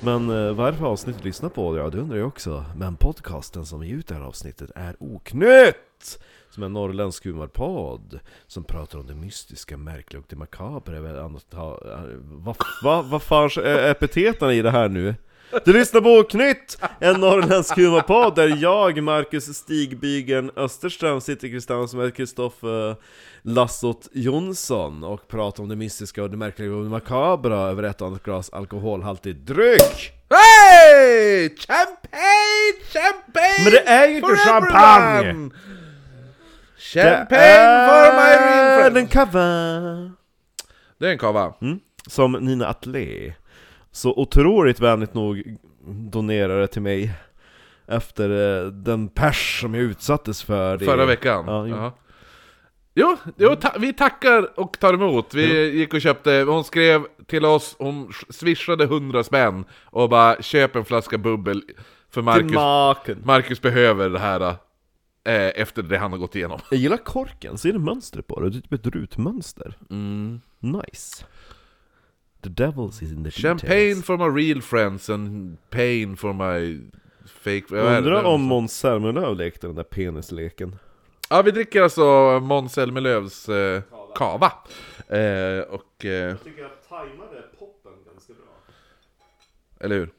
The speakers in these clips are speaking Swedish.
Men eh, varför avsnittet lyssnar på? Ja, det undrar jag också. Men podcasten som ger ut det här avsnittet är Oknytt! Som är en norrländsk humorpodd som pratar om det mystiska, märkliga och det makabra. Vad va, va, vad fan är epiteten i det här nu? Du lyssnar på Oknytt! En norrländsk humorpodd där jag, Marcus Stigbygeln Österström, sitter i Kristianstad som är Kristoffer Lassot Jonsson och pratar om det mystiska och det märkliga och det makabra över ett och annat glas alkoholhaltig dryck! Hey! Champagne! Champagne! Men det är ju inte for champagne! everyone! Champagne for my real friends! en cava! Det är en kava. Som Nina Atlé så otroligt vänligt nog donerade till mig efter eh, den pers som jag utsattes för i- Förra veckan. Ja, jo. Jaha. Jo, jo ta vi tackar och tar emot. Vi gick och köpte, hon skrev till oss, hon swishade 100 spänn och bara köp en flaska bubbel för Till Marcus, maken. Marcus behöver det här eh, efter det han har gått igenom. Jag gillar korken, ser du mönstret på det? Det är typ ett rutmönster. Mm. Nice. The devil's is in the Champagne details. for my real friends and pain for my fake... vad är det? liksom? Undrar om Måns Zelmerlöw lekte den där penisleken. Ja, vi dricker alltså Måns Zelmerlöws eh, kava. Eh, och... Eh, tycker jag tajmade poppen ganska bra. Eller hur?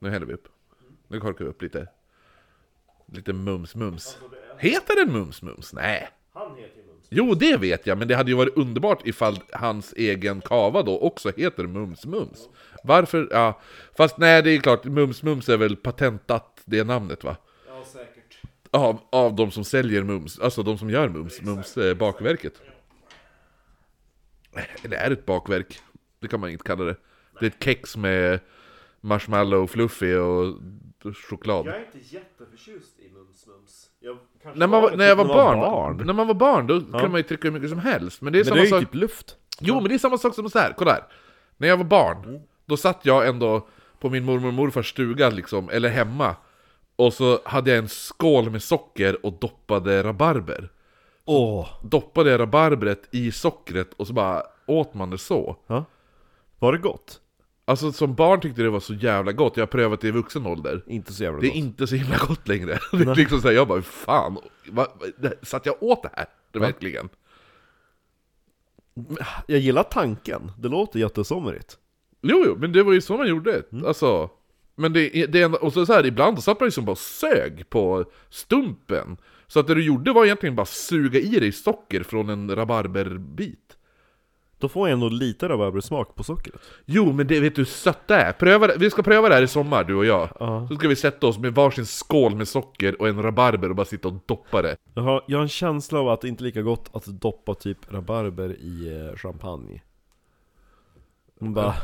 Nu häller vi upp. Nu korkar vi upp lite. Lite mums-mums. Heter den mums-mums? Nej. Han heter ju Mums. Jo, det vet jag, men det hade ju varit underbart ifall hans egen kava då också heter mums-mums. Varför? Ja. Fast nej, det är klart, mums-mums är väl patentat, det namnet va? Ja, säkert. Av, av de som säljer mums, alltså de som gör mums, mums eh, bakverket. Eller är det ett bakverk? Det kan man inte kalla det. Det är ett kex med marshmallow, fluffy och choklad. är inte jätteförtjust i Mums Mums. Jag typ När, man, var- när jag var barn, när man var barn då kunde man ju trycka hur mycket som helst. Men det är Men samma det är ju sak. typ luft. Jo, men det är samma sak som så här. kolla här. När jag var barn, Mm. då satt jag ändå på min mormor och morfars stuga liksom, eller hemma. Och så hade jag en skål med socker och doppade rabarber. Åh! doppade jag rabarbret i sockret och så bara åt man det så. Ja. Var det gott? Alltså som barn tyckte det var så jävla gott, jag har prövat det i vuxen ålder. Inte så jävla Det är gott. inte så himla gott längre. Det är liksom så här, jag bara fan, va, va, det- satt jag åt det här? Det verkligen? Jag gillar tanken. Det låter jättesomrigt. Jo, jo, men det var ju så man gjorde. Alltså, men det, är- det är ändå- och så, så här, ibland så satt man liksom bara och sög på stumpen. Så att det du gjorde var egentligen bara suga i dig socker från en rabarberbit. Då får jag ändå lite rabarbersmak på sockret. Jo, men det vet du hur sött det är. Pröva, det- vi ska pröva det här i sommar, du och jag. Så ska vi sätta oss med varsin skål med socker och en rabarber och bara sitta och doppa det. Jag har, jag har en känsla av att det inte är lika gott att doppa typ rabarber i eh, champagne. Man bara,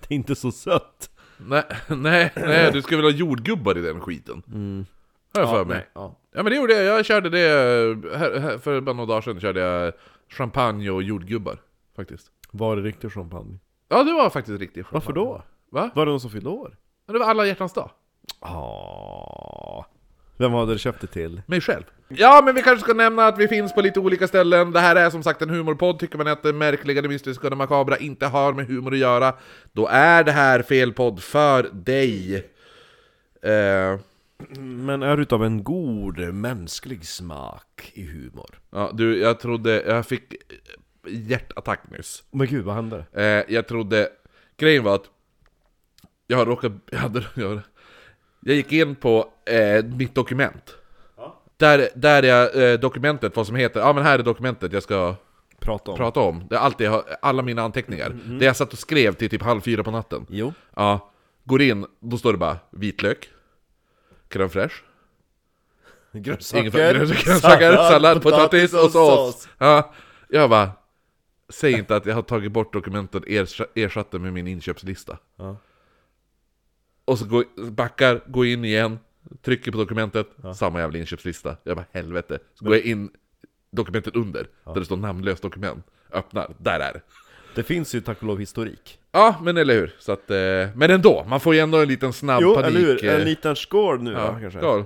det är inte så sött. Nej, nej, nej, du ska väl ha jordgubbar i den skiten? Har jag för mig. Mm. Ja. Ja, men det gjorde jag. Jag körde det, här, här, för bara några dagar sedan körde jag champagne och jordgubbar. Faktiskt. Var det riktig champagne? Ja, det var faktiskt riktigt Varför champagne. då? Va? Var det någon som fyllde år? Men Det var alla hjärtans dag. Ah. Vem hade du köpt det till? Mig själv. Ja, men vi kanske ska nämna att vi finns på lite olika ställen. Det här är som sagt en humorpodd. Tycker man att det märkliga, det mystiska och det makabra inte har med humor att göra, då är det här fel podd för dig. Eh, Men är utav en god mänsklig smak i humor. ja, du, jag trodde... Jag fick hjärtattack nyss. Men gud, vad hände? Eh, jag trodde... Grejen var att jag har råkat... Jag, hade, jag, jag gick in på eh, mitt dokument. Där, där jag, eh, dokumentet, vad som heter, ja men här är dokumentet jag ska Prata om. prata om. Det är alltid, jag har- alla mina anteckningar. Det jag satt och skrev till typ halv fyra på natten. Jo. Mm, Ja, går in, då står det bara vitlök, crème fraîche, ingefära, grönsaker, grönsaker, sallad, potatis och sås. Ja, jag bara, säg inte att jag har tagit bort dokumentet och ers- ersatt det med min inköpslista. Ja. Och så går, backar, går in igen, trycker på dokumentet, samma jävla inköpslista. Jag bara helvete. Så går jag in, dokumentet under, där det står namnlöst dokument. Öppnar, där är det. Det finns ju tack och lov historik. Ja, men eller hur. Så att, eh, men ändå, man får ju ändå en liten snabb Jo, panik. eller hur? eh, En liten skål nu ja, ja, kanske. klar.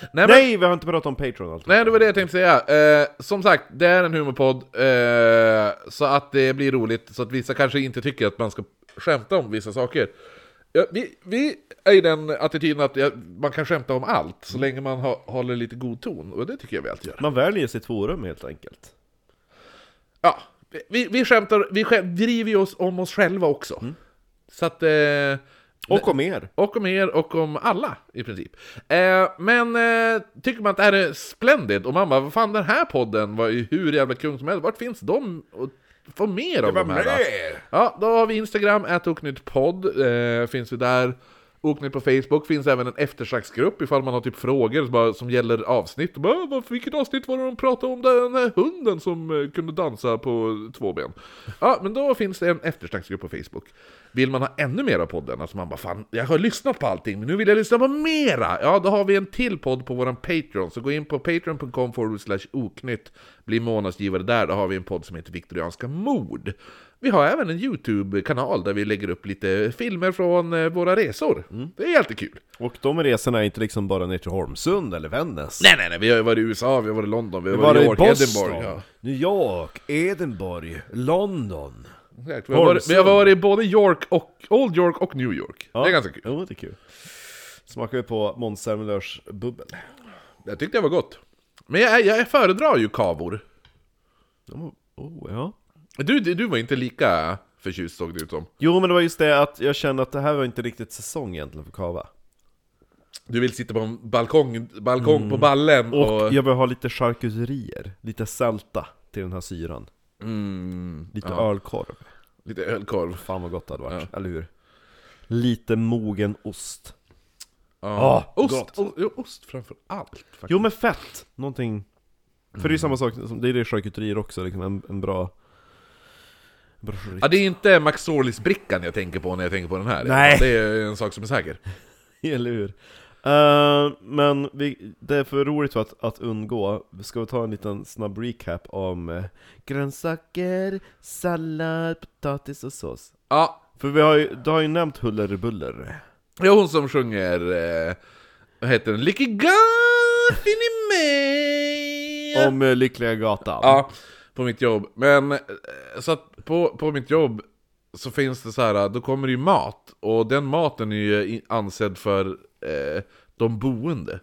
Nej, men, Nej, vi har inte pratat om Patreon alltid. nej, det var det jag tänkte säga. Eh, som sagt, det är en humorpodd, eh, så att det blir roligt. Så att vissa kanske inte tycker att man ska skämta om vissa saker. Ja, vi, vi är i den attityden att ja, man kan skämta om allt, så länge man ha, håller lite god ton. Och det tycker jag vi alltid gör. Man väljer sitt forum helt enkelt. Ja, vi, vi skämtar, vi skäm, driver ju oss om oss själva också. Mm. Så att... Eh, Och om er. och om er och om alla i princip. Eh, men eh, tycker man att det här är splendid och man bara vad fan den här podden var ju hur jävla kung som helst, vart finns de? Och få mer av de här? då? Ja, då har vi Instagram, @oknyttpodd eh, finns vi där. Oknytt på Facebook, finns även en eftersnacksgrupp ifall man har typ frågor som bara, som gäller avsnitt. Och Bara, "Vad- vilket avsnitt var det de pratade om den här hunden som eh, kunde dansa på två ben? Ja, men då finns det en eftersnacksgrupp på Facebook. Vill man ha ännu mer av podden, alltså man bara fan, jag har lyssnat på allting, men nu vill jag lyssna på mera! Ja, då har vi en till podd på våran Patreon, så gå in på patreon.com forward slash oknytt, bli månadsgivare där, då har vi en podd som heter Viktorianska mord. Vi har även en YouTube-kanal där vi lägger upp lite filmer från eh, våra resor. Det är alltid kul. Och de resorna är inte liksom bara ner till Holmsund eller Vännäs. Nej, nej, nej, vi har ju varit i USA, vi har varit i London, vi har Vi varit var i i York, Boston, Edinburgh. Ja. New York, Edinburgh, London. Exakt, Vi, har varit, vi har Holmsund. varit i både York och, Old York och New York. Det är ganska kul. Jo, det är kul. Smakar vi på Måns Zelmerlöws bubbel. Jag tyckte det var gott. Men jag, jag föredrar ju kavor. De- Oh, ja. Du, du du var inte lika förtjust såg det ut som. Jo, men det var just det att jag kände att det här var inte riktigt säsong egentligen för kava. Du vill sitta på en balkong, balkong på ballen och... Mm. Och jag vill ha lite charkuterier, lite sälta till den här syran. Mm, Lite ja, ölkorv. lite ölkorv. Fan vad gott det hade varit, eller hur? Lite mogen ost. Ja. Ah, ost, gott. o, jo, ost framför allt. Faktiskt. Jo men fett! Någonting... För det är Mm. ju samma sak, som, det är det i charkuterier också, liksom en, en bra... bra charkuteri. Ja, det är inte Max Sorlis-brickan jag tänker på när jag tänker på den här. Nej. Det är en sak som är säker. Eller hur? Eh, men vi, det är för roligt för att, att undgå. Ska vi ta en liten snabb recap om eh, grönsaker, sallad, potatis och sås? Ja, För vi har ju, du har ju nämnt Huller Buller. det är hon som sjunger... Eh, vad heter den? Licky Gaffin i mig! Om eh, Lyckliga Gatan. Ja, på mitt jobb. Men eh, så att på, på mitt jobb så finns det så här, då kommer det ju mat. Och den maten är ju i- ansedd för eh, de boende.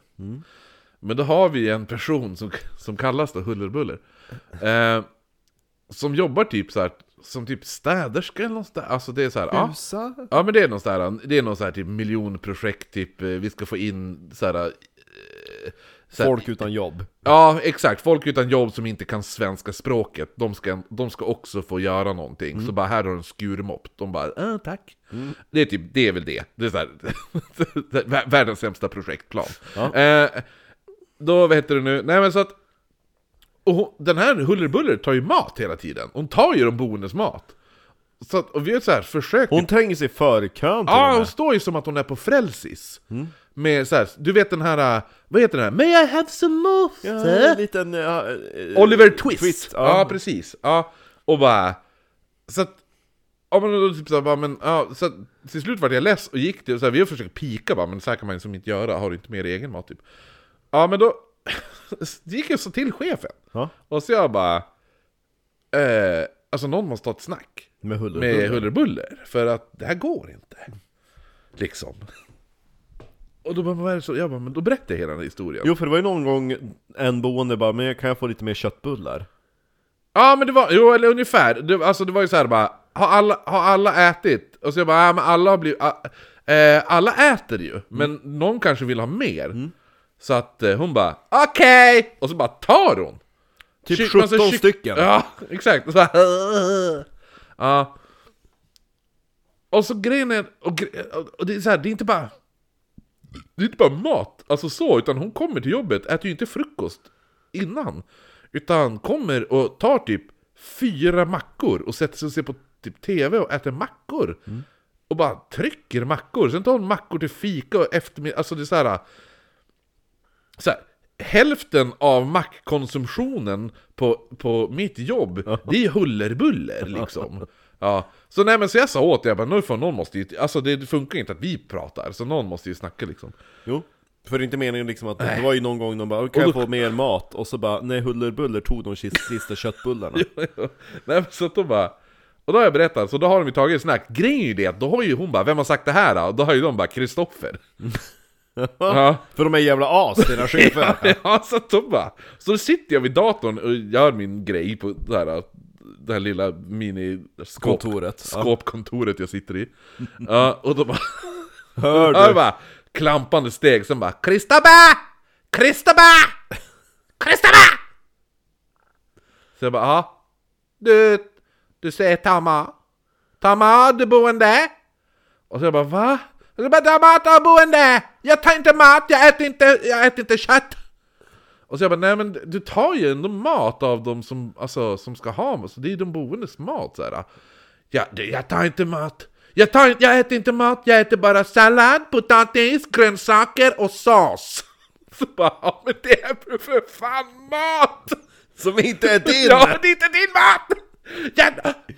Men då har vi en person som, som kallas då Hullerbuller. Eh, som jobbar typ så här, som typ städerska eller något sånt där. Alltså det är så här, ja. Husa? Ja men det är någon sån här, det är någon sån här typ miljonprojekt, typ eh, vi ska få in så här, eh, så här Folk utan jobb. Ja, exakt. Folk utan jobb som inte kan svenska språket, de ska, de ska också få göra någonting. Mm. Så bara, här har du en skurmopp. De bara, äh, tack. Det, är typ, det är väl det. Det är så här, vär- världens sämsta projektplan. Ja. Eh, då, vad heter det nu? Nej men så att, och hon, den här Hullerbuller tar ju mat hela tiden. Hon tar ju de boendes mat. Så att, och vi har så här försökt Hon tränger sig före kön till och Ja, med. hon står ju som att hon är på Frälsis. Mm. Med så här, du vet den här, äh, vad heter den här? May I have some Ja, mofte? en liten... ja, eh, Oliver Twist! ja. ja. precis. Ja, och bara... Så att... Ja, men då typ så här, bara, men, ja, så att, till slut vart jag less och gick till, så här, vi har försökt pika bara, men så här kan man ju som inte göra, har du inte mer egen mat typ? Ja, men då gick jag så till chefen. Ja, Och så jag bara... Eh, alltså någon måste ha ett snack med Huller med Buller. Mm. hullerbuller, för att det här går inte. Liksom. Och då bara, vad är det så? Jag bara, men då berättar jag hela den här historien. Jo, för det var ju någon gång en boende bara, men kan jag få lite mer köttbullar? Ja men det var, jo eller ungefär, det, alltså det var ju så här bara har alla, har alla ätit? Och så jag bara, ja men alla har blivit, ah, eh, alla äter ju, Mm. men någon kanske vill ha mer Så att eh, hon bara, okej! Och så bara tar hon! Typ Kyck- alltså 17 kyck- stycken. Ja, exakt! Och så bara, ja. Och så grejen är, och, gre- och det är så här, det är inte bara det är inte bara mat, alltså så, utan hon kommer till jobbet, äter ju inte frukost innan. Utan kommer och tar typ fyra mackor och sätter sig och ser på typ TV och äter mackor. Och bara trycker mackor, sen tar hon mackor till fika och eftermiddag, alltså det är så här. Så här hälften av mackkonsumtionen på, på mitt jobb, det är hullerbuller liksom. Ja. Så nej men så jag sa åt det, jag bara, nu får någon måste ju, alltså det funkar ju inte att vi pratar, så någon måste ju snacka liksom. Jo. För det är inte meningen liksom att, det var ju någon gång de bara 'Kan Och jag då- få mer mat?' Och så bara 'Nej Huller Buller tog de kis- sista köttbullarna' Nej men så att de bara Och då har jag berättat, så då har de ju tagit ett snack. Grejen är ju det att då har ju hon bara 'Vem har sagt det här då?' Och då har ju de bara 'Kristoffer' ja. För de är jävla as, dina chefer. ja, så att de bara... Så då sitter jag vid datorn och gör min grej på det här, det här lilla mini-skåp- Kontoret, ja. skåpkontoret jag sitter i. Ja, och då bara... Hör Hör du? bara klampande steg, sen bara 'Kristoffer! Kristoffer! Kristoffer!' Så jag bara 'Ja? Du, du säger Tama? Tama, du boende?' Och så jag bara 'Va?' Och så bara 'Tama, ta boende! Jag tar inte mat, jag äter inte, jag äter inte kött!' Och så jag bara 'Nej men du tar ju ändå mat av de som, alltså, som ska ha mat, så det är ju de boendes mat' så här. Ja, det, jag tar inte mat. Jag, tar, inte- jag äter inte mat, jag äter bara sallad, potatis, grönsaker och sås. Så bara, ja, men det är för- för fan mat! Som inte är din! Ja, det är inte din mat! Jag,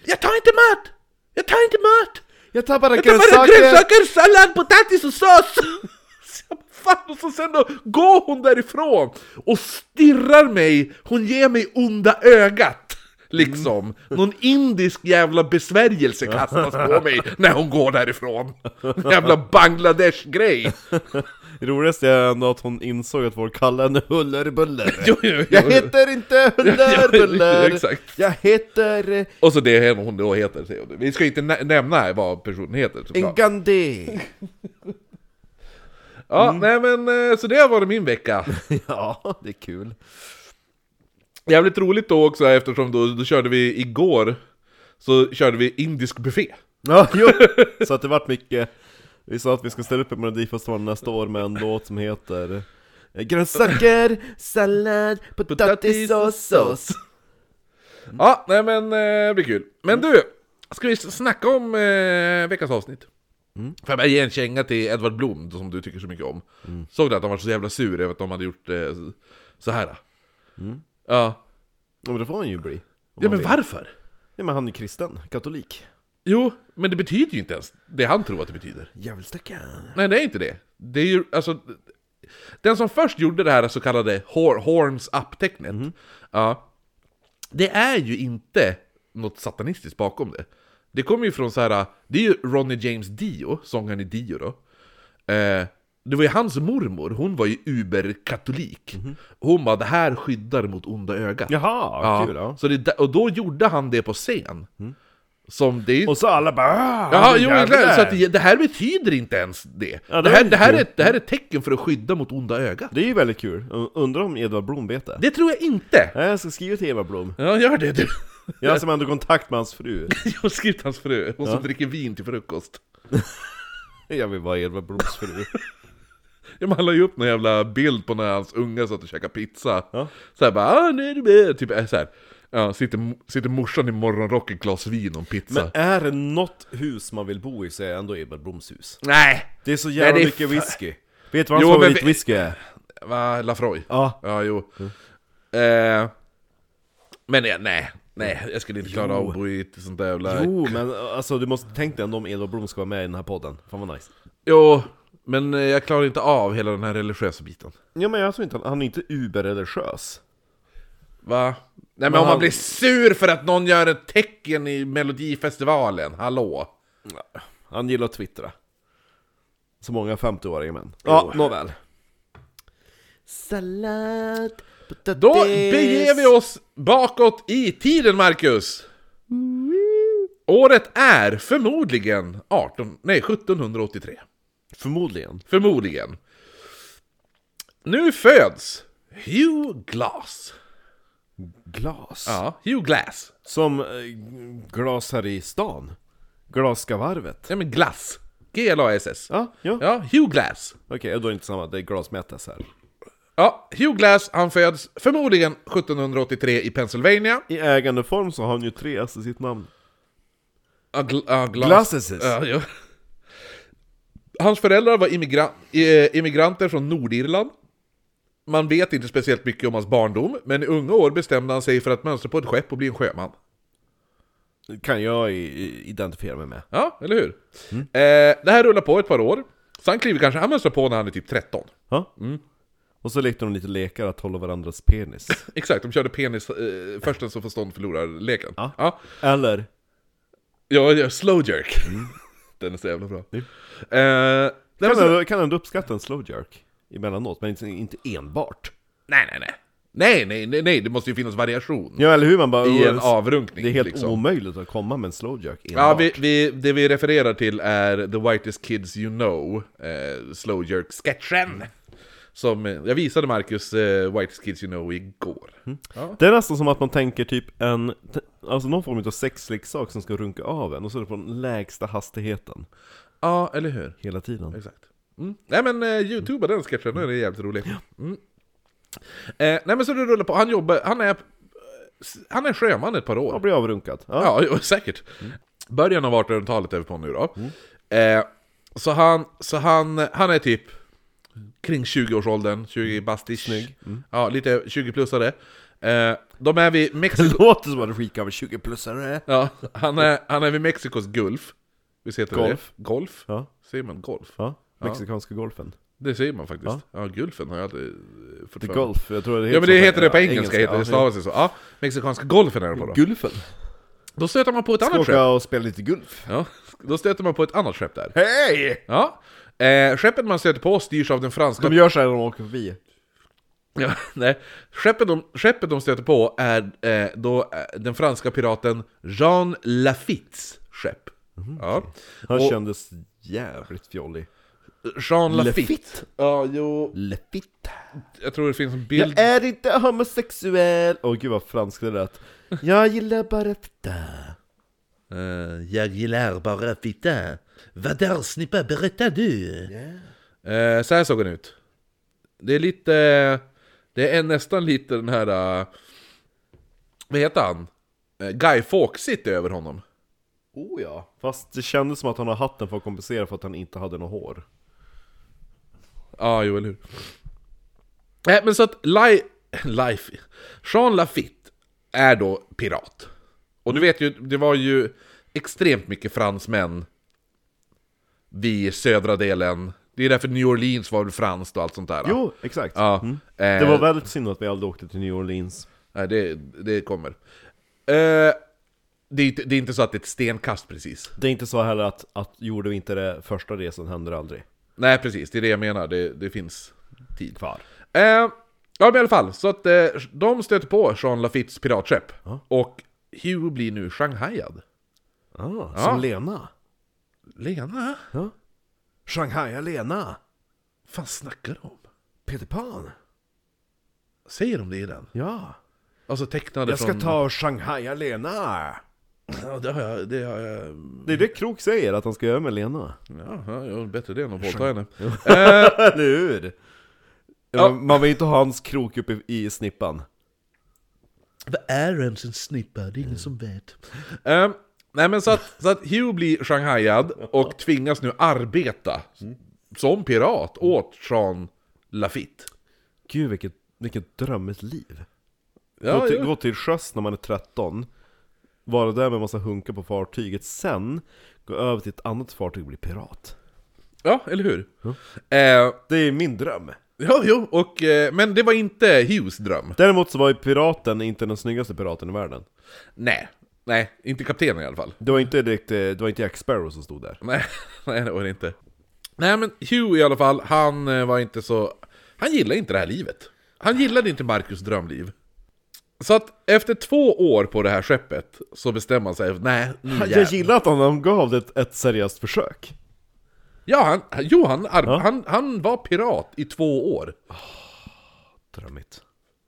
jag tar inte mat! Jag tar inte mat! Jag tar bara Jag tar bara grönsaker! grönsaker, sallad, potatis och sås! Så jag bara, Fan, och så sen då går hon därifrån och stirrar mig, hon ger mig onda ögat. Liksom, någon indisk jävla besvärjelse kastas på mig när hon går därifrån. En jävla Bangladesh-grej. Det roligaste är ändå att hon insåg att folk kallar henne Hullerbuller. Jo, jo, Jag jo. heter inte Ja, Hullerbuller! exakt. Jag heter eh, Och så det är hon då heter. säger hon. Vi ska inte nä- nämna vad personen heter. såklart. Ngandé! Ja, nej men eh, så det har varit min vecka. Ja, det är kul. Jävligt roligt då också eftersom då, då körde vi igår Så körde vi indisk buffé Ja, jo! Så att det vart mycket... Vi sa att vi ska ställa upp i Melodifestivalen nästa år med en låt som heter eh, Grönsaker, sallad, potatis och sås. Ja, nej men eh, det blir kul Men du, ska vi s- snacka om eh, veckans avsnitt? Får jag bara ge en känga till Edvard Blom som du tycker så mycket om Såg du att han var så jävla sur över att de hade gjort eh, så här? Ja, Ja, men det får han ju bli. om ja han men vill. varför? Ja, men han är ju kristen, katolik. Jo, men det betyder ju inte ens det han tror att det betyder Djävulstackaren. Nej, det är inte det. Det är ju, alltså... Den som först gjorde det här så kallade hor- horns up-tecknet, Mm. ja, det är ju inte något satanistiskt bakom det. Det kommer ju från så här, det är ju Ronnie James Dio, sångaren i Dio då. Eh, det var ju hans mormor, hon var ju uberkatolik. Mhm. Hon bara, det här skyddar mot onda ögat. Jaha, Ja, kul ja. Mm. så det, är där- och då gjorde han det på scen. Som det är ju Och så alla bara "Ah, Ja, du jo, jävlar." exakt. Så att det, det här betyder inte ens det. det, det var här, ju det, här kul. är, ett- det här är ett tecken för att skydda mot onda ögat. Det är ju väldigt kul. U- Undrar om Edvard Blom vet det? Det tror jag inte. Nej, Jag ska skriva till Edvard Blom. Ja, gör det du. Jag har som ändå kontakt med hans fru. Jag har skrivit hans fru, hon som dricker vin till frukost. Jag vill vara Edvard Bloms fru. Ja, man la ju upp någon jävla bild på när hans unga satt och käkade pizza. Ja. Så här bara, ah, nu är det med. Typ äh, så här. Ja, sitter, sitter morsan i morgonrock ett glas vin och en pizza. Men är det något hus man vill bo i så är det ändå Edvard Bloms hus. Nej! Det är så jävla Nej, det är mycket fa- whisky. Vet du vad hans Jo, men vi- favoritwhisky är? Va, Lafroy? Ja. Ja, Mm. jo. Eh, men eh, nej, nej, jag skulle inte klara av att bo i ett sånt där jävla... Jo, men alltså du måste tänka dig ändå om Edvard Blom ska vara med i den här podden. Fan vad nice. Jo, men eh, jag klarar inte av hela den här religiösa biten. Ja men jag tror inte han, han är inte uberreligiös. Va? Nej men, om han- man blir sur för att någon gör ett tecken i Melodifestivalen, hallå? Han gillar att twittra. Så många 50-åriga män. Oh. Ja, nåväl. Sallad, potatis... Då beger vi oss bakåt i tiden Marcus! Året är förmodligen 18, nej 1783. Förmodligen. Förmodligen. Nu föds Hugh Glass. Glas. Ja, Hugh Glass. Som eh, glas här i stan. Glaskavarvet. Ja men Glass. G-L-A-S-S. Ja, ja. Ja, Hugh Glass. Okej, då är det inte samma. Det är glasmätes här. Ja, Hugh Glass, han föds förmodligen 1783 i Pennsylvania. I ägandeform så har han ju tre S i sitt namn. Ja, gl- ja, Glass. Glasses. Ja, ja. Hans föräldrar var immigra- eh, immigranter från Nordirland. Man vet inte speciellt mycket om hans barndom, men i unga år bestämde han sig för att mönstra på ett skepp och bli en sjöman. Kan jag i- i- identifiera mig med. Ja, eller hur? Eh, det här rullar på ett par år. Sen kliver kanske han mönstrar på när han är typ 13. Ja. Mm. Och så lekte de lite lekar att hålla varandras penis. Exakt, de körde penis, eh, först den som får stånd förlorar leken. Ja. Ja. Eller Ja, ja slow jerk. Den är så jävla bra. Ja. Eh, nej, men Kan, så- ändå, kan ändå uppskatta en slow jerk emellanåt, men inte, inte enbart. nej, nej, nej. Nej, nej, nej, nej, det måste ju finnas variation Ja, eller hur? Man bara... i en "Åh, avrunkning. det är helt liksom. omöjligt att komma med en slow jerk enbart. Ja, vi, vi, det vi refererar till är The Whitest Kids You Know, eh, Slow Jerk-sketchen. Mm. Som, eh, jag visade Marcus eh, Whitest Kids You Know igår. Mm. Det är nästan som att man tänker typ en, t- alltså någon form av sexleksak som ska runka av en, och så är det på den lägsta hastigheten Ja, eller hur? hela tiden. Exakt. Mm. Nej men eh, youtuba den sketchen, den är jävligt rolig. Mm. Eh, nej men så det rullar på, han jobbar, han är, eh, han är sjöman ett par år. Och blir avrunkad. Ja. Ja, jo, säkert. Början av 1800-talet är vi på nu då. Mm. Eh, så han, så han, han är typ kring 20-årsåldern, 20 Mm. bastish. Ja, lite 20-plussare. Eh, de är vid Mexiko... Det låter som att du skickar med 20-plussare. ja, han, är, han är vid Mexikos Gulf. Visst heter Golf. det? Golf. Ja. Säger man golf? Ja, mexikanska golfen. Det säger man faktiskt. Ja, Gulfen har jag aldrig eh, fått The för mig. golf, jag tror det Ja men det så. heter det på Ja, engelska, heter det, ja. stavas det så. Ja, mexikanska golfen är det på då. Gulfen. Då stöter man på ett Ska annat skepp. åka och spela lite gulf. Ja, då stöter man på ett annat skepp där. Hej! Ja. Eh, skeppet man stöter på styrs av den franska... De gör så här när de åker förbi. Ja, nej. Skeppet, de, skeppet de stöter på är eh, då eh, den franska piraten Jean Lafittes skepp. ja. Han Och- kändes jävligt fjollig. Jean Lafitte. Lafitte. Ja, jo. Lepitt. Jag tror det finns en bild. Jag är inte homosexuell! Åh gud vad franskt det lät. Jag gillar bara fitta. Eh, jag gillar bara fitta. Vad där snippa berättar du? Eh, så här såg den ut. Det är lite... Det är nästan lite den här... eh, vad heter han? Eh, Guy Fawkes-igt över honom. Oh ja. Fast det kändes som att han har hatten för att kompensera för att han inte hade något hår. Ja, jo, eller hur. Nej, men så att Li- Life... Jean Lafitte är då pirat. Och du vet ju, det var ju extremt mycket fransmän vid södra delen. Det är därför New Orleans var väl franskt och allt sånt där. Jo, exakt. Ja, eh, Det var väldigt synd att vi aldrig åkte till New Orleans. Nej, det, det kommer. Eh, det, är inte, det är inte så att det är ett stenkast precis. Det är inte så heller att, att gjorde vi inte det första resan händer det aldrig. Nej, precis. Det är det jag menar. Det, det finns tid. Kvar. Eh, ja, men i alla fall. Så att eh, de stöter på Jean Lafittes piratskepp. Och Hugh blir nu shanghajad. Ah, Ja. Som Lena. Lena? Ja. Shanghai Lena. fan snackar de om? Peter Pan. Säger de det i den? Ja. Alltså tecknade Jag ska från... ta Shanghai Lena. Ja, det har jag... Det har jag... Det är det Krok säger att han ska göra med Lena. Ja, ja, ja, bättre det än att våldta henne. Eller hur? Ja. Man- Man vill inte ha hans krok uppe i, i snippan. Vad är ens en snippa? Det är ingen som vet. Eh, nej men så att, så att Hugh blir shanghajad och tvingas nu arbeta som pirat åt Jean Lafitte. Gud vilket, vilket drömmigt liv. gå, Ja, till, ja. gå till sjöss när man är 13 Vara där med massa hunkar på fartyget Sen gå över till ett annat fartyg och bli pirat ja, eller hur? Eh, Det är min dröm ja, jo, och, eh, men det var inte Hughes dröm. Däremot så var ju piraten inte den snyggaste piraten i världen Nej, nej, inte kaptenen i alla fall. Det var inte direkt, eh, det var inte Jack Sparrow som stod där Nej, nej det var det inte. Nej men Hugh i alla fall, han eh, var inte så... Han gillade inte det här livet. Han gillade inte Marcus drömliv. Så att efter två år på det här skeppet så bestämmer han sig, nej nu Han- Jag jävlar." gillar att han gav det ett, ett seriöst försök Ja, han, han- jo, han, ar- Ja. han, han var pirat i två år. Drömmigt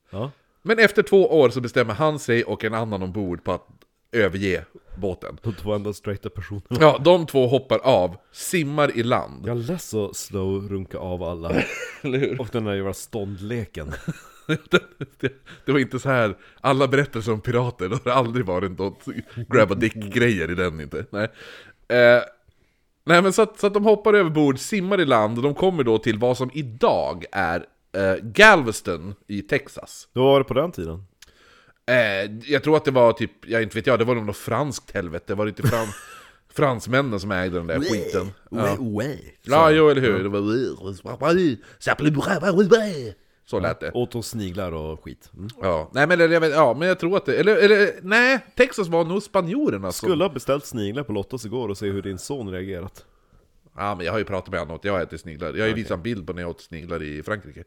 Ja Men efter två år så bestämmer han sig och en annan ombord på att överge båten. De två enda straighta personerna Ja, de två hoppar av, simmar i land. Jag lät så slow runka av alla Eller hur? Och den där jävla ståndleken det, det, det var inte så här alla berättelser om pirater, det har aldrig varit något grab a dick-grejer i den inte. Nej, eh, nej men så att, så att de hoppar över bord, simmar i land och de kommer då till vad som idag är eh, Galveston i Texas. Då var det på den tiden Eh, jag tror att det var typ, jag inte vet jag, det var nog något franskt helvete, var det inte fran, fransmännen som ägde den där skiten? Ja, way. ja jo eller hur? Det var... Så lät det. Åt oss sniglar och skit. Mm. Ja, nej, men, eller, jag vet, ja, men jag tror att det... Eller, eller nej, Texas var nog spanjorerna som... Skulle ha beställt sniglar på Lottas igår och se hur din son reagerat. Ja, men jag har ju pratat med honom åt, jag äter sniglar. Jag har ju visat en bild på när jag åt sniglar i Frankrike.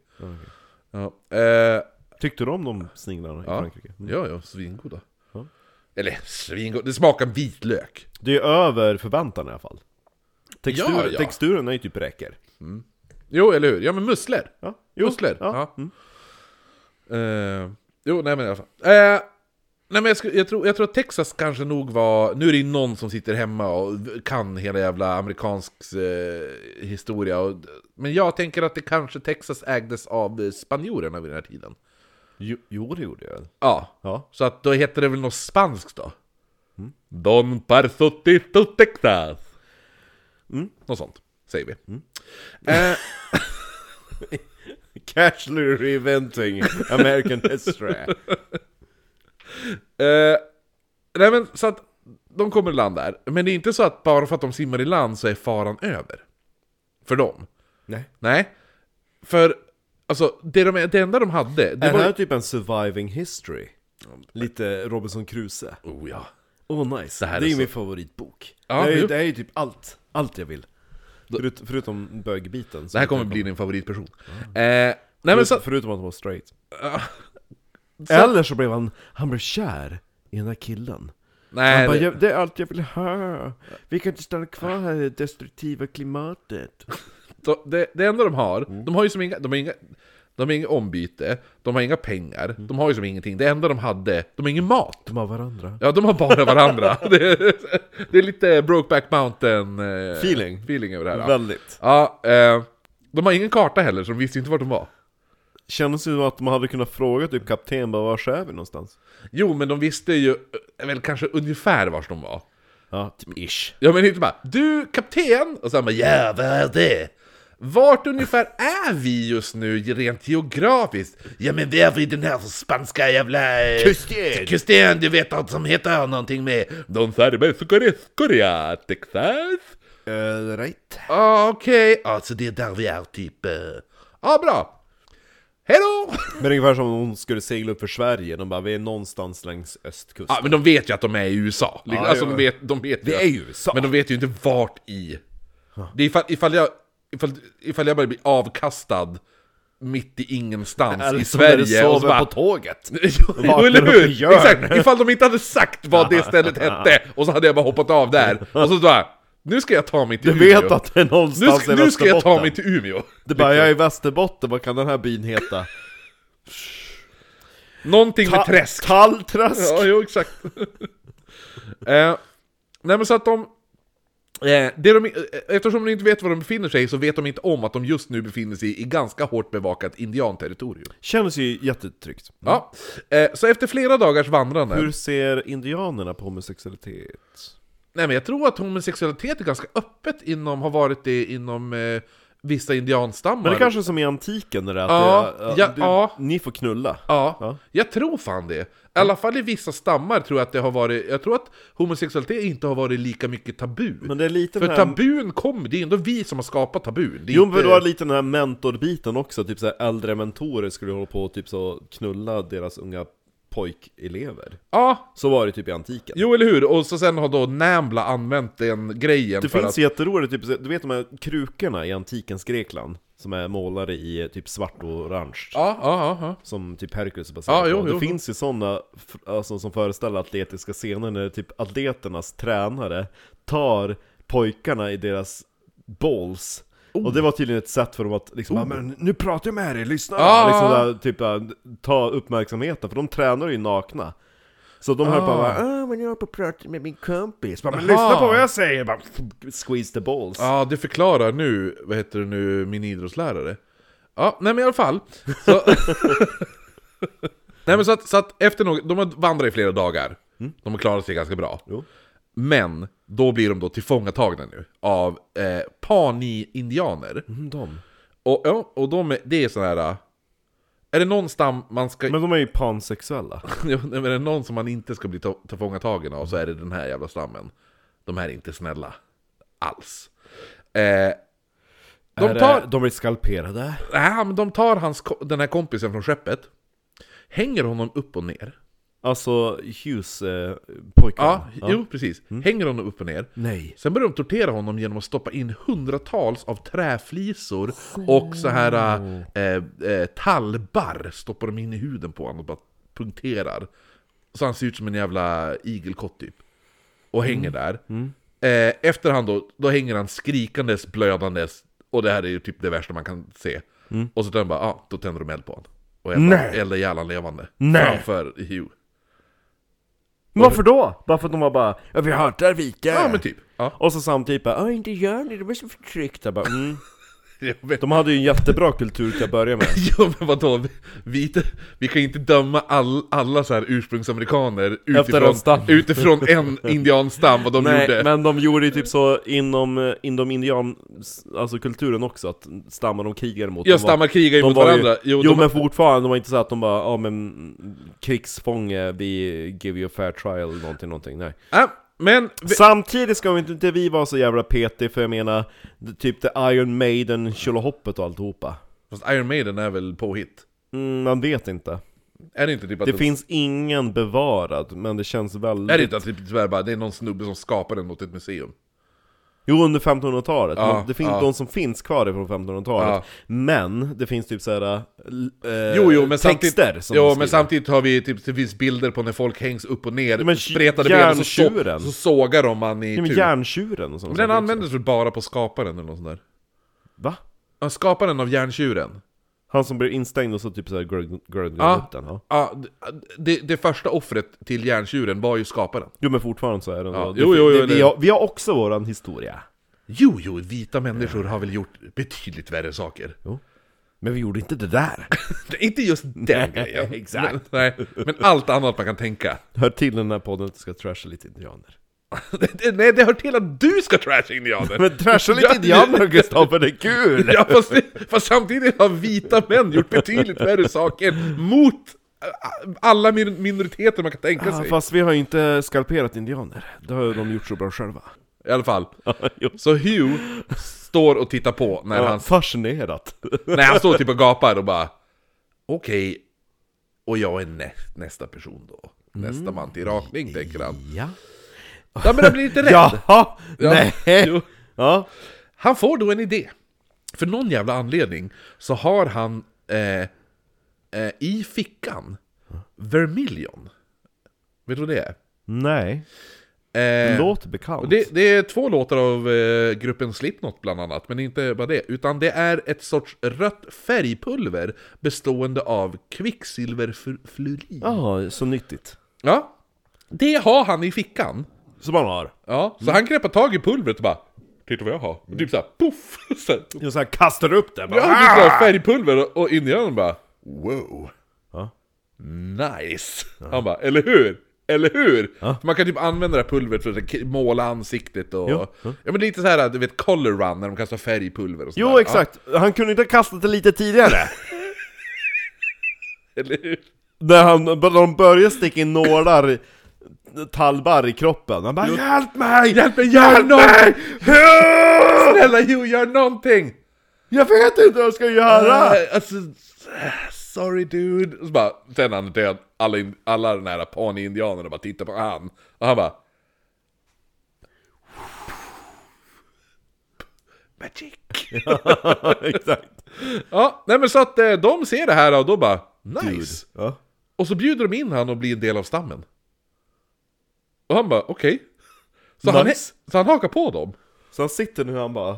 Ja, eh, Tyckte du om de sniglarna i ja. Frankrike? Mm. ja, ja, svingoda. Ja. Eller svingoda, det smakar vitlök. Det är över förväntan i alla fall. Textur, Ja, ja. Texturen är ju typ räcker. Jo, eller hur? Ja, men musslor. Ja. Musslor. Ja. Mm. Ja. Eh, jo, nej men i alla fall. Eh, nej, men jag, sku, jag, tror, jag tror att Texas kanske nog var... Nu är det ju någon som sitter hemma och kan hela jävla amerikansk eh, historia. Och, men jag tänker att det kanske Texas ägdes av eh, spanjorerna vid den här tiden. Jo, jo, det gjorde jag. Ja, Ja. Mm. så att då heter det väl något spanskt då? Don Parzotito Texas. Mm. Något sånt, säger vi. Mm. Eh, Casually reinventing American history. Eh, nej men så att de kommer i land där. Men det är inte så att bara för att de simmar i land så är faran över. För dem. Nej. Nej. För alltså, det, de, det enda de hade, det Är det var... här typ en surviving history? Lite Robinson Crusoe. Oh ja. Åh oh, nice, det, här är är ju så- min favoritbok. Ja, det, är, ju- jo. det är ju typ allt, allt jag vill. Förut, förutom bögbiten. Det här kommer bli din favoritperson. Eh, nej men så, Förutom att han var straight. så Eller så blev han, han blev kär i den här killen. Han nej, bara, det, "Jag- det är allt jag vill ha. Vi kan inte stanna kvar här i det destruktiva klimatet. så- det, det enda de har, Mm. de har ju som inga, de har inga, de har inga ombyte, de har inga pengar, Mm. de har ju som ingenting. Det enda de hade, de har ingen mat. De har varandra. Ja, de har bara varandra. det, är, det är lite Brokeback Mountain eh, Feeling. feeling över det här. ja. Väldigt. Ja, eh, de har ingen karta heller, så de visste inte vart de var. Kändes ju som att man hade kunnat fråga typ kapten bara, var är vi någonstans? Jo, men de visste ju eh, väl kanske ungefär vart de var. Ja, typ ish. Ja, men inte bara ”Du, kapten!” och sen bara ”Ja, vad är det?” Vart ungefär är vi just nu rent geografiskt? Ja, men vi är vid den här spanska jävla... eh, Kusten. Kusten, du vet allt som heter någonting med... Don Cervescoria, Texas! Uh, right. Ah, okej. Ja, så det är där vi är, typ. eh. Ja, bra. Hej då! Men ungefär som om hon skulle segla upp för Sverige, de bara vi är någonstans längs östkusten. Ja, men de vet ju att de är i USA. Liksom, Ja, alltså, ja. de vet, de vet Det ju. är ju USA. Men de vet ju inte vart i. Det är ifall, ifall, jag, ifall, ifall jag bara blir avkastad mitt i ingenstans Eller i som när du Sverige och så sover bara... på tåget. Jo, eller vaknar upp i hur? Jörn. Exakt! Ifall de inte hade sagt vad det stället hette och så hade jag bara hoppat av där och så bara... Nu ska jag ta mig till Du Umeå. vet att det är nu, någonstans ska, i nu ska jag ta Västerbotten. mig till Umeå. Det är bara, jag är i Västerbotten, vad kan den här byn heta? Någonting med träsk. Tallträsk! Ja, jo, exakt. eh, nej, men så att de... Eh, det de eh, eftersom de inte vet var de befinner sig så vet de inte om att de just nu befinner sig i ganska hårt bevakat indianterritorium. Känns ju jättetryggt. Ja. Eh, så efter flera dagars vandrande... Hur ser indianerna på homosexualitet? Nej, men jag tror att homosexualitet är ganska öppet inom, har varit det inom eh, vissa indianstammar. Men det kanske är som i antiken när det är att Ja, det, är- ja, du, ja. ni får knulla. Ja, Ja. jag tror fan det. I alla fall i vissa stammar tror jag att det har varit... Jag tror att homosexualitet inte har varit lika mycket tabu. Men det är lite För den här... tabun kom, det är ändå vi som har skapat tabun. Det är Jo inte... men du har lite den här mentorbiten också, typ så här äldre mentorer skulle hålla på och typ så knulla deras unga pojkelever. Ja, Så var det typ i antiken. jo eller hur? Och så sen har då Nambla använt den grejen Det för finns att... jätteroligt, typ, så- du vet de här krukorna i antikens Grekland? Som är målade i eh, typ svart och orange. Ja, ja, ja, ja. Som typ Hercules är baserad Ja, jo, på. jo, Det jo. finns ju sådana alltså, som föreställer atletiska scener när typ atleternas tränare tar pojkarna i deras balls Och det var tydligen ett sätt för dem att liksom, "Ah, Oh. men nu pratar jag med dig, lyssna! Ah. Liksom där, typ, äh, ta uppmärksamheten, för de tränar ju nakna Så de höll på att ah, men jag höll på att prata med min kompis, bara, men lyssna på vad jag säger! Bara, squeeze the balls! Ja, det förklarar nu, vad heter det nu, min idrottslärare. Ja, nej men i alla fall. Så... nej men så att, så att efter något, de har vandrat i flera dagar. De har klarat sig ganska bra. Mm. Jo. Men, då blir de då tillfångatagna nu av eh, Pani-indianer. Mm, De. Och, ja, och de, är- det är sån här... eh, Är det någon stam man ska... Men de är ju pansexuella Jo, nej, men är det någon som man inte ska bli ta- tillfångatagen av så är det den här jävla stammen. De här är inte snälla. Alls. Eh, De är, det- tar- de blir skalperade. Nej, men de tar hans, ko- den här kompisen från skeppet, hänger honom upp och ner. Alltså Hughes eh, pojkvän. Ja, jo precis. Hänger honom upp och ner. Nej. Sen börjar de tortera honom genom att stoppa in hundratals av träflisor och så här eh, eh, tallbar stoppar de in i huden på honom och bara punkterar. Så han ser ut som en jävla igelkott typ. Och hänger där. Eh, efterhand då, då hänger han skrikandes, blödandes och det här är ju typ det värsta man kan se. Och så tänder de bara, ah, då tänder de eld på honom. Och eldar Nej. eldar ihjäl honom levande. Nej. Framför Hugh. Men varför då? Bara för att de var bara ja, vi hatar vika. Ja men typ. Ja. Och så samtidigt bara "Ja, inte gör ni, de är så förtryckta. Jag Bara, mm. Jag vet De hade ju en jättebra kultur till att börja med. Ja men vadå, vi, vi, vi kan ju inte döma all, alla så här ursprungsamerikaner utifrån, en stam. utifrån en indianstam, vad de gjorde. Nej, men de gjorde ju typ så inom, eh, inom indian, alltså kulturen också, att stammar de krigade mot ja, de var- stammar krigar de mot var ju- varandra. Jo, Jo, de, men fortfarande, de var inte så att de bara ja men krigsfånge, vi give you a fair trial någonting, någonting, nej äh, men vi, Samtidigt ska vi inte, inte vi vara så jävla petig, för jag menar det- Typ det Iron Maiden, Tjolahoppet och alltihopa fast Iron Maiden är väl påhitt? mm, Man vet inte Är det inte typ att Det de- finns ingen bevarad, men det känns Är det väldigt inte att typ, tyvärr bara, det är någon snubbe som skapar den åt ett museum? Jo, under 1500-talet. Ja, Men det finns ja. de som finns kvar ifrån 1500-talet. Ja. Men det finns typ såhär... Eh, Jo, jo, men texter samtidigt, som jo, de men skriver. samtidigt har vi typ, det finns bilder på när folk hängs upp och ner, men spretade ben och så, så, järntjuren. så sågar de man i Ja, men tur. järntjuren och Men sånt. den saker användes väl bara på skaparen eller något sånt där? också. Va? Ja, Skaparen av järntjuren? Han som blir instängd och så typ såhär grön Ja. upp den. Ja. Ja, d- det, det första offret till järntjuren var ju skaparen. Jo men fortfarande så är den Ja, då. jo, jo, jo, det, vi, det- har, vi har också våran historia. Jo, jo, vita människor har väl gjort betydligt värre saker. Men vi gjorde inte det där. Det är Inte just den grejen. exakt. Men, nej, men allt annat man kan tänka. Hör till den här podden att du ska trasha lite indianer. Det, det, nej, det hör till att du ska trasha indianer! Men trasha lite Ja, indianer Gustav, för det är kul! Ja, fast, fast samtidigt har vita män gjort betydligt värre saker mot äh, alla min- minoriteter man kan tänka Ja, sig. fast vi har ju inte skalperat indianer. Det har ju de gjort så bra själva. I alla fall. jo. Så Hugh står och tittar på när han Fascinerat. Nej, han står typ och gapar och bara Okej, och jag är nä- nästa person då. Nästa man till rakning, tänker han. Ja. Ja, men han blir lite rädd. Jaha! Ja. Nej! Jo. Ja. Han får då en idé. För någon jävla anledning så har han eh, eh, i fickan Vermilion. Vet du vad det Nej. är? Eh, Låter bekant. Och Det, det är två låtar av eh, gruppen Slipknot bland annat, men inte bara det. Utan det är ett sorts rött färgpulver bestående av kvicksilverfluorid. Ja, så nyttigt. Ja, det har han i fickan. Som man har. Ja, så han greppar tag i pulvret och bara Titta vad jag har. Och typ såhär poff! Så här, Jag så här kastar upp det "Ah!" ja, han dricker av färgpulver och- och indianen bara Wow! Ja. Nice! Han bara, eller hur? Eller hur? För Man kan typ använda det här pulvret för att k- måla ansiktet och... Ja, Ja, men det är lite så här, du vet, color run när de kastar färgpulver och sånt Jo, där. exakt. Han kunde inte ha kastat det lite tidigare. Ja, eller hur? När han, de börjar sticka in nålar, talbar i kroppen. Han bara Hjälp mig! Hjälp mig, gör någonting! Snälla Hugh, gör någonting! Jag vet inte vad jag ska göra! Äh, Alltså, äh, sorry dude. Och så bara, sen är han död. Alla, in, alla den här pani-indianerna bara tittar på han. Och han bara... Magic. exakt. Ja, nej men så att eh, de ser det här och då bara nice. Ja. Och så bjuder de in han och blir en del av stammen. Och han bara okej. Så, Nice. han, så han hakar på dem. Så han sitter nu han bara,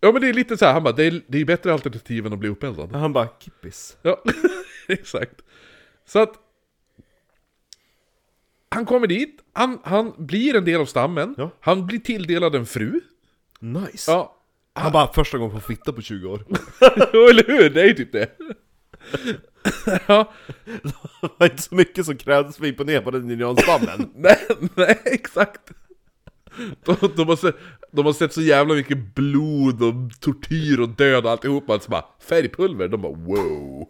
Ja men det är lite så här, han bara det är, det är bättre alternativ än att bli uppeldad. han bara kippis. Ja, exakt. Så att... Han kommer dit, han, han blir en del av stammen, Ja. han blir tilldelad en fru. Nice. Ja, Han bara första gången på fitta på 20 år. jo, eller hur? Det är ju typ det. ja, Det var inte så mycket som krävdes för att imponera på den indianstammen. nej, nej, exakt. De, de, har sett, de har sett så jävla mycket blod och tortyr och död och alltihopa, så bara färgpulver, de bara wow.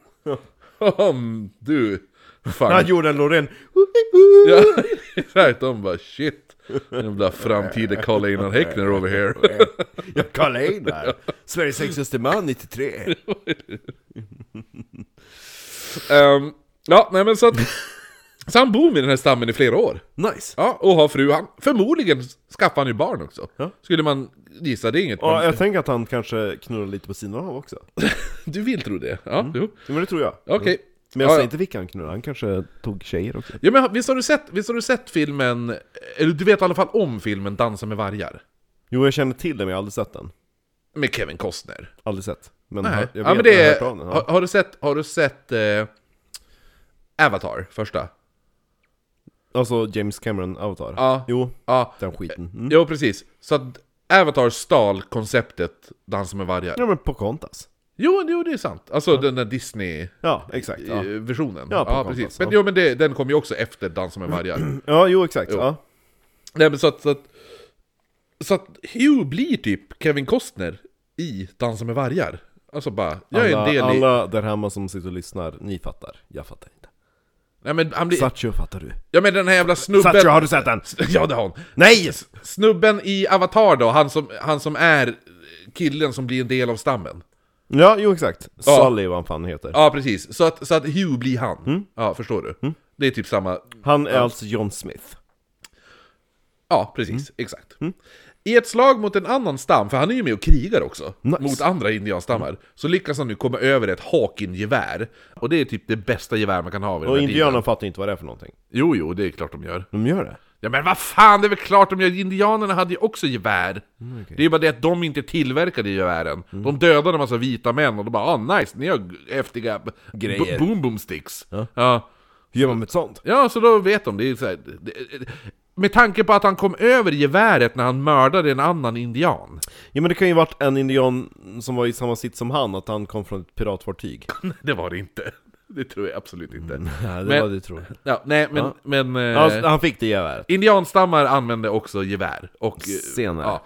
Mm, du, fan. Han gjorde en Loreen. Ja, exakt, de bara shit. Jävla framtida Carl Einar Häckner over here. Ja, Carl Einar! Sveriges sexigaste man 93! Ehm, ja, nej men så att... Så han bor med den här stammen i flera år. Nice! Ja, och har fru. Han, förmodligen skaffar han ju barn också. Ja. Skulle man gissa, det är inget. Ja, men- jag tänker att han kanske knullar lite på sidan av också. Du vill tro det? Ja, jo. Ja, Men det tror jag. Mm. Okej. Men jag säger Ja, inte vilka han knullade, han kanske tog tjejer också. Ja, men visst har, du sett, visst har du sett filmen, eller du vet i alla fall om filmen Dansa med vargar? Jo, jag känner till den men jag har aldrig sett den. Med Kevin Costner. Aldrig sett. Men Nej. jag vet, ja, men jag har det hört om den. har, Ja. har du sett, har du sett eh, Avatar, första? Alltså James Cameron Avatar. Ja. Jo, Ja, den skiten. Mm. jo precis. Så att Avatar stal konceptet Dansa med vargar. Ja men Pocahontas. Jo, jo det är sant. Alltså den där Disney-versionen. Ja, exakt. Ja, Eh, Ja, på ja, Compass, precis. ja. Men, jo, men det, den kom ju också efter Dansa med vargar. ja jo exakt. Jo. Ja. Nej men så att, så att... Så att Hugh blir typ Kevin Costner i Dansa med vargar. Alltså bara, jag är Alla, en del i... alla där hemma som sitter och lyssnar, ni fattar. Jag fattar inte. Nej men han blir... Satcho fattar du? Ja men den här jävla snubben... Satcho, har du sett den? Ja det har hon. Nej! Snubben i Avatar då, han som, han som är killen som blir en del av stammen. Ja, jo exakt. Sully vad han fan heter. Ja precis, så att, så att Hugh blir han. Mm. Ja, förstår du? Det är typ samma... Han är alltså John Smith. Ja, Mm. precis. Exakt. I ett slag mot en annan stam, för han är ju med och krigar också, Nice. Mm. mot andra indianstammar, så lyckas han nu komma över ett Hawking-gevär. Och det är typ det bästa gevär man kan ha vid den Och här indianerna tiden. fattar inte vad det är för någonting. Jo, jo, det är klart de gör. De gör det? Ja men vad fan, det är väl klart de gör! Indianerna hade ju också gevär! Mm, Det är ju bara det att de inte tillverkade gevären. De dödade en massa vita män och de bara ah nice, ni har g- häftiga b- Grejer. b- boom boom sticks. Ja. Hur gör man med ett sånt? Ja, så då vet de. Det är så här, det, det- med tanke på att han kom över geväret när han mördade en annan indian. Ja men det kan ju varit en indian som var i samma sitt som han, att han kom från ett piratfartyg. Nej, det var det inte. Det tror jag absolut inte. Nej, Men- du tror. Mm. Ja, nej, men... men eh, Alltså, han fick det geväret. Indianstammar använde också gevär och... eh, Senare. Ja,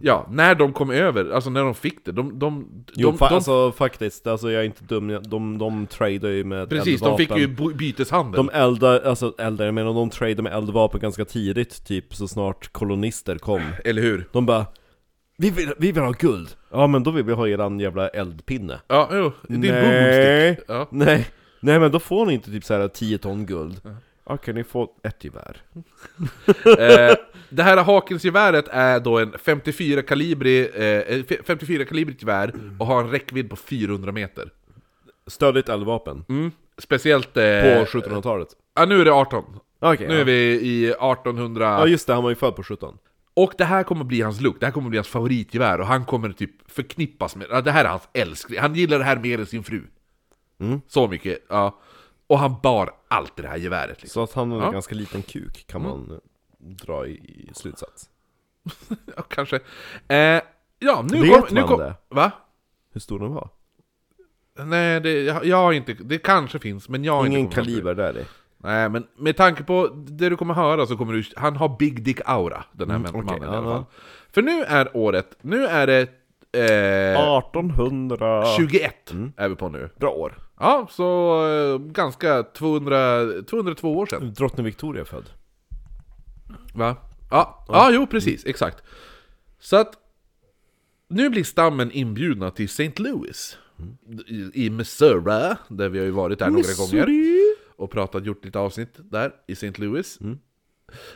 ja, när de kom över, alltså när de fick det, de... de, Jo, de, fa- de alltså faktiskt, alltså, jag är inte dum, de, de, de tradar ju med precis, de eldvapen. fick ju bo- byteshandel. De eldar, alltså eldar, jag menar de tradar med eldvapen ganska tidigt, typ så snart kolonister kom. Eller hur? De bara vi vill, vi vill ha guld! Ja men då vill vi ha eran jävla eldpinne. Ja, jo, din boomstick. Nej. Ja. Nej, nej men då får ni inte typ så här 10 ton guld. Ja, kan ni få ett gevär? Eh, det här Hawkinsgeväret är då en 54 kalibrig, eh, 54 kalibrigt gevär och har en räckvidd på 400 meter. Mm. Stödigt eldvapen. Speciellt... Eh, På 1700-talet. ja, nu är det 18. Okej, Nu är vi i 1800... ja. ja just det, han var ju född på 17. Och det här kommer bli hans look, det här kommer bli hans favoritgevär och han kommer typ förknippas med... Ja, det här är hans älskling, han gillar det här mer än sin fru. Mm. Så mycket, ja. Och han bar allt det här geväret liksom. Så att han har en Ja. Mm. ganska liten kuk kan man eh, dra i, i slutsats. Ja, kanske. Eh, ja, nu Vet kommer... nu man kom- det? Va? Hur stor den var? Nej, det, jag, jag har inte... Det kanske finns, men jag har Ingen inte kommit fram till det. kaliber där i. Nej, men med tanke på det du kommer höra så kommer du... Han har Big Dick Aura, den här mannen Mm, okej, i alla ja, fall. För nu är året... Nu är det... Ah. Eh, 1800... 21 Mm. är vi på nu. Bra år. Ja, så eh, ganska 200, 202 år sedan. Drottning Victoria är född. Va? Ja, ja. jo precis, exakt. Så att nu blir stammen inbjudna till St. Louis Mm. i, i Missouri, där vi har ju varit där några gånger och pratat, gjort lite avsnitt där i St. Louis.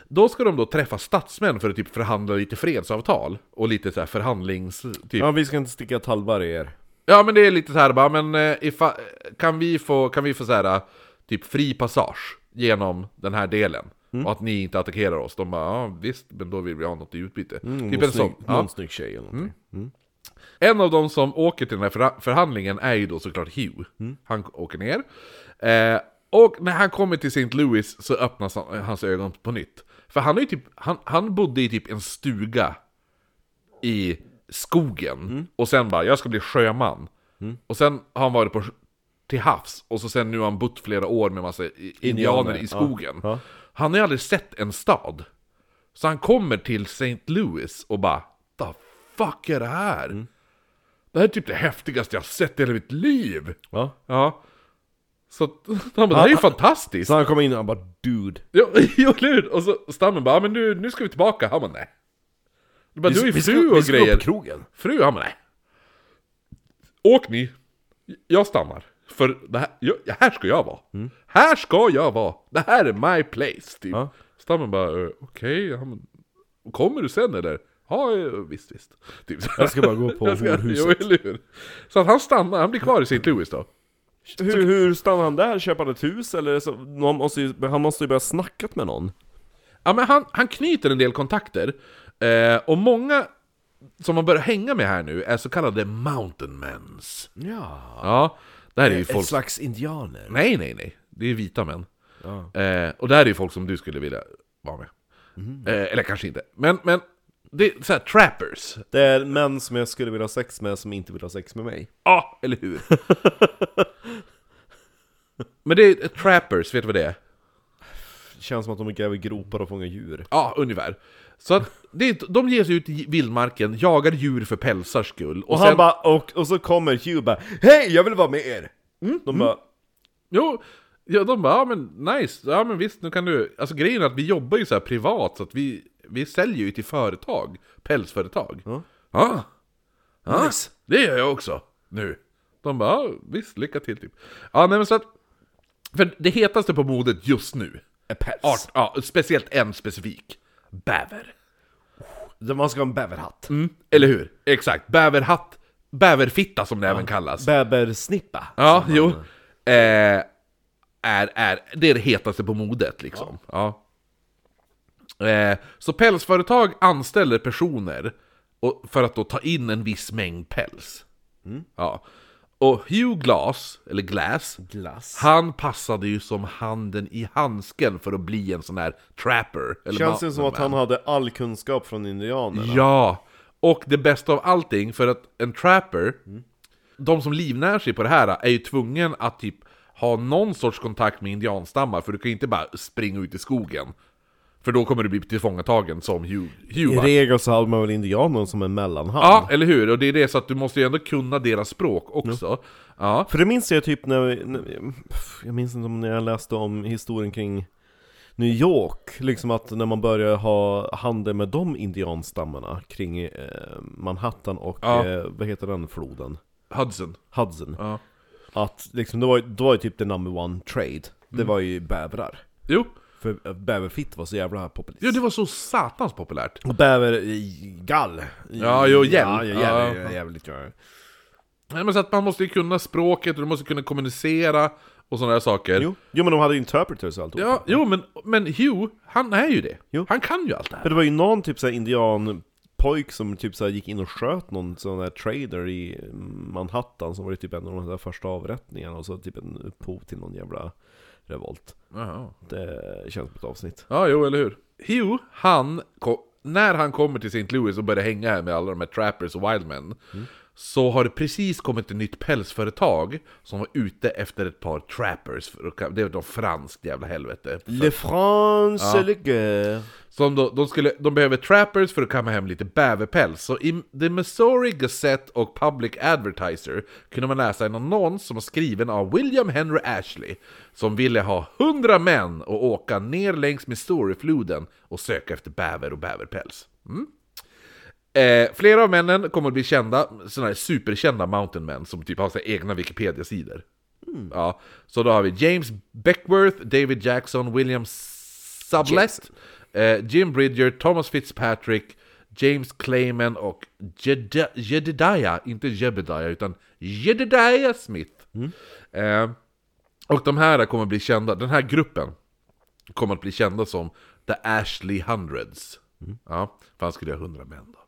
Då ska de då träffa statsmän för att typ förhandla lite fredsavtal och lite så här förhandlings... Typ. Ja, vi ska inte sticka talbar i er. Ja men det är lite så här bara, men eh, ifa, kan vi få, kan vi få så här, typ fri passage genom den här delen? Och att ni inte attackerar oss. De bara, ja visst, men då vill vi ha något i utbyte. typ en sån. Någon snygg- Ja. Mm. Någon snygg tjej eller någonting. En av de som åker till den här förha- förhandlingen är ju då såklart Hugh. Han k- åker ner. Eh, och när han kommer till St. Louis så öppnas han, hans ögon på nytt. För han, är ju typ, han, han bodde i typ en stuga i skogen. Mm. Och sen bara, jag ska bli sjöman. Och sen har han varit på, sj- till havs. Och så sen nu har han bott flera år med massa i- indianer, Indianer, i ja, skogen. ja. Han har ju aldrig sett en stad. Så han kommer till St. Louis och bara The fuck är det här? Mm. Det här är typ det häftigaste jag har sett i hela mitt liv! Ja. Ja. Så att- han bara, det här är ju fantastiskt! Så han kom in och han bara 'Dude' Jo, jo, eller hur? Och så stammen bara, "Ja, men nu, nu ska vi tillbaka. Han bara, nej. Du bara, du är ju vi ska- fru vi och ska gå grejer. på krogen. Fru, han bara, nej. Åk ni. Jag stannar. För det här, jag, här ska jag vara. Här ska jag vara. Det här är my place, typ. Mm. Ja. Stammen bara, "Eh, okej. Han bara, Kommer du sen eller? Ja, eh, visst, visst. Typ. så här. Jag ska bara gå på Jag ska- horhuset. Jo, eller hur? Så att han stannar, han blir kvar i St. Louis då. Hur, hur stannar han där? Köper han ett hus? Eller så, någon måste ju, han måste ju börja snackat med någon. Ja, men han, han knyter en del kontakter. Eh, och många som man börjar hänga med här nu är så kallade mountain mens. Ja. Eh, Ja, det här är ju Ett folk... slags indianer. Nej, nej, nej. Det är vita män. Ja. Eh, och det här är ju folk som du skulle vilja vara med. Mhm. Eh, eller kanske inte. Men, men det är så här trappers. Det är män som jag skulle vilja ha sex med som inte vill ha sex med mig. Ja, ah, eller hur? men det är trappers, vet du vad det är? Det känns som att de gräver gropar och fångar djur. Ja, ungefär. Så att det är, de ger sig ut i vildmarken, jagar djur för pälsars skull. Och, han bara, och, och så kommer Hugh bara Hej, jag vill vara med er! de bara Jo, ja, de bara, ja men nice, ja men visst nu kan du... Alltså grejen är att vi jobbar ju så här privat så att vi, vi säljer ju till företag, pälsföretag. Ja. Ja, ja, Nice. det gör jag också nu. De bara, ja, visst, lycka till typ. Ja, nej men så att... För det hetaste på modet just nu, är päls. art, ja, speciellt en specifik, bäver. Man ska ha en bäverhatt. Mm, eller hur? Exakt, bäverhatt, bäverfitta som det även kallas. Bäversnippa. Ja, jo. Eh, är, är, det är det hetaste på modet liksom. Ja. Eh, så pälsföretag anställer personer och, för att då ta in en viss mängd päls. Mm. Ja. Och Hugh Glass, eller Glass, Glass. han passade ju som handen i handsken för att bli en sån här trapper. Eller Känns det som mountain att han hade all kunskap från indianerna? Ja, och det bästa av allting, för att en trapper, de som livnär sig på det här är ju tvungen att typ ha någon sorts kontakt med indianstammar, för du kan ju inte bara springa ut i skogen. För då kommer du bli tillfångatagen som Hugh. Hugh I va? regel så hade man väl indianerna som en mellanhand? ja, eller hur? Och det är det, så att du måste ju ändå kunna deras språk också. Ja. För det minns jag typ när, vi- när pff, jag minns inte om när jag läste om historien kring New York, liksom att när man började ha handel med de indianstammarna kring eh, Manhattan och, Ja. eh, vad heter den floden? Hudson. Hudson. Ja. Att liksom, det var, ju- då var ju typ the number one trade, Mm. det var ju bävrar. Jo. För eh, bäverfitt var så jävla populärt. jo, det var så satans populärt. Och bävergall. Ja, jo, hjälm. Ja, jo, Ja. jävligt, jävligt, jävligt. Nej, men så att man måste ju kunna språket, och du måste kunna kommunicera och sådana där saker. Jo. jo, men de hade ju interpreters och allt. Ja, jo men, men Hugh, han är ju det. Jo. Han kan ju allt det här. Men det var ju någon typ såhär indianpojk som typ såhär gick in och sköt någon sån där trader i Manhattan som var det typ en av de där första avrättningarna och så typ en upphov till någon jävla revolt. Jaha. Det känns som ett avsnitt. Ja, jo, eller hur? Hugh, han, ko- när han kommer till St. Louis och börjar hänga här med alla de här trappers och wildmen, så har det precis kommit ett nytt pälsföretag som var ute efter ett par trappers, för att ka- det var de franskt jävla helvete. Le France, le guerre. Som då, de, skulle, de behöver trappers för att kamma hem lite bäverpäls. Så i The Missouri Gazette och Public Advertiser kunde man läsa en annons som var skriven av William Henry Ashley. Som ville ha 100 män och åka ner längs Missourifloden och söka efter bäver och bäverpäls. Mm. Eh, flera av männen kommer att bli kända, sådana här superkända mountain men som typ har sina egna Wikipedia-sidor. Mm. Ja, så då har vi James Beckworth, David Jackson, William Sublett, eh, Jim Bridger, Thomas Fitzpatrick, James Clayman och Jedi- Jedediah, inte Jebediah utan Jedediah Smith. Eh, och de här kommer bli kända, den här gruppen kommer att bli kända som The Ashley Hundreds. Ja, för han skulle ha 100 män då.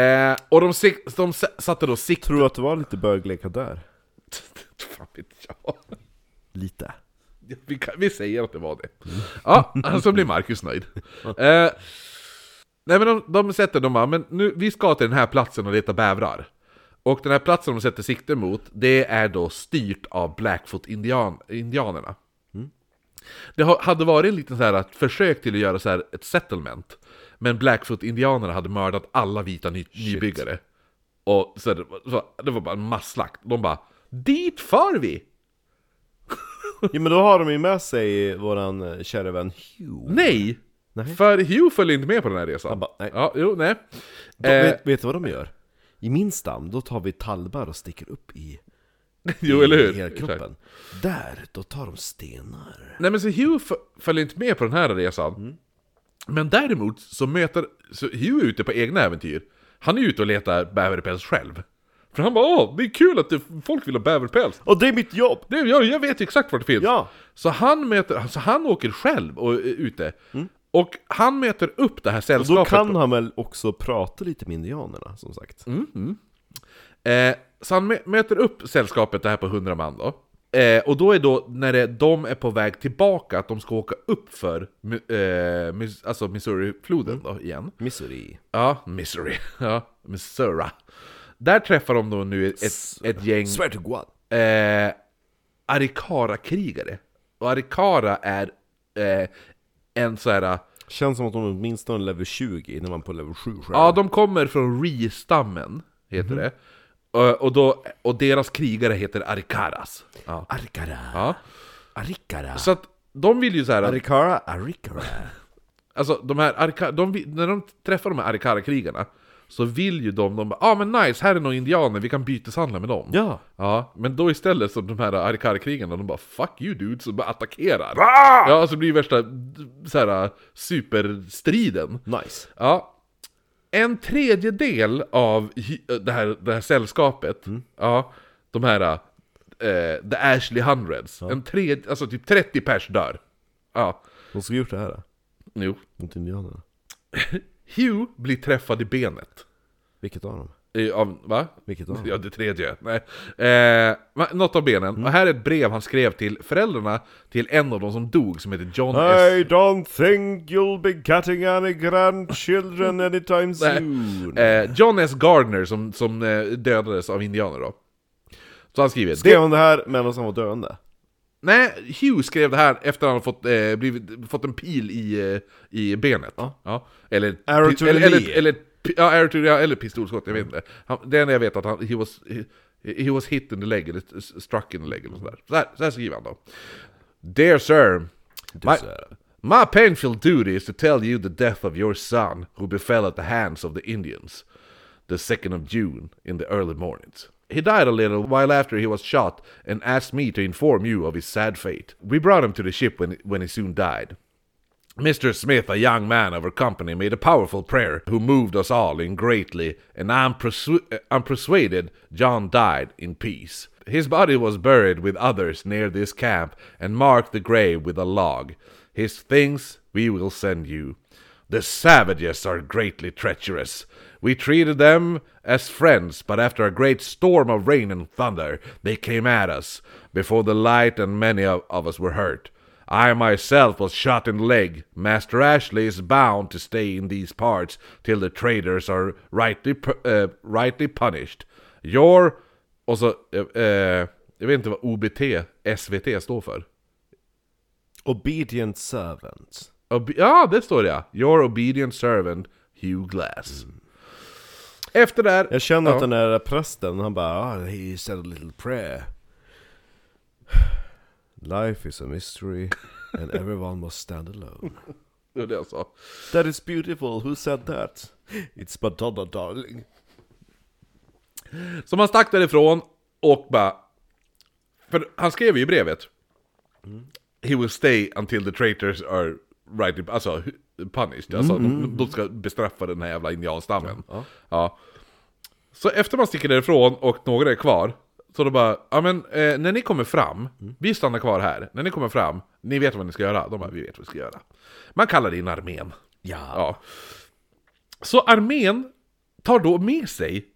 Eh, och de, sik- de s- satte då sikt... Tror du att det var lite bögleka där? Fan vet jag. Lite. Vi, kan, vi säger att det var det. Ja, så blir Marcus nöjd. Eh, nej men de, de sätter, de bara, men nu, vi ska till den här platsen och leta bävrar. Och den här platsen de sätter sikte mot, det är då styrt av Blackfoot-indianerna. Det ha- hade varit en liten så här, ett försök till att göra så här ett settlement. Men Blackfoot-indianerna hade mördat alla vita ny- nybyggare. Och så det, var- så, det var bara en masslakt. De bara, dit far vi! Ja men då har de ju med sig våran eh, kära vän Hugh. Nej! Nej. För Hugh följde inte med på den här resan. Han bara, nej. Ja, jo, nej. Då, Eh, vet, vet du vad de gör? I min stam, då tar vi talbar och sticker upp i, jo, eller i hur? hela Exakt. kroppen. Där, då tar de stenar. Nej men så Hugh f- följer inte med på den här resan. Mm. Men däremot så möter... Så Hugh är ute på egna äventyr. Han är ute och letar bäverpäls själv. För han bara åh, det är kul att det, folk vill ha bäverpäls. Och det är mitt jobb! Det, jag, jag vet ju exakt vart det finns. Ja! Så han möter... Så han åker själv och är ute. Och han möter upp det här Mm. Och då sällskapet. kan han väl också prata lite med indianerna, som sagt. Mm. Eh, så han mö- möter upp sällskapet det här på 100 man då. Eh, och då är då när det, de är på väg tillbaka, att de ska åka upp för Mi- eh, Mis- alltså Missouri-floden då igen. Missouri. Ja, Missouri. Ja, Missouri. Där träffar de då nu ett, ett gäng Swear to God. eh, Arikara-krigare. Och Arikara är eh, en så här... eh, Känns som att de åtminstone är level 20 innan man är på level 7 själv. Ja, de kommer från Ri-stammen, heter det. Ö, Och, då, och deras krigare heter Arikaras. Ja. Arkara, ja. Arikara, Så att de vill ju så här, Arikara, Arikara. alltså de här Arika, de, vill- när de träffar de här Arikara-krigarna så vill ju de, de bara ah, men nice, här är några indianer, vi kan byteshandla med dem. Ja. Ja, men då istället så de här Arikara-krigarna, de bara 'fuck you dude' så bara attackerar. Ja, så blir det värsta så här, superstriden. Nice. Ja. En tredjedel av hy- det här, det här sällskapet, ja, de här, eh, The Ashley Hundreds, en tred, alltså typ 30 pers dör. Ja, De skulle gjort det här då, jo. mot indianerna. Hugh blir träffad i benet. Vilket av dem? I, av, va? Vilket av dem? Ja, det tredje. Nej. Eh, va- något av benen. Och här är ett brev han skrev till föräldrarna till en av de som dog, som heter John S. I don't think you'll be getting any grandchildren anytime soon. Eh, John S. Gardner, som, som eh, dödades av indianer då. Så han skriver... Skrev han det här medan han var döende? Nej, Hugh skrev det här efter att han har fått, eh, blivit, fått en pil i, eh, i benet. Ja. Eller, Arrow to the eller, eller, knee. eller, pi- ja, arrow to the, ja, eller pistolskott, jag vet inte. Han, det enda jag vet är att han, he was, he, he was hit in the leg, eller s- struck in the leg, eller sådär. Så här, så här skriver han då. Dear sir, my, my painful duty is to tell you the death of your son who befell at the hands of the Indians the 2nd of June in the early mornings. He died a little while after he was shot and asked me to inform you of his sad fate. We brought him to the ship when, when he soon died. Mr. Smith, a young man of our company, made a powerful prayer who moved us all in greatly, and I'm, persu- uh, I'm persuaded John died in peace. His body was buried with others near this camp and marked the grave with a log. His things we will send you. The savages are greatly treacherous. We treated them as friends, but after a great storm of rain and thunder, they came at us before the light, and many of, of us were hurt. I myself was shot in the leg. Master Ashley is bound to stay in these parts till the traitors are rightly pu- eh, rightly punished. Your... Och så... eh, eh, jag vet inte vad OBT SVT står för. Obedient servant. Obe- ja, det står det ja! Your obedient servant Hugh Glass. Efter det här... Jag känner Ja. att den där prästen, han bara ah, he said a little prayer. Life is a mystery and everyone must stand alone. Det var det jag sa. That is beautiful, who said that? It's Madonna darling. Så man stack därifrån och bara... För han skrev ju i brevet. He will stay until the traitors are right, alltså hu- punished. Alltså de, de ska bestraffa den här jävla indianstammen. Ja. Så efter man sticker därifrån och några är kvar. Så då bara, ja men eh, när ni kommer fram, vi stannar kvar här. När ni kommer fram, ni vet vad ni ska göra. De bara, vi vet vad vi ska göra. Man kallar in armén. Ja. Ja. Så armén tar då med sig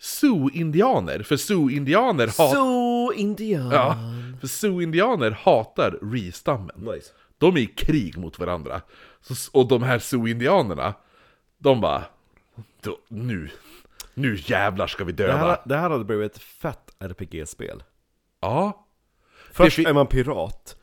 Sioux-indianer, för Sioux-indianer hatar... So Indian. Ja, för Sioux-indianer hatar Ri-stammen. Nice. De är i krig mot varandra. Så, och de här Sioux-indianerna, de bara... "Då- Nu, nu jävlar ska vi Det döda. här, det här hade blivit ett fett RPG-spel. Ja, Först Det fi- är man pirat,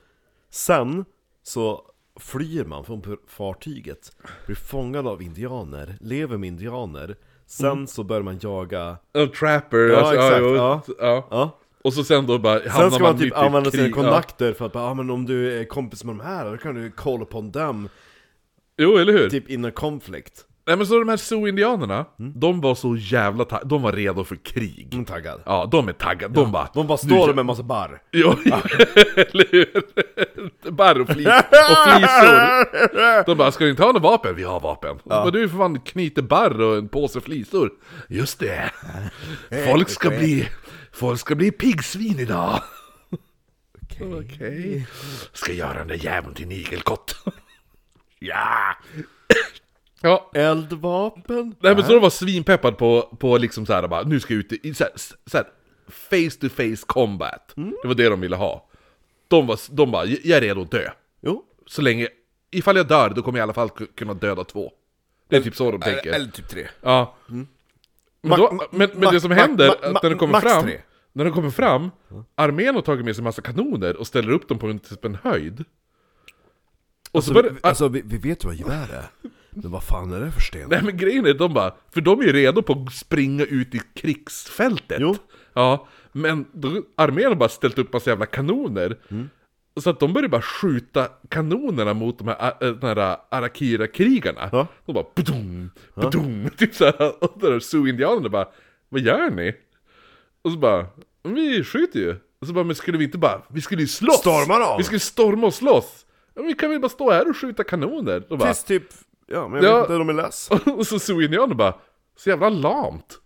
sen så flyr man från pir- fartyget, blir fångad av indianer, lever med Mm. indianer, sen så börjar man jaga, och Trapper. Ja, alltså, exakt, och- ja. ja. ja, Och så sen då bara hamnar Sen ska man typ mitt i använda sina krig. Ja. kontakter för att bara, ah, men om du är kompis med de här, då kan du call upon dem Jo, eller hur? Typ in a conflict Nej men så de här Sioux-indianerna, de var så jävla tag- de var redo för krig. mm, Taggad Ja, de är taggade. De bara... De bara "Nu står kör-" där med en massa barr Jo, eller hur? Barr och, flis, och flisor. De bara, ska du inte ha något vapen? Vi har vapen. Och bara, du är för fan knyter barr och en påse flisor. Just det. Folk ska bli... Folk ska bli piggsvin idag. Okej Okej. Ska göra den där jäveln till en igelkott. ja. ja, Eldvapen? Nej men så de var svinpeppad på, på liksom såhär bara, nu ska jag ut i såhär, såhär face to face combat. Det var det de ville ha. De var, de bara, jag är redo att dö. Jo Så länge, ifall jag dör då kommer jag i alla fall ku- kunna döda två. Det är typ så de tänker. typ 3 Ja. Men, Max- då, men, men det som max- händer, max- att när de kommer max fram, tre. när de kommer fram, armén har tagit med sig massa kanoner och ställer upp dem på en, typ en höjd. Och så Alltså, börjar, vi, alltså vi, vi vet ju vad gevär är Men vad fan är det för sten? Nej men grejen är, de bara, för de är ju redo på att springa ut i krigsfältet. Jo. Ja, men då, armén har bara ställt upp massa jävla kanoner. Mm. Så att de börjar bara skjuta kanonerna mot de här, äh, de här Arakira-krigarna. Ja. De bara badum, badum, typ såhär. Och de där Sioux-indianerna bara, vad gör ni? Och så bara, vi skjuter ju. Och så bara, men skulle vi inte bara, vi skulle ju slåss! Storma dem! Vi skulle storma och slåss! Ja, men vi kan väl bara stå här och skjuta kanoner? Och bara, Tills typ, ja men jag Ja. vet inte, de är less och så Zoe-indianerna bara, så jävla lamt.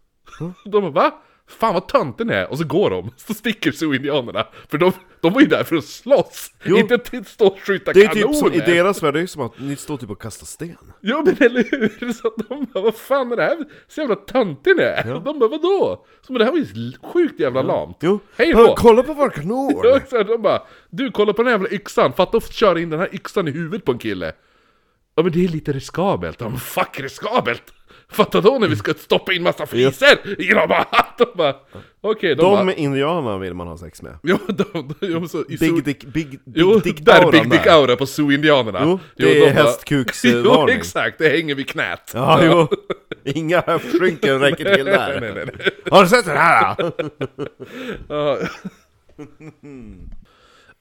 De bara, va? Fan vad tönten är. Och så går de, så sticker Zoe-indianerna. För de, de var ju där för att slåss, Jo. inte till stå och skjuta Det är kanoner. typ som, i deras värld, det är ju som att ni står typ och kastar sten Ja men eller hur? Så att de bara, vad fan är det här? Så jävla töntig ni är. De bara, vadå? Så men det här var ju sjukt jävla lamt. Jo, Hej Hör, då! kolla på vår kanon! Ja, exakt. de bara, du kolla på den här jävla yxan, fatta att köra in den här yxan i huvudet på en kille. Ja men det är lite riskabelt. Ja men fuck riskabelt! Fatta då när vi ska stoppa in massa fliser i de bara, de bara, okej, de, De bara, indianerna vill man ha sex med jo, de, de, jo, så, i Zoo- Big Dick, Big, big Jo, Dick där Dauran Big Dick Aura på Zoo-indianerna. Jo, det de är bara- Jo, hästkuksvarning. exakt, det hänger vid knät. Ja, jo. Inga höftskynken räcker till där. nej, nej, nej. Har du sett den här? då? Ja.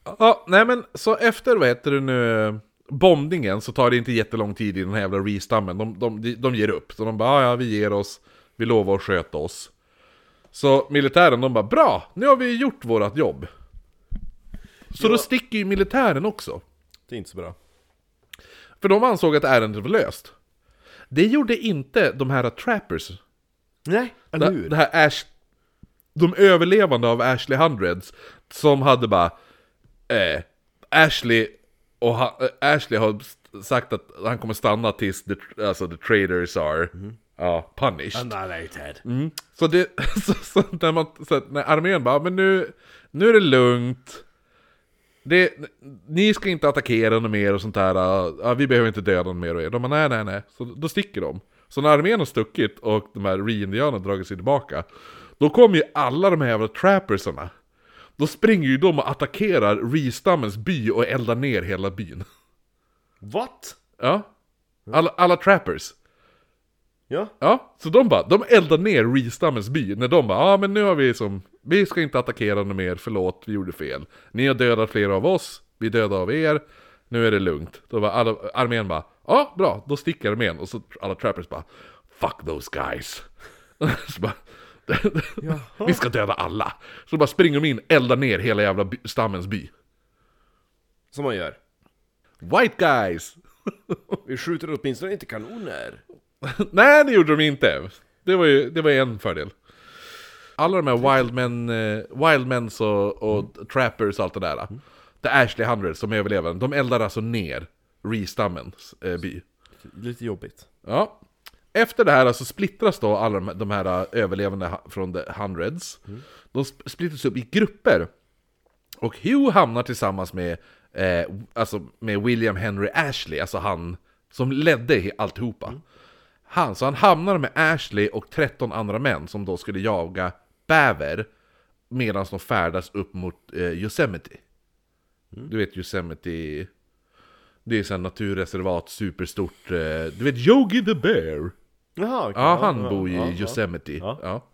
ja, nej men så efter, vad heter det nu, bombningen så tar det inte jättelång tid i den här jävla restammen. De, de, de, de ger upp. Så de bara, "Ah, "Ja, ja vi ger oss, vi lovar att sköta oss. Så militären de bara, bra, nu har vi gjort vårt jobb. Så då sticker ju militären också. Det är inte så bra. För de ansåg att ärendet var löst. Det gjorde inte de här trappers Nej, eller det, hur? det här Ash... De överlevande av Ashley Hundreds som hade bara... Eh, Ashley, och ha, eh, Ashley har st- sagt att han kommer stanna tills the, alltså, the traders are Mm-hmm. ja, punished. Annihilated. Så, det, så, så, när man, så att när armén bara, men nu, nu är det lugnt. Det, ni ska inte attackera något mer och sånt där. äh, Ja, vi behöver inte döda någon mer och er. De bara, nej, nej, nej. Så då sticker de. Så när armén har stuckit och de här re-indianerna dragit sig tillbaka. Då kommer ju alla de här jävla trappersarna. Då springer ju de och attackerar re-stammens by och eldar ner hela byn. What? Ja. Alla, alla trappers. Ja. Ja, så de bara, de eldar ner Restammens by när de bara, ja ah, men nu har vi som, vi ska inte attackera något mer, förlåt, vi gjorde fel. Ni har dödat flera av oss, vi dödar av er, nu är det lugnt. Då var alla, armén bara, ja ah, bra, då sticker armén. Och så alla trappers bara, fuck those guys. så bara, vi ska döda alla. Så bara springer de in, eldar ner hela jävla by, stammens by. Som man gör. White guys! Vi skjuter åtminstone inte kanoner. Nej, det gjorde de inte. Det var ju det var en fördel. Alla de här wildmen, eh, wildmens och, och trappers och allt det där. The Ashley Hundred som överlever, de eldar alltså ner Ree-stammens eh, by. Lite jobbigt. Ja. Efter det här så splittras då alla de- de här eh, överlevande ha- från the hundreds. De sp- splittras upp i grupper. Och Hugh hamnar tillsammans med, eh, alltså med William Henry Ashley, alltså han som ledde he- alltihopa. Han, så han hamnar med Ashley och 13 andra män som då skulle jaga bäver medan de färdas upp mot eh, Yosemite. Du vet Yosemite... Det är sån naturreservat, superstort... Eh, du vet Yogi the Bear? Jaha, okej. Ja, han bor ju i ja. Yosemite. Ja.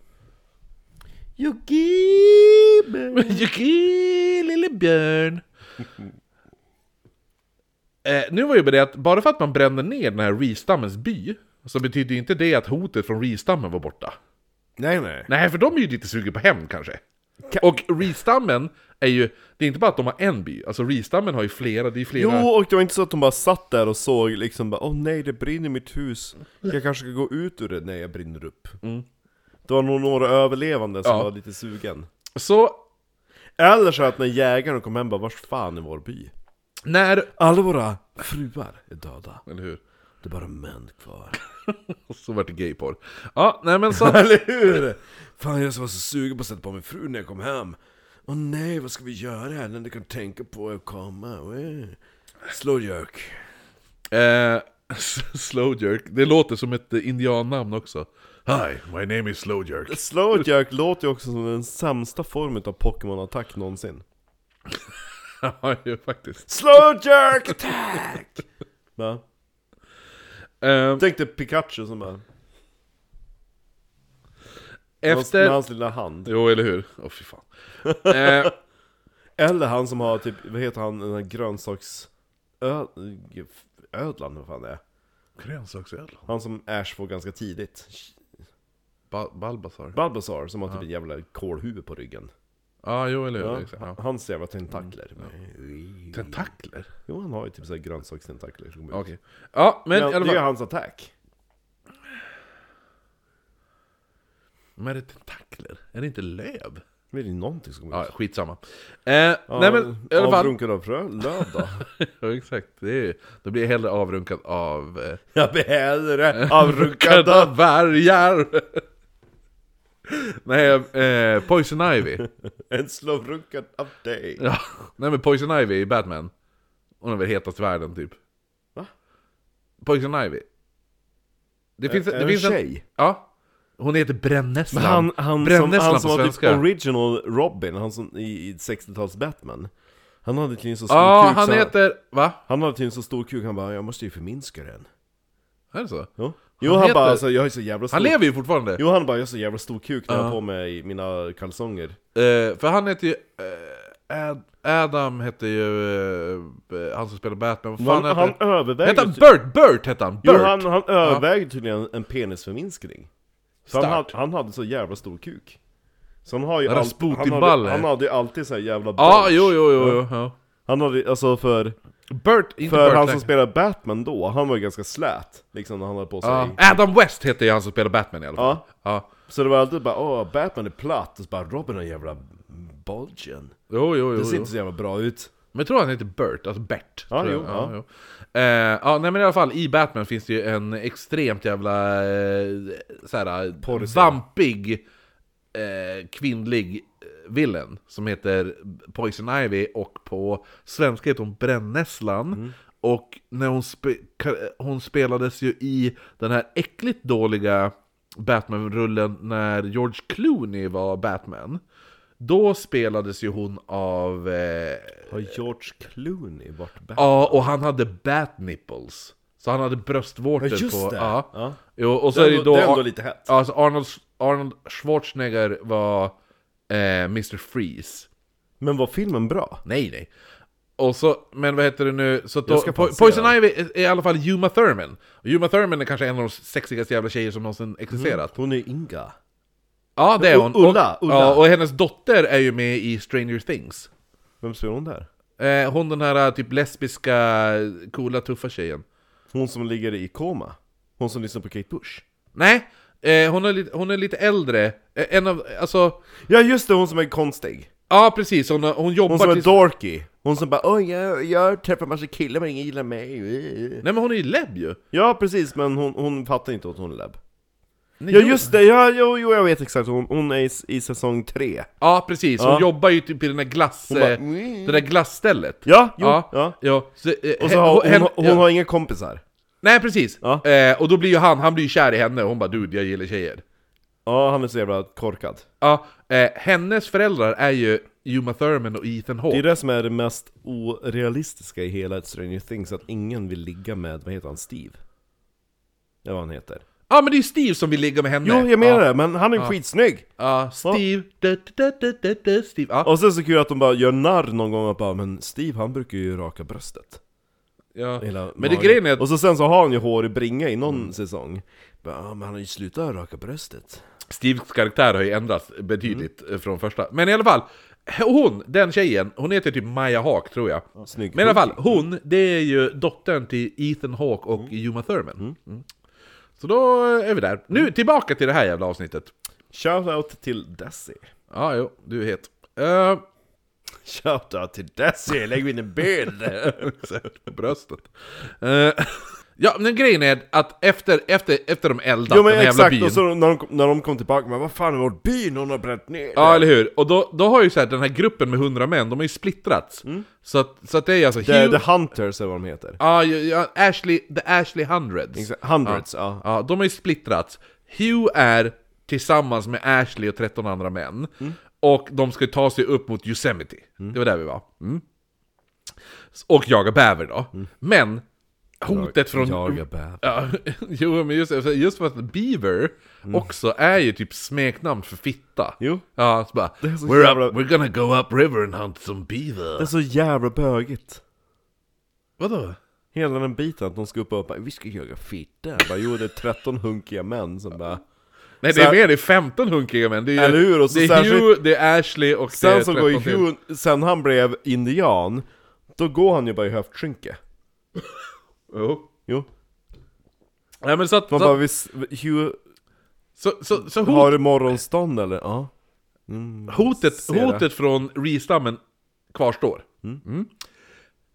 You give Jocke, lille björn. Eh, nu var ju det att bara för att man brände ner den här ristammens by så betyder ju inte det att hotet från ristammen var borta. Nej, nej. Nej, för de är ju lite sugna på hämnd kanske. Ka- Och ristammen är ju, det är inte bara att de har en by, alltså ristammen har ju flera, det är ju Jo, flera... och det var inte så att de bara satt där och såg liksom bara, åh nej, det brinner i mitt hus. Jag kanske ska gå ut ur det när jag brinner upp. Mm. Det var nog några överlevande som Ja. var lite sugen. Så Eller så att när jägaren kom hem bara, vars fan är vår by? när... Alla våra fruar är döda. Eller hur? Det är bara män kvar. Och så vart det gayporr. Ja, nej men så... Eller hur? Fan jag var så sugen på att sätta på min fru när jag kom hem. Åh nej, vad ska vi göra här? När du kan tänka på att komma. Eh. Slå jerk. Eh, slow jerk, det låter som ett eh, indiannamn också. Hi, my name is slow jerk. Slow jerk låter ju också som den sämsta formen av Pokémon-attack någonsin. Ja, ju faktiskt. Slow jerk attack! Va? Eh, Tänk dig Pikachu som är... Efter... Med efter... hans lilla hand. Jo, eller hur? Åh fy fan. Eh, Eller han som har typ, vad heter han, den här grönsaks... Ö... Ödlan, vad fan det är. Grönsaksöl? Han som Ash får ganska tidigt. Ba- Balbasar? Ja, Balbazar som har typ ett jävla kolhuvud på ryggen. jo, eller hur? Ja, Exakt, ja. Mm, Hans jävla tentakler. Tentakler? Jo, han har ju typ såhär grönsakstentakler. som kommer ut. Okej. Ja, men Men i alla det är ju fall. hans attack. Men är det tentakler? Är det inte löv? Men det är ju någonting som kommer Ja, ut. skitsamma. Eh, nej men, i alla fall. Avrunkad av frö, löv då. Ja, exakt. Det är, då blir jag hellre avrunkad av... Eh, Jag blir hellre avrunkad Rädda av... vargar! Nej, eh, Poison Ivy. En slowrunkad av dig. Ja. Nej men Poison Ivy i Batman. Hon är väl hetast i världen typ. Va? Poison Ivy. Det finns, Är- är det det finns en tjej? Ja. Hon heter Brännäslan. Han, han, som, Brännäslan han som på var svenska. typ original Robin, han som i, i 60-tals Batman. Han hade tydligen så stor ja, kuk han typ så han, heter... Va? han hade tydligen så stor kuk, han bara 'Jag måste ju förminska den' Är det så? Jo, jo han, heter- bara alltså, 'Jag är så jävla stor Han lever ju fortfarande. Jo han bara, jag har så jävla stor kuk när jag har på mig mina kalsonger Eh, för han heter ju... eh, Ad, Adam hette ju... eh, han som spelar Batman. Vad fan Han, heter han typ. övervägde Hette han Bert? Bert hette han! Bert! Jo han, han övervägde tydligen en penisförminskning För han, Starkt. hade- han hade så jävla stor kuk Så han har ju En all- han, hade, Rasputin-balle. han hade ju alltid så här jävla Ja, bulge. jo, jo, jo, jo. Ja. Han hade, alltså för, Bert, inte för Bert han som längre. spelade Batman då, han var ju ganska slät Liksom när han hade på sig ja. Adam West heter ju han som spelar Batman i alla fall. Ja. Ja. Så det var alltid bara, åh Batman är platt, och så bara Robin har jävla bulgen Jo, jo, Det jo, ser jo. inte så jävla bra ut Men jag tror han heter Bert, alltså Bert. Ja, tror jag. jo, ja. jo. Eh, ja, nej men i alla fall, i Batman finns det ju en extremt jävla eh, såhär, Porrscen. vampig eh, kvinnlig eh, villain som heter Poison Ivy och på svenska heter hon Brännäslan. Mm. Och när hon, spe, ka- hon spelades ju i den här äckligt dåliga Batman-rullen när George Clooney var Batman. Då spelades ju hon av eh, Har George Clooney varit Batman? Ja, och han hade bat nipples. Så han hade bröstvårtor Ja, just på... det. Ja. Ja. Jo, och så Det är det är då... ändå lite hett Ja, alltså Arnold, Arnold Schwarzenegger var eh, Mr. Freeze. Men var filmen bra? Nej, nej. Och så, men vad heter det nu? Så att då, Jag ska po- fan se Poison den. Ivy är i alla fall Uma Thurman. Och Uma Thurman är kanske en av de sexigaste jävla tjejer som någonsin existerat. Hon är Inga. Ja, det är hon. U- Mhm. Ulla, och, Ulla. Ja, och hennes dotter är ju med i Stranger Things. Vem spelar hon där? Eh, hon den här eh, typ lesbiska, coola, tuffa tjejen. Hon som ligger i koma. Hon som lyssnar på Kate Bush. Nej, eh, hon, är lite, hon är lite äldre. Eh, en av, alltså, Ja just det, hon som är konstig. ja precis, hon, hon jobbar Hon som är tills- dorky. Hon som bara Oj, jag, jag träffar massa killar men ingen gillar mig. Nej men hon är ju lebb ju! Ja precis, men hon, hon fattar inte att hon är lebb. Nej, Ja jo- just det, ja, jo, jo jag vet exakt. Hon, hon är i, s- i säsong tre. Ja precis, hon Ja. jobbar ju typ i den där glass... Hon bara, eh, det där glasstället Ja, jo, ja, ja. ja. Så, eh, Och he- så har hon, hen- hon, hon ja. har inga kompisar. Nej precis! Ja. Eh, och då blir ju han, han blir ju kär i henne och hon bara 'Dude, jag gillar tjejer' Ja, han är så jävla korkad. Ja, eh, hennes föräldrar är ju Uma Thurman och Ethan Det är Hawke det som är det mest orealistiska i hela Stranger Things, att ingen vill ligga med, vad heter han, Steve? Det är vad han heter. Ja men det är ju Steve som vill ligga med henne! Jo, jag menar ja. det, men han är ju skitsnygg! Ja, Steve... Da, da, da, da, da, Steve. Ja. Och sen så kul att de bara gör narr någon gång och bara Men Steve han brukar ju raka bröstet Ja. Hela Men det magen. grejen är att Och så sen så har han ju hår i bringa i någon säsong bara, "Ja, Men han har ju slutat raka bröstet Steves karaktär har ju ändrats betydligt eh, från första. Men i alla fall, hon, den tjejen, hon heter typ Maja Hawk tror jag. Snygg Men i alla fall, hon, det är ju dottern till Ethan Hawk och Uma Thurman. Mm. Så då är vi där. Mm. Nu tillbaka till det här jävla avsnittet. Shoutout till Desi Ja, jo, du är het. Eh, Shoutout till Desi, lägg in en bild! Exakt, på bröstet. Eh, ja, men grejen är att efter, efter, efter de eldat jo men den här jävla exakt, byn. och så när de, kom- när de kom tillbaka men vad fan är vår by någon har bränt ner? Ja, eller hur? Och då, då har ju så här, den här gruppen med 100 män, de har ju splittrats. Mm. Så, att, så att det är alltså... The, Hugh- the Hunters eller vad de heter Ja, ja, ja, Ashley, The Ashley Hundreds. Exakt, Hundreds, ja Ja, de har ju splittrats. Hugh är tillsammans med Ashley och 13 andra män. Mm. Och de ska ju ta sig upp mot Yosemite. Det var där vi var. Mm. Och jaga bäver då. Mm. Men hotet från... Jaga bäver Ja, jo, men just, just för att beaver också är ju typ smeknamn för fitta. Mm. Jo. Ja, så bara, är så we're, jävla- up, we're gonna go up river and hunt some beaver. Det är så jävla bögigt Vadå? Hela den biten att de ska upp och bara 'Vi ska jaga fitta' Jag bara, Jo det är 13 hunkiga män som bara Nej, Så det är här- mer, det är 15 hunkiga män. Det är, ju- Eller hur? Och så det är särskilt- Hugh, det är Ashley och det är Sen så går ju 13 till. Hugh, sen han blev indian, då går han ju bara i höftskynke Jo. Jo, Nej, men så att... Så, man bara visst, Hugh, så, så, så hot, har du morgonstånd eller? Ja hotet, det. hotet från Reestammen kvarstår. Mm.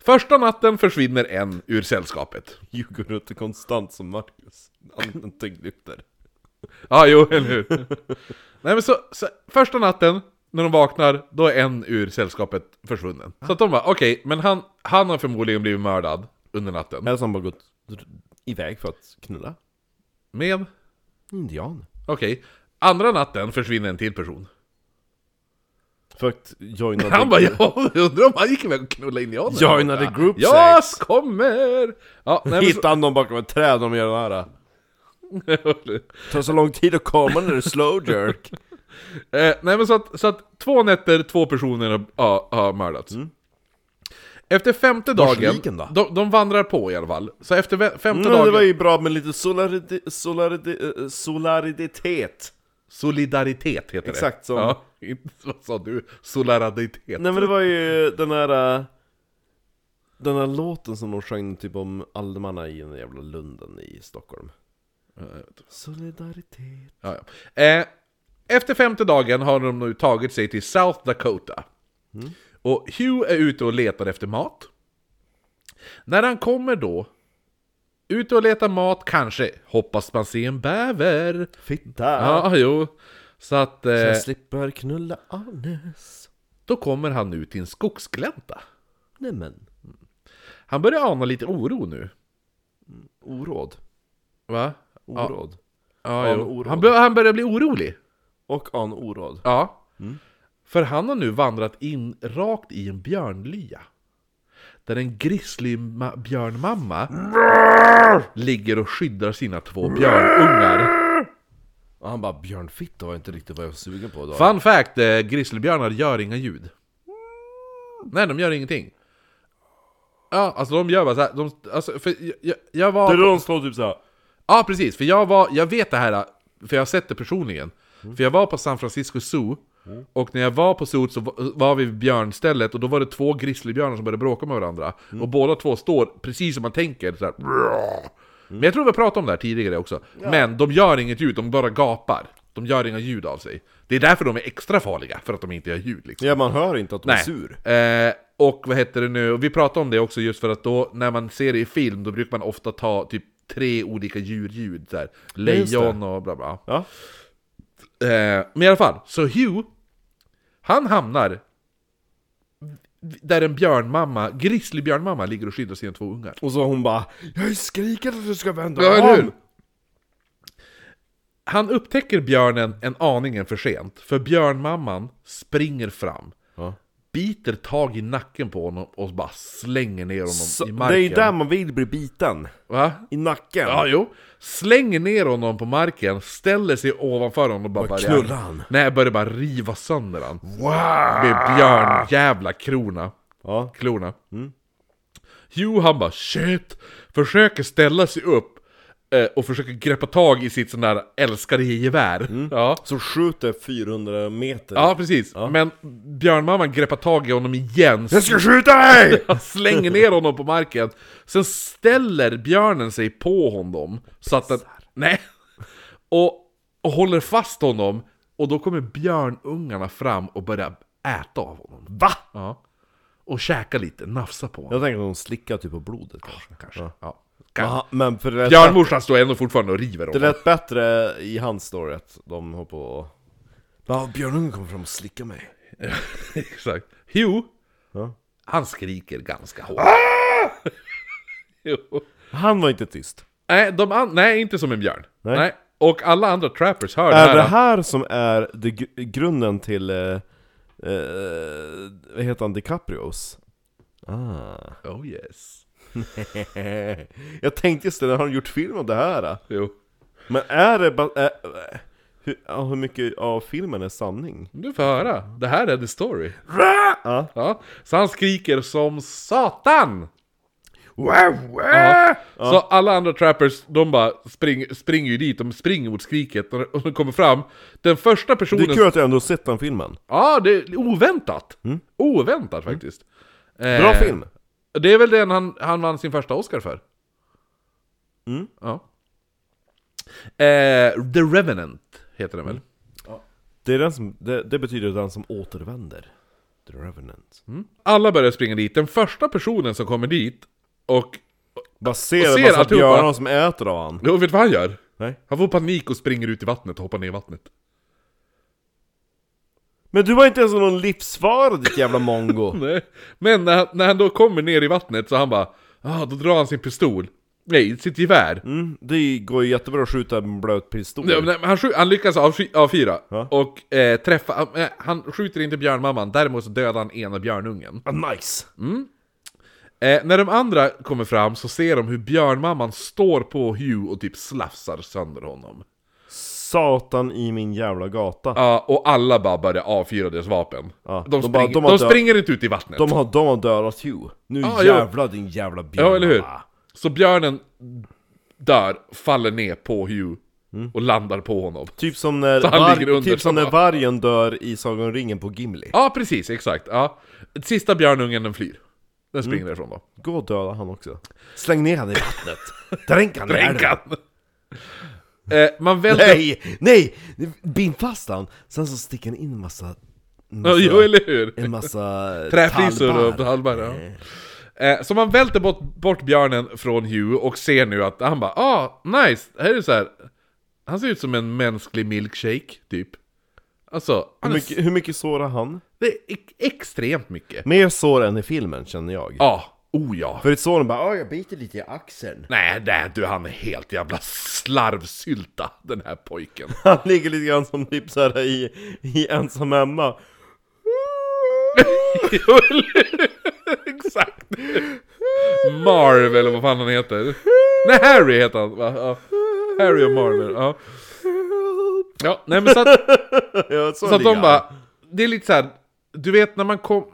Första natten försvinner en ur sällskapet. Hugh går runt och konstant som Marcus, använder tyngdlyfter Ja, jo, eller hur? Nej, men så, så första natten, när de vaknar, då är en ur sällskapet försvunnen. Så att de bara, okej, men han, han har förmodligen blivit mördad under natten. Eller så har han bara gått r- iväg för att knulla Med? Indian Okej. Andra natten försvinner en till person. För att joina Han bara, ja, jag undrar om han gick iväg och knullade indianer? Joina the group Jag sex. kommer! Ja, nej, men så, Hitta han dem bakom ett träd om de gör den här Det tar så lång tid att komma när du är slow jerk eh, nej, men så, att, så att två nätter, två personer har, har, har mördats. Efter femte dagen, Morsliken Mm. då? De, de vandrar på i alla fall. Så efter vä- femte Men det dagen... var ju bra med lite solaridi, solaridi, eh, solidaritet Solidaritet heter det. Exakt som- Ja, inte- vad sa du? Solidaritet. Nej men det var ju den här äh, Den här låten som de sjöng typ om almarna i den jävla lunden i Stockholm Solidaritet Ja, ja. Eh, efter femte dagen har de nu tagit sig till South Dakota. Och Hugh är ute och letar efter mat. När han kommer då, ute och letar mat, kanske, hoppas man se en bäver. Fitta! Ja, jo. Så att eh, Jag slipper knulla Arnes då kommer han nu till en skogsglänta. Nämen Han börjar ana lite oro nu. Oråd Va? Ja, Oråd ja, Ja, jo. oråd. Han, bör, han börjar bli orolig. Och an oråd Ja. För han har nu vandrat in rakt i en björnlya. Där en grislig ma- björnmamma ligger och skyddar sina två björnungar. Och han bara 'Björnfitta var inte riktigt vad jag var sugen på då Fun fact, eh, grizzlybjörnar gör inga ljud. Nej, de gör ingenting. Ja, alltså de gör bara så här, de, alltså, för jag, jag, jag var... Det är då de slår typ såhär Ja, precis. För jag var, jag vet det här, för jag har sett det personligen. För jag var på San Francisco Zoo, och när jag var på zoo så va- var vi vid björnstället, och då var det två grizzlybjörnar som började bråka med varandra. Och båda två står, precis som man tänker, så här. Men jag tror vi har pratat om det här tidigare också. Men de gör inget ljud, de bara gapar. De gör inga ljud av sig. Det är därför de är extra farliga, för att de inte gör ljud liksom. Ja man hör inte att de är Nej. sur Eh, och vad heter det nu, och vi pratade om det också just för att då när man ser det i film då brukar man ofta ta typ tre olika djurljud där. just det. Lejon och bla bla. Ja Eh, men i alla fall, så Hugh, han hamnar där en björnmamma, grizzlybjörnmamma ligger och skyddar sina två ungar. Och så hon bara 'Jag har ju skrikit att du ska vända Ja, eller hur? om!' Han upptäcker björnen en aningen för sent, för björnmamman springer fram. Ja. biter tag i nacken på honom och bara slänger ner honom Så, i det är ju marken. där man vill bli biten. Va? I nacken. Ja, jo. Slänger ner honom på marken, ställer sig ovanför honom och bara börjar... knullar han? Nej, börjar bara riva sönder han. Wow! Med björn jävla krona. Ah. Ja. Mm. klorna. Hugh han bara shit, försöker ställa sig upp eh, och försöker greppa tag i sitt sån där älskade gevär. Mm. Ja. Som skjuter 400 meter. ja, precis. Men björnmamman greppar tag i honom igen. Jag ska skjuta dig! Han slänger ner honom på marken. Sen ställer björnen sig på honom. Så att den, nej. Och, och håller fast honom. Och då kommer björnungarna fram och börjar äta av honom. Va? Ja. Och käka lite, nafsa på honom. Jag tänker att de slickar typ på blodet kanske. Kanske. Ja. Aha, men för det lät, Björnmorsan står ändå fortfarande och river det honom. lät bättre i hans story att de håller på och... Ja, björnungen kommer fram och slickar mig. Exakt. Hugh, Ja. Ah! han skriker ganska hårt. Jo. Han var inte tyst. nej, de an- nej, inte som en björn. Nej. Nej. Och alla andra trappers hör det Är här. det här som är det gr- grunden till... Eh, eh, vad heter han? DiCaprios? Ah. Oh yes. Jag tänkte just det, har de gjort film om det här? Jo. Men är det bara... Äh, hur, ja, hur mycket av filmen är sanning? Du får höra. Det här är the story. Ja. Ja. Så han skriker som satan! Äh! Ja. Så alla andra trappers, de bara spring, springer ju dit, de springer mot skriket och de kommer fram. Den första Det personen... är kul att jag ändå har sett den filmen. Ja, det är oväntat! Oväntat faktiskt. Mm. Bra Eh, film! Det är väl den han, han vann sin första Oscar för? Mm. Ja. Eh, The Revenant heter den väl? Mm. Det, är den som, det, det betyder den som återvänder. The Revenant. Mm. Alla börjar springa dit. Den första personen som kommer dit och... Bara ser, Och en ser massa alltihopa. björnar som äter av han. Jo, vet du vad han gör? Nej. Han får panik och springer ut i vattnet och hoppar ner i vattnet. Men du var inte ens någon livsfara ditt jävla mongo! Nej. Men när, han- när han då kommer ner i vattnet så han bara... Ah, då drar han sin pistol. Nej, sitt gevär. Mm, det går ju jättebra att skjuta med en blöt pistol. Nej, men han, skj- han lyckas avsky- avfyra Ja. och eh, träffa... han- eh, han skjuter inte björnmamman, däremot så dödar han ena björnungen. Ah, nice! Eh, när de andra kommer fram så ser de hur björnmamman står på Hugh och typ slafsar sönder honom. Satan i min jävla gata. Ja, och alla bara börjar avfyra deras vapen. Ja, de de bara- springer, de de har dö- springer inte ut i vattnet. De har, de har dödat Hugh. Nu Ah, Ja, jo. jävlar din jävla björn. ja, eller hur? va? Så björnen dör, faller ner på Hugh Mm. och landar på honom. Typ som när, Så han var- ligger under, typ som så när bara- vargen dör i Sagan om ringen på Gimli. Ja, precis, exakt. Ja. Sista björnungen den flyr. Den springer Mm. därifrån då. Gå och döda han också. Släng ner han i vattnet. Dränk han i älven. Dränkan! eh, man välter... Nej, nej! Bind fast han. Sen så sticker han in en massa... En Ja, massa, jo, eller hur? en massa Träflisor och talbar. halmar, ja. Eh, Så man välter bort, bort björnen från Hugh och ser nu att han bara ah, nice, här är det så här. Han ser ut som en mänsklig milkshake, typ. Alltså, han Hur är, mycket, hur mycket sårar han? det är ex- extremt mycket. Mer sår än i filmen känner jag. Ja, oh ja. För i såren bara "Åh, jag biter lite i axeln. Nej, nej, du han är helt jävla slarvsylta, den här pojken. Han ligger lite grann som typ så här i, i ensam hemma. Jo, eller- Exakt! Marv, eller vad fan han heter. Nej, Harry heter han, va? Ja. Harry och Marv, ja. Ja, nej men så att... Ja, så Så att ligger de han. bara, det är lite så här, du vet när man kom...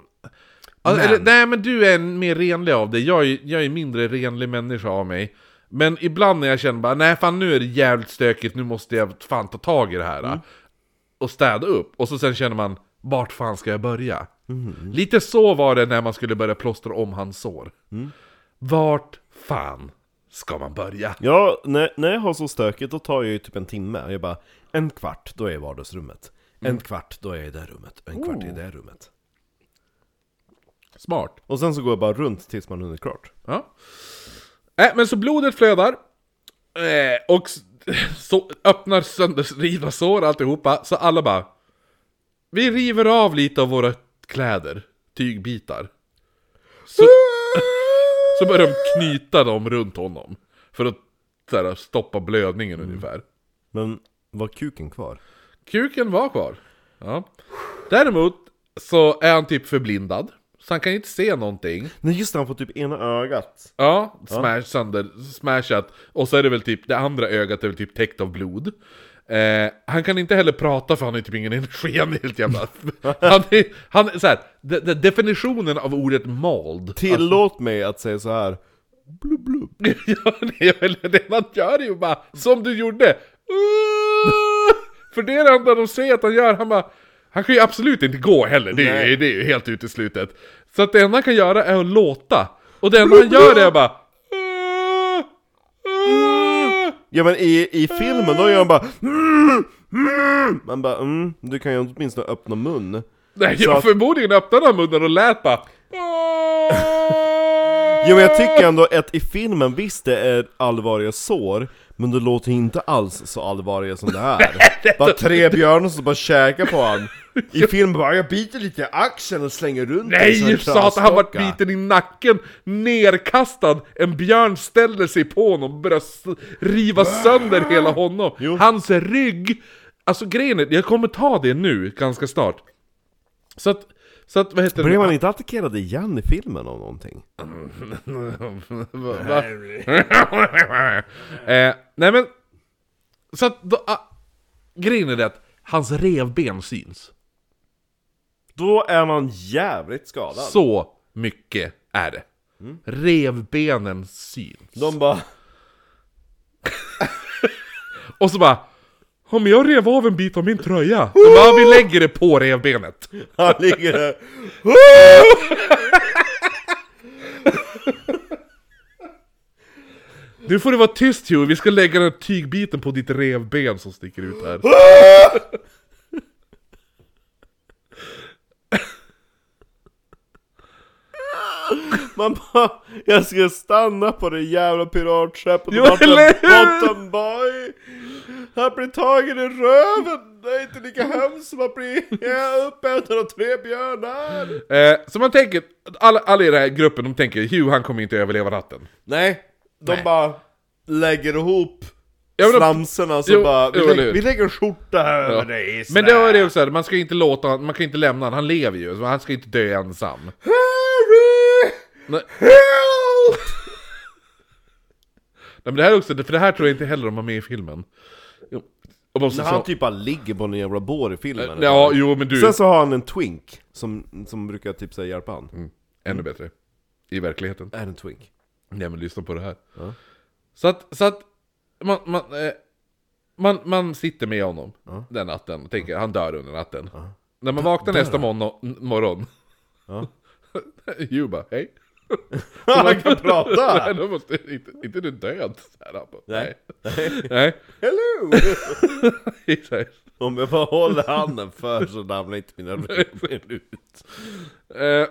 Alltså, eller, nej men du är en mer renlig av dig, jag är, jag är en mindre renlig människa av mig. Men ibland när jag känner bara, nej fan nu är det jävligt stökigt, nu måste jag fan ta tag i det här. Och städa upp. Och så sen känner man, vart fan ska jag börja? Lite så var det när man skulle börja plåstra om hans sår. Vart fan ska man börja? Ja, när, när jag har så stökigt då tar jag ju typ en timme. Jag bara, en kvart, då är jag i vardagsrummet. En kvart, då är jag i det här rummet. En kvart, i det här rummet. Smart. Och sen så går jag bara runt tills man hunnit klart. Ja. Äh, men så blodet flödar. Eh, och s- så öppnar sönderrivna sår alltihopa. Så alla bara... Vi river av lite av våra kläder. Tygbitar. Så, så börjar de knyta dem runt honom. För att så här, stoppa blödningen ungefär. Men var kuken kvar? Kuken var kvar. Ja. Däremot, så är han typ förblindad. Så han kan ju inte se någonting. Nej just det, han får typ ena ögat. Ja, smash sönder, smashat. Och så är det väl typ, det andra ögat är väl typ täckt av blod. Eh, han kan inte heller prata för han har typ ingen energi, han är helt jävla... Han är, han är så här, de, de, definitionen av ordet mald. Tillåt mig att säga så här. Blub, blub. ja, nej, eller det han gör är ju bara, som du gjorde! för det är det enda de säger att han gör, han bara... Han kan ju absolut inte gå heller, det är, ju- det är ju helt uteslutet. Så att det enda han kan göra är att låta. Och det enda han gör är bara... Ja men i, i filmen då gör han bara mm, mm. Man bara mm, du kan ju åtminstone öppna mun. Nej, Så jag att- förmodligen öppnade han munnen och lät bara... Jo men jag tycker ändå att i filmen visst det är allvarliga sår, men det låter inte alls så allvarliga som det här. bara tre björnar som bara käkar på han. I filmen bara jag biter lite i axeln och slänger runt den som en Nej, satan! Han vart trasdocka. biten i nacken, nerkastad, en björn ställer sig på honom och börjar s- riva sönder hela honom. Hans rygg! Alltså grejen är, jag kommer ta det nu, ganska snart. Så att, så att vad heter det? Blev han inte attackerad igen i filmen av någonting? Va- va? eh, nej men... Så att, då, ah, grejen är det att hans revben syns. Då är man jävligt skadad. Så mycket är det. Mm. Revbenen syns. De bara Och så bara... Ja men jag rev av en bit av min tröja. De bara, vi lägger det på revbenet. Han ligger där Nu får du vara tyst Hugh, vi ska lägga den här tygbiten på ditt revben som sticker ut här. Man bara, jag ska stanna på det jävla piratskeppet Jo, och vatten, eller hur? Bottenboy! Han blir tagen i röven! Det är inte lika hemskt som att bli ja, uppäten av tre björnar! Eh, så man tänker, alla, alla i den här gruppen de tänker Hugh han kommer inte överleva natten. Nej, de Nej. bara lägger ihop Ja, men de- slamsorna så Jo, bara, vi, jo, eller lägger, hur? vi lägger en skjorta här Ja. över dig Men det var det också, här, man ska inte låta han- man kan inte lämna honom, han lever ju, så han ska inte dö ensam. Harry! Nej, Help! men det här är också, för det här tror jag inte heller de har med i filmen. Jo, Och bara så, När han så- typ bara ligger på en jävla bår i filmen Eh, ja, jo men du, Sen så har han en twink, som, som brukar typ så här hjälpa han Mm. Mm. ännu bättre. I verkligheten. Är en twink? Nej men lyssna på det här. Så att, så att man, man, eh, man, man sitter med honom den natten och tänker han dör under natten. När man vaknar nästa morgon, morgon Ja. Hugh bara hej. Han kan prata! Nej, då måste, inte, inte du död? Så här, han bara, Nej. Nej. Nej. Hello! Exakt. Om jag bara håller handen för så ramlar inte mina revben ut Eh,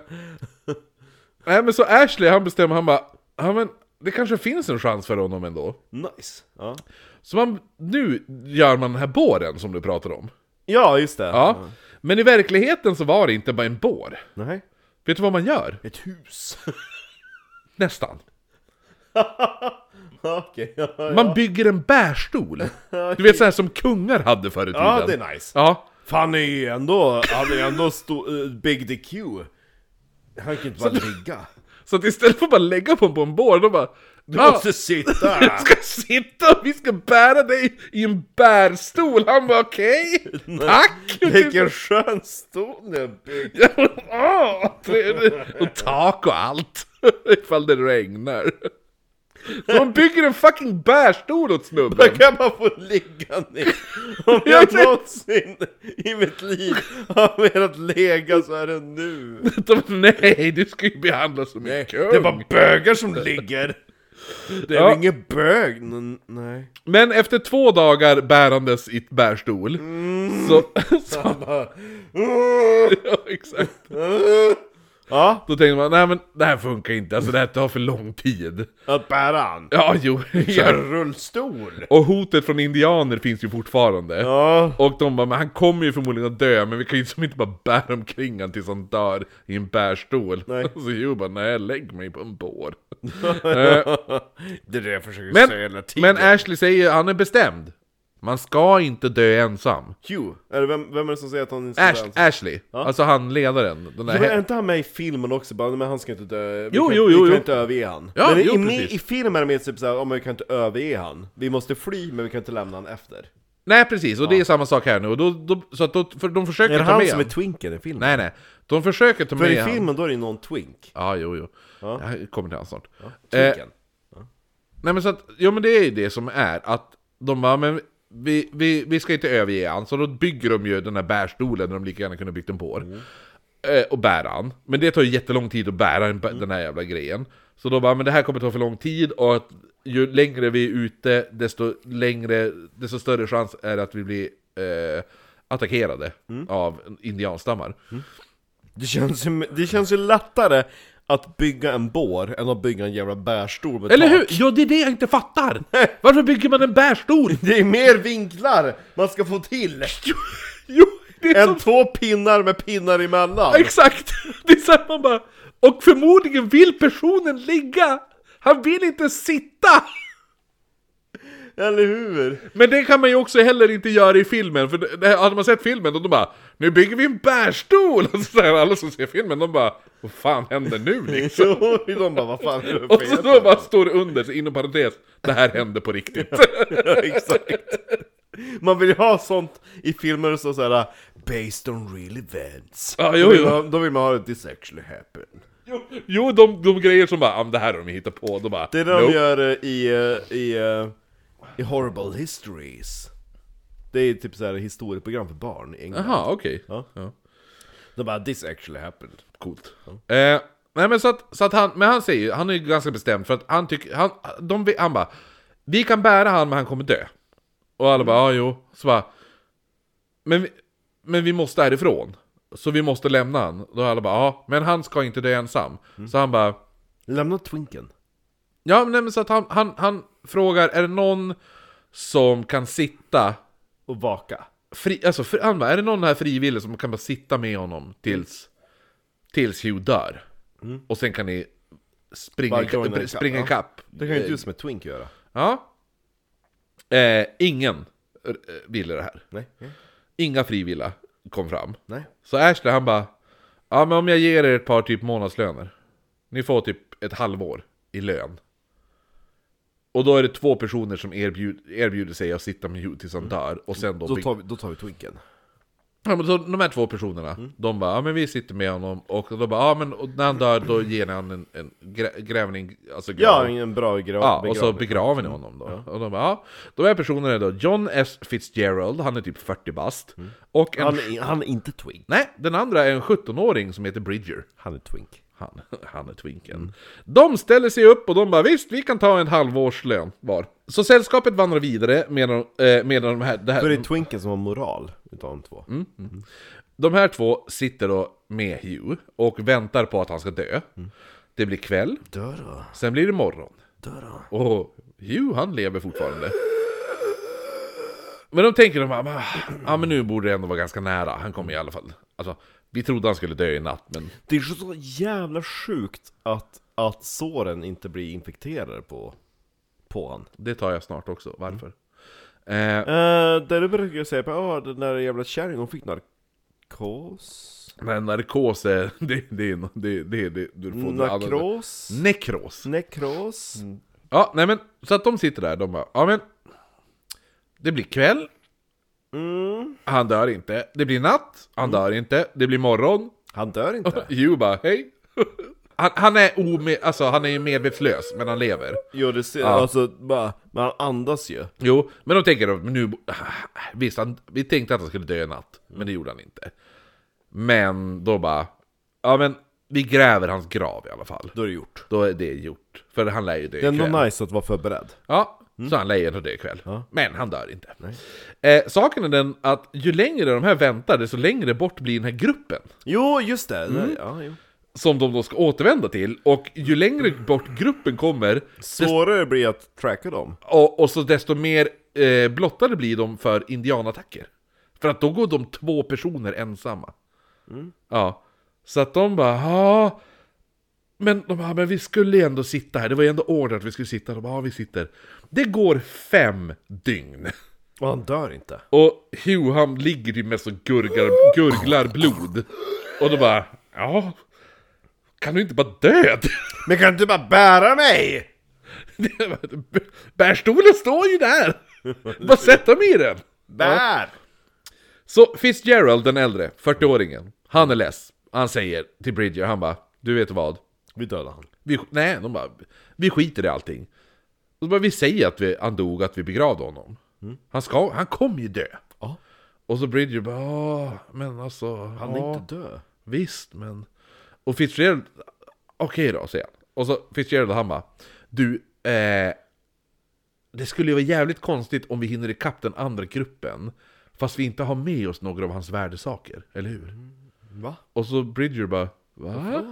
nej men så Ashley han bestämmer, han bara, ja men det kanske finns en chans för honom ändå. Nice! Ja, Så man, nu gör man den här båren som du pratade om. ja just det! Ja, men i verkligheten så var det inte bara en bår. Nej. Vet du vad man gör? Ett hus! Nästan. Okej, ja, Man bygger en bärstol. Du vet så här som kungar hade förr i tiden. ja det är nice! Ja. Fan är ju ändå, han är ju ändå stor, eh, Big DQ Han kan inte bara ligga Så att istället för att bara lägga på på en bår, då bara... Du "Ah, måste sitta! Jag ska sitta och vi ska bära dig i en bärstol! Han bara okej, tack! Vilken skön stol ni har byggt! Ja, åh, trevligt. Ah, och tak och allt. Ifall det regnar. Så man bygger en fucking bärstol åt snubben. Där kan man få ligga ner! Om jag någonsin i mitt liv har velat lägga så är det nu! De, nej, du ska ju behandlas som en kung. Det är bara bögar som ligger! Det är Ja. väl ingen bög? N- nej. Men efter två dagar bärandes i ett bärstol, så... så Han bara... "Åh!" ja, exakt. Ja, Då tänkte man, nej men det här funkar inte, alltså det här tar för lång tid. att bära han. Ja, jo, exakt. I en rullstol! Och hotet från indianer finns ju fortfarande. Ja. Och de bara, men han kommer ju förmodligen att dö, men vi kan ju som inte bara bära omkring han tills han dör i en bärstol. Nej. Så Hugh bara, nej lägg mig på en bår. Det är det jag försöker Men, säga hela tiden. men Ashley säger, han är bestämd. Man ska inte dö ensam. Hugh, eller vem, vem är det som säger att han inte ska Ash, dö ensam? Ashley, alltså han ledaren. Den där Men Är he- inte han med i filmen också? Bara, men han ska inte dö, vi Jo, kan, jo, vi jo, kan jo. inte överge han. Ja, men jo, inne i, precis. i filmen är det mer typ såhär, oh, men vi kan inte överge han. Vi måste fly, men vi kan inte lämna han efter. Nej precis, och det är samma sak här nu. Och då, då, så att då, för de försöker Är det ta han med som är han. twinken i filmen? Nej nej, de försöker ta För med i han. filmen då är det ju någon twink. Ja, jo, jo. Jag kommer till han snart. Eh, Twinken. Nej men så att, ja men det är ju det som är att de bara, men vi, vi, vi ska inte överge han, så då bygger de ju den här bärstolen när de lika gärna kunde byggt en på. Eh, och bära han. Men det tar ju jättelång tid att bära en, den här jävla grejen. Så då bara, men det här kommer ta för lång tid och att ju längre vi är ute, desto längre, desto större chans är det att vi blir eh, attackerade av indianstammar. Det, känns ju, det känns ju lättare att bygga en bår än att bygga en jävla bärstol med Eller tak. hur? Ja, det är det jag inte fattar! Varför bygger man en bärstol? Det är mer vinklar man ska få till! Jo, det är så än två pinnar med pinnar emellan! Exakt! Det är så här, man bara... Och förmodligen vill personen ligga! Han vill inte sitta! Eller hur? Men det kan man ju också heller inte göra i filmen, för det- det, hade man sett filmen då de bara Nu bygger vi en bärstol! Och så där, alla som ser filmen de bara Vad fan händer nu liksom? Så de bara, vad fan är det Och för så jävla-" då bara står det under, så inom parentes Det här hände på riktigt Ja, exakt. Man vill ju ha sånt i filmer som såhär Based on real events. Ja, jo, då, vill jo. man, då vill man ha det this actually happened. Jo, Jo, de, de grejer som bara "Ah, men det här har de hittat på, de bara Det är det "Nope." de gör eh, i, eh, i, eh, i Horrible Histories. Det är typ såhär historieprogram för barn i England. Jaha, okej Ja. Ja. De bara 'This actually happened' Coolt. Eh, nej men så att, så att han, men han säger ju, han är ju ganska bestämd för att han tycker, han, de, vi- han bara Vi kan bära han men han kommer dö. Och alla bara, ja jo. Så bara, men, vi- men vi måste härifrån. Så vi måste lämna han. Då alla bara, ja men han ska inte dö ensam. Så han bara, Lämna twinken ja men, nej, men så att han, han, han frågar, är det någon som kan sitta och vaka fri, alltså, fri, han bara, är det någon här frivillig som kan bara sitta med honom tills, tills Hugh dör? Och sen kan ni springa, Mm. Bara ikapp- joina ikapp, springa ja. ikapp. Det kan ju inte du som är twink göra Ja. Eh, ingen eh, ville det här. Nej, Inga frivilliga kom fram. nej Så Ashley han bara, ja men om jag ger er ett par typ månadslöner. Ni får typ ett halvår i lön. Och då är det två personer som erbjud, erbjuder sig att sitta med Hugh tills Mm. han dör. Och sen då, Då bygg- tar vi, då tar vi twinken Ja, men så de här två personerna, Mm. de bara ja men vi sitter med honom och då bara ja men och när han dör då ger ni han en, en grä, grävning, alltså Ja, grävning. en bra grav Ja, och så begraver ni honom då. Och de bara, ja. De här personerna är då John S. Fitzgerald, han är typ 40 bast. Och en, Mm. han, är- han är inte twink nej, den andra är en 17-åring som heter Bridger. Han är twink Han, han är twinken. Mm. De ställer sig upp och de bara visst, vi kan ta en halvårslön var. Så sällskapet vandrar vidare medan, eh, medan de här, det här... För det är twinken som har moral utav de två De här två sitter då med Hugh och väntar på att han ska dö. Det blir kväll, Dö då, sen blir det morgon. dö då Och Hugh, han lever fortfarande. Men de tänker, de bara, ah, men nu borde det ändå vara ganska nära, han kommer i alla fall. Alltså, vi trodde han skulle dö i natt, men Det är ju så jävla sjukt att, att såren inte blir infekterade på, på han det tar jag snart också. Varför? Eh, uh, Där du brukar säga på, åh den där jävla kärringen hon fick narkos men narkos är... Det, det, är no- det, det, det, du får Nakros Nekros. Nekros Ja, nej men, så att de sitter där, de bara, ja men... Det blir kväll, Mm. Han dör inte. Det blir natt. Han dör inte. Det blir morgon. Han dör inte. Hugh bara, hej. Han, han är ome, alltså han är ju medvetslös, men han lever. Jo, det ser, alltså, bara, men han andas ju. Jo, men de tänker att nu... Visst, han, vi tänkte att han skulle dö i natt, men det gjorde han inte. Men då bara... Ja, men vi gräver hans grav i alla fall. Då är det gjort. Då är det gjort. För han lär ju dö Det är ikväll. ändå nice att vara förberedd. Ja, så han lär ju ändå dö ikväll. Men han dör inte. Eh, saken är den att ju längre de här väntar, desto längre bort blir den här gruppen. Jo, just det! Mm. Ja, jo. som de då ska återvända till, och ju längre bort gruppen kommer, Svårare blir att tracka dem. och, och så desto mer eh, blottade blir de för indianattacker. För att då går de två personer ensamma. Ja. Så att de bara, ja... Men de bara, men vi skulle ju ändå sitta här, det var ju ändå order att vi skulle sitta, de bara, ja vi sitter. Det går fem dygn. Och han dör inte. Och Hugh han ligger ju mest och gurglar, gurglar blod. Och då bara, ja, kan du inte bara dö? Men kan du inte bara bära mig? Det var- b- Bärstolen står ju där! Bara sätta mig i den! Bär! Så Fitzgerald, den äldre, 40-åringen, han är less. Han säger till Bridger, han bara, du vet vad? Vi dödar han. Vi, sk- nej, de bara, vi skiter i allting. Och så bara, vi säger att vi, han dog, att vi begravde honom. Han, ska, han kommer ju dö. Mm. Ja. Och så Bridger bara, "Ah, men alltså... Han ja." är inte dö. Visst, men... Och Fitzgerald... Okej då, säger han. Och så Fitzgerald och han bara... Du, eh, det skulle ju vara jävligt konstigt om vi hinner ikapp den andra gruppen. Fast vi inte har med oss några av hans värdesaker, eller hur? Mm, Va? Och så Bridger bara... Va?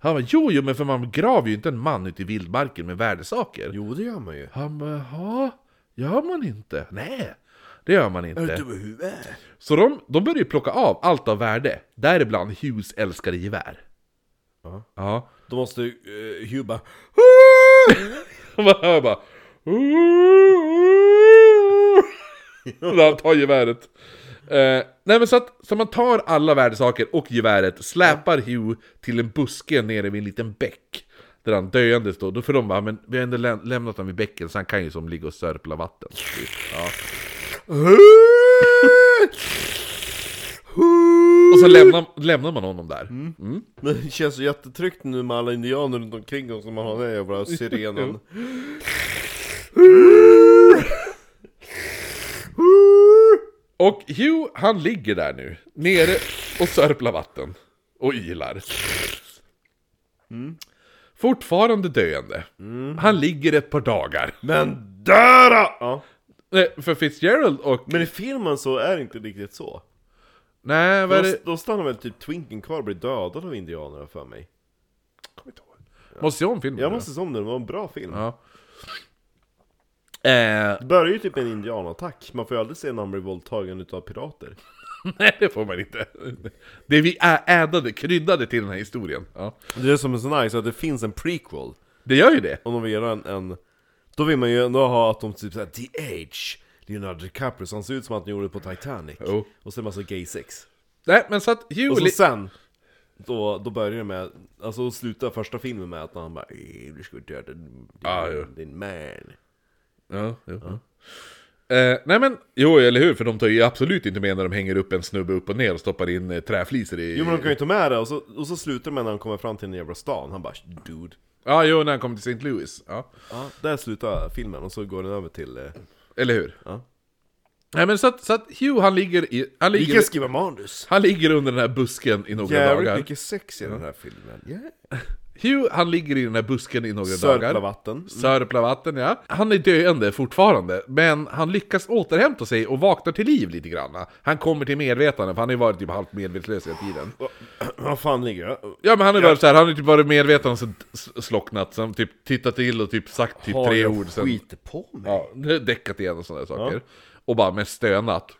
Han bara, jo, jo, men för man graver ju inte en man ute i vildmarken med värdesaker. Jo det gör man ju. Han bara, ja, gör man inte? Nej, det gör man inte. huvudet? Så de, de börjar ju plocka av allt av värde, däribland Hughes älskade gevär. Ja. Ja. Då måste uh, eh, Hugh bara... Och man hör bara... När han tar geväret. Eh, nej men så att så man tar alla värdesaker och geväret, släpar Hugh till en buske nere vid en liten bäck. Där han döende står, Då- för de bara, men vi har ändå läm- lämnat honom vid bäcken så han kan ju som ligga och sörpla vatten. Typ. Ja. Och så lämnar, lämnar man honom där. Men det känns så jättetryggt nu med alla indianer runt omkring oss när man har den här jävla sirenen. Och Hugh, han ligger där nu, nere och sörplar vatten. Och ylar. Fortfarande döende. Han ligger ett par dagar. Men dör då! ja. Nej, För Fitzgerald och... Men i filmen så är det inte riktigt så. Nej, vad är Då, det? då stannar väl typ Twinken kvar och blir dödad av indianerna för mig. Kommer inte ihåg. Måste se om filmen? Jag nu. måste se om den, det var en bra film. Ja. Eh, Det börjar ju typ med en indianattack, man får ju aldrig se när han blir våldtagen utav pirater. nej, det får man inte. Det vi ä- ädade, kryddade till den här historien. Ja. Det är som är så nice, att det finns en prequel. Det gör ju det. Om de vill göra en, en... Då vill man ju ändå ha att de typ såhär, D.H. Leonardo DiCaprio, så han ser ut som att han gjorde på Titanic. Jo. Och så en massa gay sex. Nej, men så att Hugh... Och så li- sen, då, då börjar det med, alltså då slutar första filmen med att han bara "Eh, Du ska döda din, Ah, ja. din man. Ja, jo. Eh, nej men, jo eller hur, för de tar ju absolut inte med när de hänger upp en snubbe upp och ner och stoppar in eh, träflisor i... Jo men de kan ju ta med det, och så, och så slutar det med när han kommer fram till den jävla stan, han bara 'Dude' Ja, jo, när han kom till St. Louis. Ja. ja. Där slutar filmen, och så går den över till... Eh, Eller hur? Ja. Nej men så att, så att Hugh han ligger, i, han, vi ligger, kan skriva manus! han ligger under den här busken i några Jävligt dagar. Mm. mycket sex i den här filmen. Yeah. Hugh han ligger i den här busken i några Sörpla dagar. vatten. Mm. Sörpla vatten, ja. Han är döende fortfarande, men han lyckas återhämta sig och vaknar till liv lite grann. Han kommer till medvetande, för han har ju varit typ halvt medvetslös hela tiden. Vad fan ligger jag? Ja men han är bara så här, han har typ varit medveten och sen s- slocknat, sen typ tittat till och typ sagt typ tre ord sen. skit på mig? Ja, däckat igen och sådana saker. Och bara med stönat.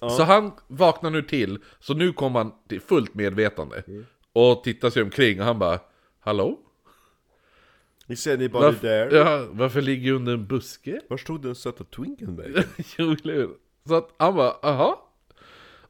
Så han vaknar nu till, så nu kommer han till fullt medvetande. Mm. Och tittar sig omkring och han bara, hallå? Ni ser ni bara Varf- där. ja, varför ligger jag under en buske? Var stod den söta twinken vägen? jo, eller hur? Så att han bara, aha.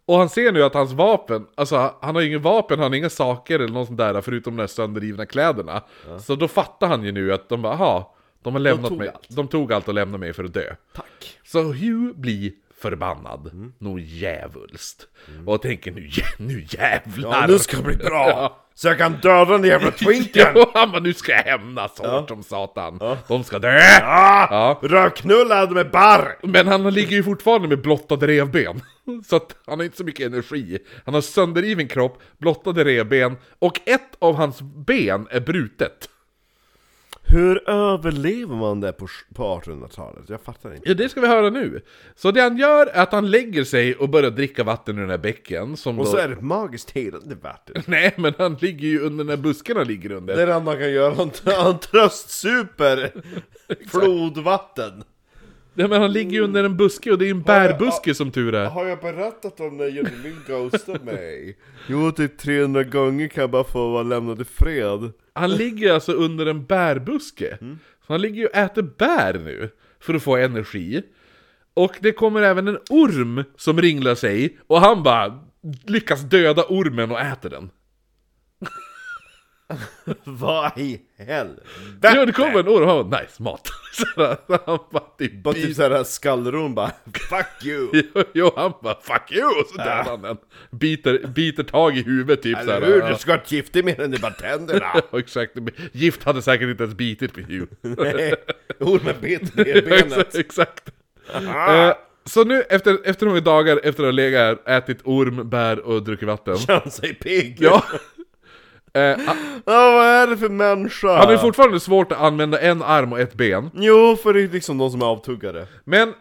Och han ser nu att hans vapen, alltså han har ju inget vapen, han har inga saker eller något sånt där förutom de där sönderrivna kläderna. Så då fattar han ju nu att de bara, aha, de har lämnat tog mig. allt. De tog allt och lämnade mig för att dö. Tack! Så Hugh blir förbannad, mm. nog djävulskt. Och tänker nu, jä- nu jävlar! Mm. Ja, nu ska det bli bra! Ja. Så jag kan döda den jävla twinken! Ja, han bara, nu ska jag hämnas hårt som satan. De ska dö! Ja. Ah! Rövknullad med barr! Men han ligger ju fortfarande med blottade revben. Så att han har inte så mycket energi. Han har sönderriven kropp, blottade revben och ett av hans ben är brutet. Hur överlever man det på, på 1800-talet? Jag fattar inte. Ja, det ska vi höra nu. Så det han gör är att han lägger sig och börjar dricka vatten ur den här bäcken. Som Och då... så är det ett magiskt helande vatten. Nej, men han ligger ju under den här busken han ligger under. Det är det enda man kan göra, han- han tröstsuper flodvatten. Nej, men han ligger ju under en buske och det är en bärbuske som tur är. Har jag berättat om när Jönnemin ghostade mig? Jo, typ 300 gånger kan jag bara få vara lämnad i fred. Han ligger alltså under Mm. en bärbuske. Så han ligger ju och äter bär nu, för att få energi. Och det kommer även en orm som ringlar sig och han bara lyckas döda ormen och äter den. Vad i helvete? Jo, det kommer en orm och han bara 'nice mat' Så där, han bara typ Bara typ biter- såhär skallron bara, fuck you! Jo, han bara 'fuck you' och så dödar han den. Biter, biter tag i huvudet typ Eller såhär. hur? Du ska ha ett gift i mer än bara tänderna! Ja, exakt. Gift hade säkert inte ens bitit på Hugh. Nej, ormen bet ner i benet. exakt. Ah, exakt. Eh, så nu, efter, efter några dagar efter att ha legat här, ätit orm, bär och druckit vatten. Känn sig pigg! Ja. Eh, han- Ja, vad är det för människa? han har ju fortfarande svårt att använda en arm och ett ben. Jo, för det är liksom de som är avtuggade. Men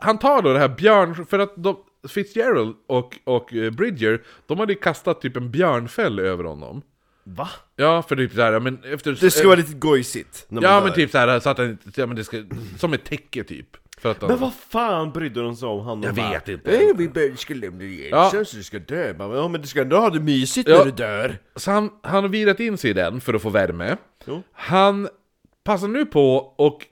han tar då det här björn... För att de, Fitzgerald och, och eh, Bridger, de hade ju kastat typ en björnfäll över honom. Va? Ja, för typ såhär, ja, men efter... Det ska vara lite gojsigt. när man ja, dör. men typ såhär, så att han inte... Ja, men det ska, som ett täcke typ. För att de, Men vad fan brydde de sig om han? Jag vet inte. Nej, vi bara, ska lämna Ja. igen sen så du ska dö. Man bara, Ja, men du ska ändå ha det mysigt Ja. när du dör. Så han, han har virat in sig i den för att få värme. Jo. Han passar nu på och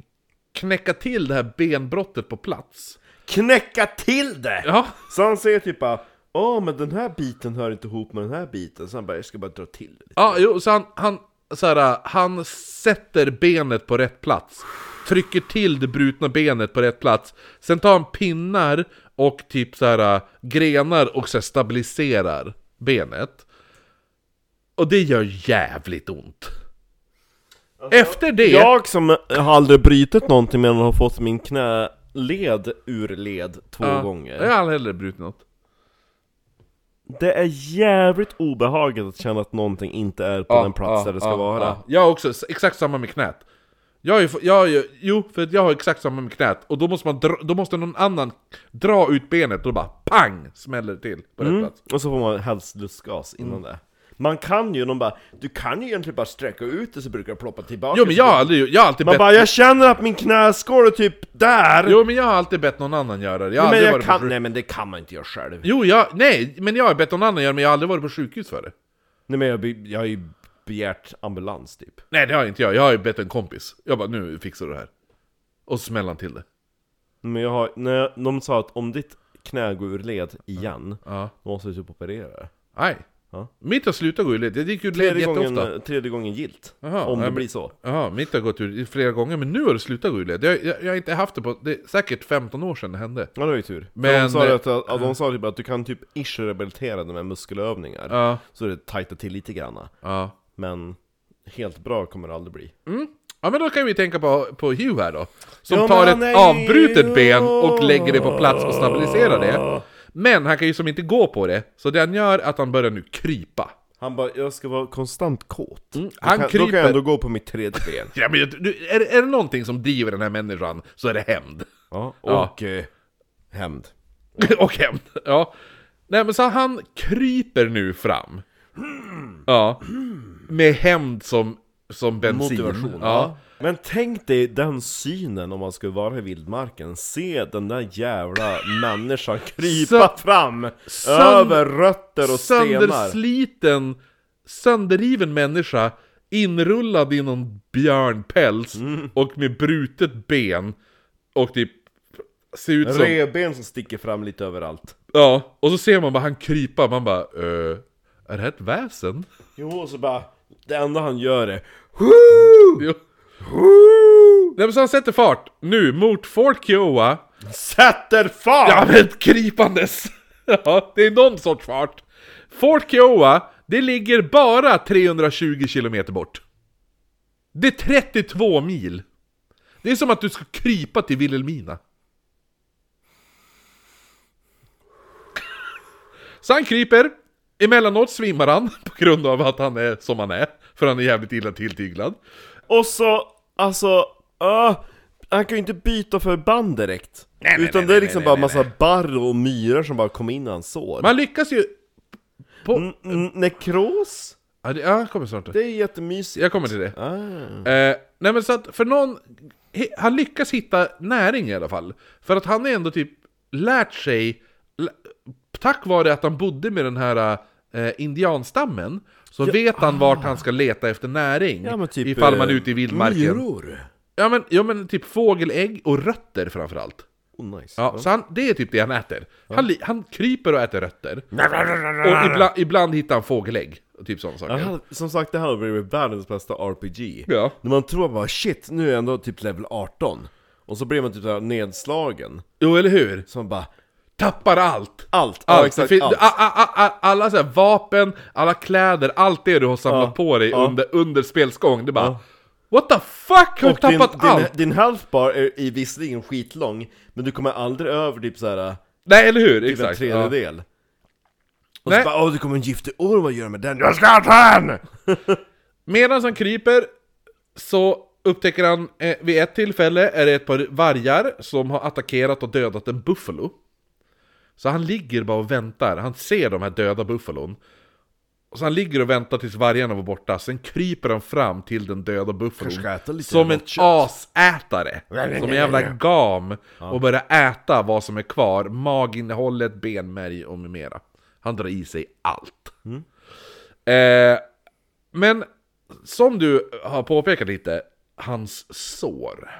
knäcka till det här benbrottet på plats. Knäcka till det! Ja, Så han säger typ bara, Åh, men den här biten hör inte ihop med den här biten. Så han bara, jag ska bara dra till det lite. ja jo, så han, han, så här, han sätter benet på rätt plats. Trycker till det brutna benet på rätt plats. Sen tar han pinnar och typ så här, grenar och så här, stabiliserar benet. Och det gör jävligt ont. Efter det... Alltså, Jag som har aldrig brutit någonting men har fått min knäled ur led två Ja, gånger. Jag har aldrig heller brutit något. Det är jävligt obehagligt att känna att någonting inte är på den plats där det ska vara. ja. Jag har också s- exakt samma med knät. Jag har ju, få- jag har ju, jo, för att jag har exakt samma med knät. Och då måste, man dra, då måste någon annan dra ut benet och då bara pang smäller det till på rätt plats. Och så får man helst lustgas innan det. Man kan ju, de bara, du kan ju egentligen bara sträcka ut det så brukar det ploppa tillbaka. Jo men jag har aldrig, jag har alltid Man bett, bara, jag känner att min knäskål är typ där! jo men jag har alltid bett någon annan göra det. Jag har men aldrig jag varit på kan, sjuk- nej men det kan man inte göra själv. Jo, jag, nej, men jag har bett någon annan göra det men jag har aldrig varit på sjukhus för det. Nej men jag, be- jag har ju begärt ambulans typ. Nej det har inte jag, jag har ju bett en kompis. Jag bara nu fixar du det här. Och så smäller han till det. Men jag har, när jag, de sa att om ditt knä går ur led igen, Ja. då måste du typ operera det. Nej. Ja. Mitt har slutat gå i led, det gick ju i led Tredje jätteofta. gången, tredje gången gilt. Jaha, om nej, det men- blir så. Ja, mitt har gått ur flera gånger, men nu har det slutat gå ur led. Jag, jag, jag har inte haft det på, det är säkert 15 år sedan det hände. Ja det var ju tur. Men, de Men- sa, ju att, ja, de sa typ att du kan typ ish rehabilitera det med muskelövningar. Ja, Så det tajtar till lite granna. ja. Men helt bra kommer det aldrig bli. Ja men då kan vi tänka på, på Hugh här då. Som Ja, men tar ett han är ju- avbrutet ben och lägger det på plats och stabiliserar det. Men han kan ju som inte gå på det, så det han gör är att han börjar nu krypa. Han bara, jag ska vara konstant kåt. Mm. han då, kan, då kan kryper. jag ändå gå på mitt tredje ben. Ja, men, jag- du, är, är det någonting som driver den här människan så är det hämnd. Ja, Ja. och eh, hämnd. och hämnd, ja. Nej men så han kryper nu fram. Ja. Med hämnd som, som bensin. Motivation. Ja. Men tänk dig den synen om man skulle vara i vildmarken. Se den där jävla människan krypa fram Sönd- över rötter och stenar. Söndersliten, sönderriven människa inrullad i någon björnpäls och med brutet ben och typ ser ut som... Revben som sticker fram lite överallt. Ja, och så ser man bara han krypa, man bara eh, Är det här ett väsen? Jo, och så bara, det enda han gör är Jo. Nej men så han sätter fart nu mot Fort Kiowa Sätter fart! Ja men krypandes! Ja, det är någon sorts fart. Fort Kiowa, det ligger bara 320 kilometer bort. Det är 32 mil. Det är som att du ska krypa till Vilhelmina. Så han kryper, emellanåt svimmar han på grund av att han är som han är, för han är jävligt illa tilltyglad. Och så, alltså, öh, han kan ju inte byta förband direkt. nej, Utan nej, det nej, är liksom nej, bara nej, massa barr och myror som bara kom in i hans sår. Man lyckas ju... N- n- nekros? Ja, det- ja, jag kommer snart. Det är jättemysigt. Jag kommer till det. Ah. Eh, nej men så att för någon, he- han lyckas hitta näring i alla fall. För att han är ändå typ lärt sig, lä- tack vare att han bodde med den här eh, indianstammen, så vet han vart han ska leta efter näring. ah. Ja, men typ, ifall man är eh, ute i vildmarken. Myror? Ja men, ja men typ fågelägg och rötter framförallt. Oh, nice. Ja, så han, det är typ det han äter. Han, li- han kryper och äter rötter. Och ibland, ibland hittar han fågelägg. Och typ sådana Det saker. här- Som sagt, det här har blivit världens bästa RPG. Ja. När man tror bara shit, nu är jag ändå typ level 18. Och så blir man typ så här nedslagen. Jo, eller hur? Så man bara, Tappar allt! allt, Allt, ja, exakt, fin- allt. a- a- a- alla så här vapen, alla kläder, allt det du har samlat Ja, på dig ja. under, under spels gång, det bara What the fuck? Har du Och din, tappat allt? din, din health bar är i visserligen skitlång, men du kommer aldrig över typ såhär, Nej, eller hur? typ en Exakt. Ja. tredjedel. Och Nej. så bara, åh det kommer en giftig orm, vad gör du med den? Jag ska ta den! Medan han kryper så upptäcker han eh, vid ett tillfälle är det ett par vargar som har attackerat och dödat en buffalo. Så han ligger bara och väntar. Han ser de här döda buffalon. Så han ligger och väntar tills vargarna var borta. Sen kryper han fram till den döda Kanske ska buffalon. jag äta lite Som en rått kött. asätare. Som en jävla gam. Och börjar äta vad som är kvar. Maginnehållet, benmärg och med mera. Han drar i sig allt. Mm. Eh, men som du har påpekat lite, hans sår.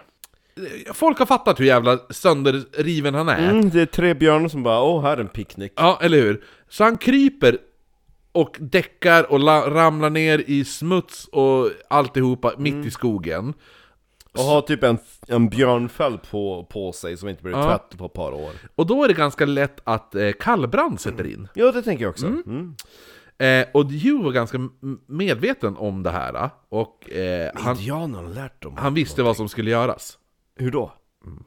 Eh, Folk har fattat hur jävla sönderriven han är. Mm, det är tre björnar som bara, åh här är en picknick. Ja, eller hur? Så han kryper och däckar och la- ramlar ner i smuts och alltihopa mitt i skogen. Och har typ en, en björnfäll på, på sig som inte blivit Ja. tvätt på ett par år. Och då är det ganska lätt att eh, kallbrand sätter in. Ja det tänker jag också. Mm. Eh, och Hugh var ganska m- medveten om det här. eh, Och eh, han, Indianerna har lärt dem. han visste vad som skulle göras. Hur då? Mm.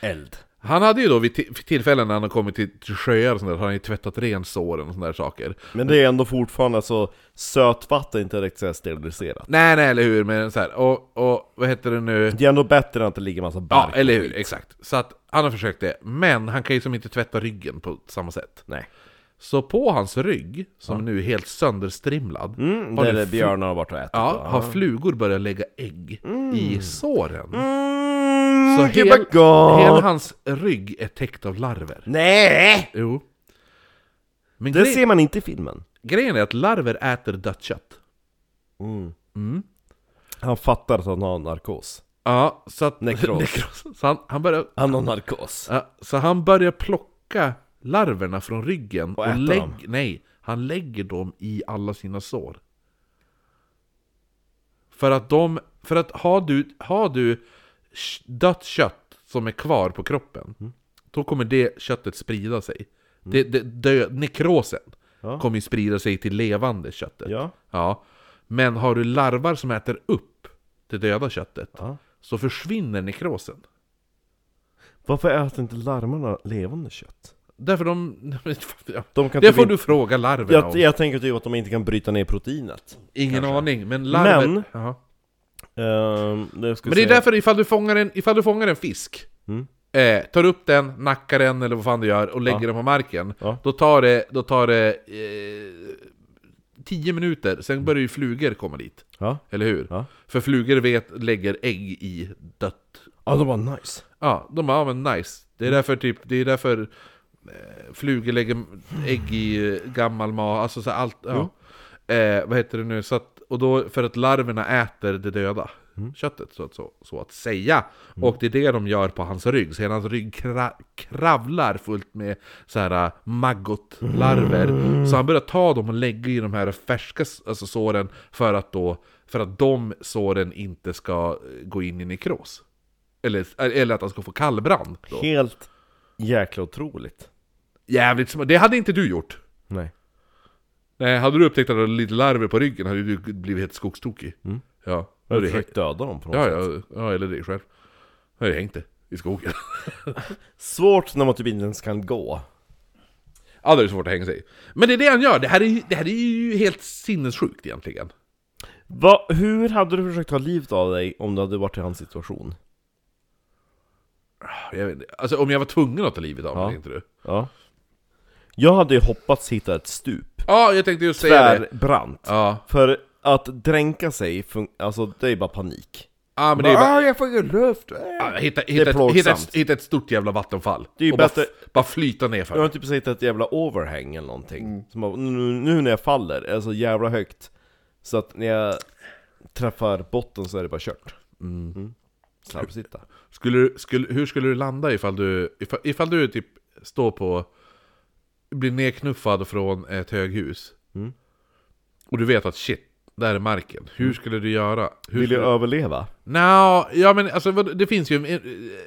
Eld. Han hade ju då vid ti- tillfällen när han har kommit till till sjöar och sånt där, har han ju tvättat ren såren och sådana där saker. Men det är ändå fortfarande så, sötvatten är inte riktigt så här steriliserat. Nej, nej, eller hur? Men så här, och, och vad heter det nu? Det är ändå bättre än att det ligger massa Ja, bark. eller hur? Exakt. Så att han har försökt det, men han kan ju som inte tvätta ryggen på samma sätt. Nej. Så på hans rygg, som nu är helt sönderstrimlad, Mm, har, där nu det fl- björnar har varit och ätit. ja, har flugor börjat lägga ägg i såren. Mm, Så gud hel, vad gott! hela hans rygg är täckt av larver. Nej! Jo. Men Det gre- ser man inte i filmen. grejen är att larver äter dött kött. Han fattar att han har narkos. Ja, så att... Nekros. så han, han börjar Han har narkos. Ja, så han börjar plocka larverna från ryggen och, äta lägg, dem. Nej, han lägger dem i alla sina sår. För att de... För att har du, har du sh- dött kött som är kvar på kroppen, Mm. då kommer det köttet sprida sig. Det, det, dö, nekrosen Ja. kommer ju sprida sig till levande köttet. Ja. Ja. Men har du larvar som äter upp det döda köttet, Ja. så försvinner nekrosen. Varför äter inte larmarna levande kött? Därför de... ja. De kan Det typ får inte- du fråga larverna Jag, om. jag tänker typ att de inte kan bryta ner proteinet. Ingen aning, men larver... Men- Jaha. Ehm, det ska Men det är se. därför ifall du fångar en, ifall du fångar en fisk, Mm. eh, tar upp den, nackar den eller vad fan du gör och lägger den på marken, Ja. då tar det... Då tar det eh, tio minuter, sen börjar ju flugor komma dit. Ja. Eller hur? Mm. Ja. För flugor vet, lägger ägg i dött ja, de var nice. Ja, de bara, ja men nice. Det är därför typ, det är därför eh, flugor lägger ägg i eh, gammal mat, alltså så här, allt, ja. Eh, vad heter det nu? Så att, och då, för att larverna äter det döda köttet, så att, så, så att säga. Och det är det de gör på hans rygg, så hela hans rygg kra, kravlar fullt med så här eh, maggotlarver. Så han börjar ta dem och lägga i de här färska s- alltså, såren för att då, för att de såren inte ska eh, gå in i nekros. Eller, eller att han ska få kallbrand. Då. Helt jäkla otroligt. Jävligt smart. Det hade inte du gjort. Nej. Nej, Eh, hade du upptäckt att du hade lite larver på ryggen hade du blivit helt skogstokig. Mm. Ja. Då Har hade du du hängt. försökt döda dem på något Ja, sätt? ja, ja, eller dig själv. Då hade du hängt det i skogen. Svårt när man typ inte ens kan gå. ja, då är det svårt att hänga sig. Men det är det han gör. Det här är, ju- det här är ju helt sinnessjukt egentligen. Va, hur hade du försökt ta livet av dig om du hade varit i hans situation? Jag vet, inte. alltså om jag var tvungen att ta livet av mig, Ja. tänkte du? Ja. Jag hade ju hoppats hitta ett stup. Ja, jag tänkte just säga det. Tvärbrant. Ja. För att dränka sig, fun- alltså det är bara panik. ja, men det är ju bara... ah, jag får ingen luft! Äh. ja, Hitta, är hitta, ett, hitta, ett, plågsamt. hitta ett stort jävla vattenfall. Det är ju och bara, bättre- f- bara flyta ner för Jag har typ sett ett jävla overhang eller någonting. Som bara, nu, nu när jag faller är det så jävla Mm. högt. Så att när jag träffar botten så är det bara kört. Slarvsitta. Skulle, du- skulle, hur skulle du landa ifall du, ifall, ifall du typ står på, blir nedknuffad från ett höghus? Mm. Och du vet att shit, där är marken. Hur skulle du göra? Hur Vill skulle... jag överleva? Nå, ja men alltså vad- det finns ju en,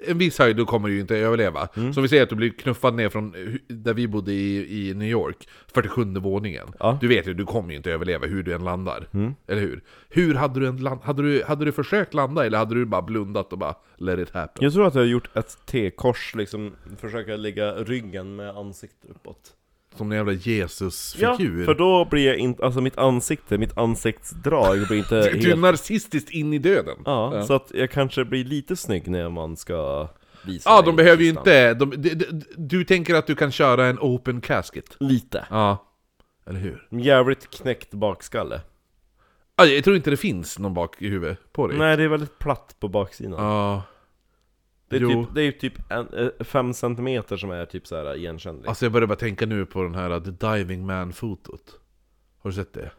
en viss höjd, du kommer ju inte överleva. Mm. Som vi säger att du blir knuffad ner från hu- där vi bodde i, i New York, 47 våningen. Ja. Mm. Du vet ju, du kommer ju inte överleva hur du än landar. Eller hur? Hur hade du, en land, hade, du, hade du försökt landa eller hade du bara blundat och bara let it happen? Jag tror att jag har gjort ett T-kors, liksom försöka lägga ryggen med ansiktet uppåt. Som en jävla Jesus-figur. för då blir jag inte, alltså mitt ansikte, mitt ansiktsdrag blir inte du, du är helt... narcissiskt in i döden. Ja, så att jag kanske blir lite snygg när man ska visa Ja, mig de behöver ju kistan. inte... De, de, de, du tänker att du kan köra en open casket? Lite. Ja. Eller hur? Jävligt knäckt bakskalle. Ja, Jag tror inte det finns någon bak i huvudet på dig. Nej, det är väldigt platt på baksidan. Ja. det är jo. typ, det är typ en, eh, fem centimeter som är typ så här igenkännligt. Alltså jag börjar bara tänka nu på den här uh, The Diving Man-fotot. Har du sett det?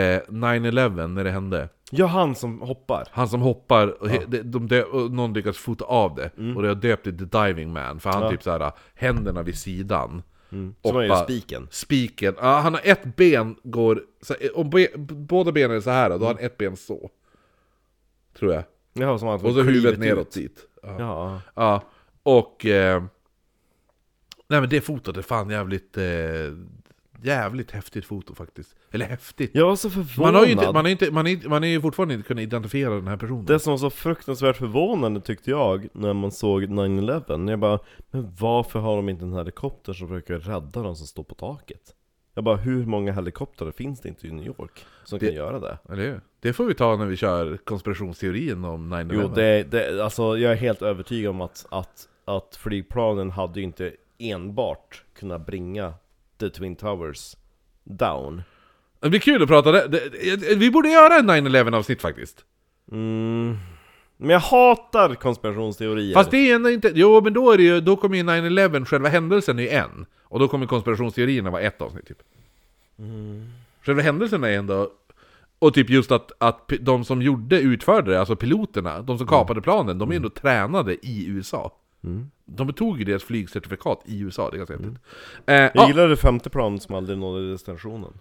Eh, 9-11 när det hände. ja, han som hoppar. Han som hoppar, och he, de, de dö, och någon lyckas fota av det. Mm. Och det har döpt till The Diving Man, för han typ såhär, uh, händerna vid sidan. Mm. Som är ju bara- spiken. Spiken, ja han har ett ben, går, så, om be, b- båda benen är så här då har han ett ben så. Tror jag. Ja, som han Och så huvudet klivit neråt ut. dit. Ja. Ja. Ja, och... Eh, nej men det fotot är fan jävligt... Eh, jävligt häftigt foto faktiskt. Eller häftigt. Jag var så förvånad. Man har ju inte, man är inte, man är, inte- man är ju fortfarande inte kunnat identifiera den här personen. Det som var så fruktansvärt förvånande tyckte jag när man såg 9-11 Jag bara, men varför har de inte en helikopter som försöker rädda de som står på taket? Jag bara, hur många helikoptrar finns det inte i New York som Det- kan göra det? Eller hur? Det får vi ta när vi kör konspirationsteorin om 9-11. Jo, det, det, alltså jag är helt övertygad om att, att, att flygplanen hade ju inte enbart kunnat bringa The Twin Towers down. Det blir kul att prata det. det, det vi borde göra en 9-11 avsnitt faktiskt. Mm. Men jag hatar konspirationsteorier. Fast det är ändå inte... Jo men då är det ju, då kommer ju 9-11, själva händelsen är ju en. Och då kommer konspirationsteorierna vara ett avsnitt typ. Mm. Själva händelsen är ändå... Och typ just att, att pi- de som gjorde, utförde det, alltså piloterna, de som Mm. kapade planen, de är ju ändå tränade i USA. Mm. De tog ju deras flygcertifikat i USA, det är ganska häftigt. Eh, Jag ja, gillar det femte planet som aldrig nådde destinationen.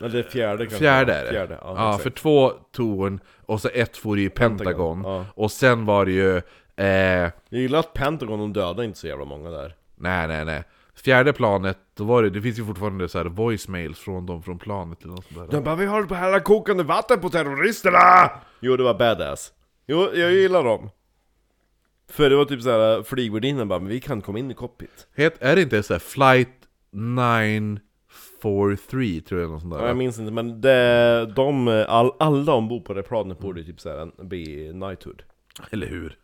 Eller fjärde kanske. fjärde är det. Fjärde, ja, ja, exakt. för två torn, och så ett for i Pentagon. Pentagon, ja. Och sen var det ju... Eh, Jag gillar att Pentagon, de dödade inte så jävla många där. Nej, nej, nej. Fjärde planet, då var det, det finns ju fortfarande så här voicemails från dem från planet eller något sånt där. De bara 'Vi håller på att hälla kokande vatten på terroristerna!' Jo, det var badass. Jo, jag gillar dem. För det var typ såhär, flygvärdinnan bara 'Men vi kan komma in i cockpit' Het, är det inte så här flight 943 tror jag något sånt där? ja. Jag minns inte, men det, de, all, alla ombord på det planet borde typ såhär bli knighthood. Eller hur?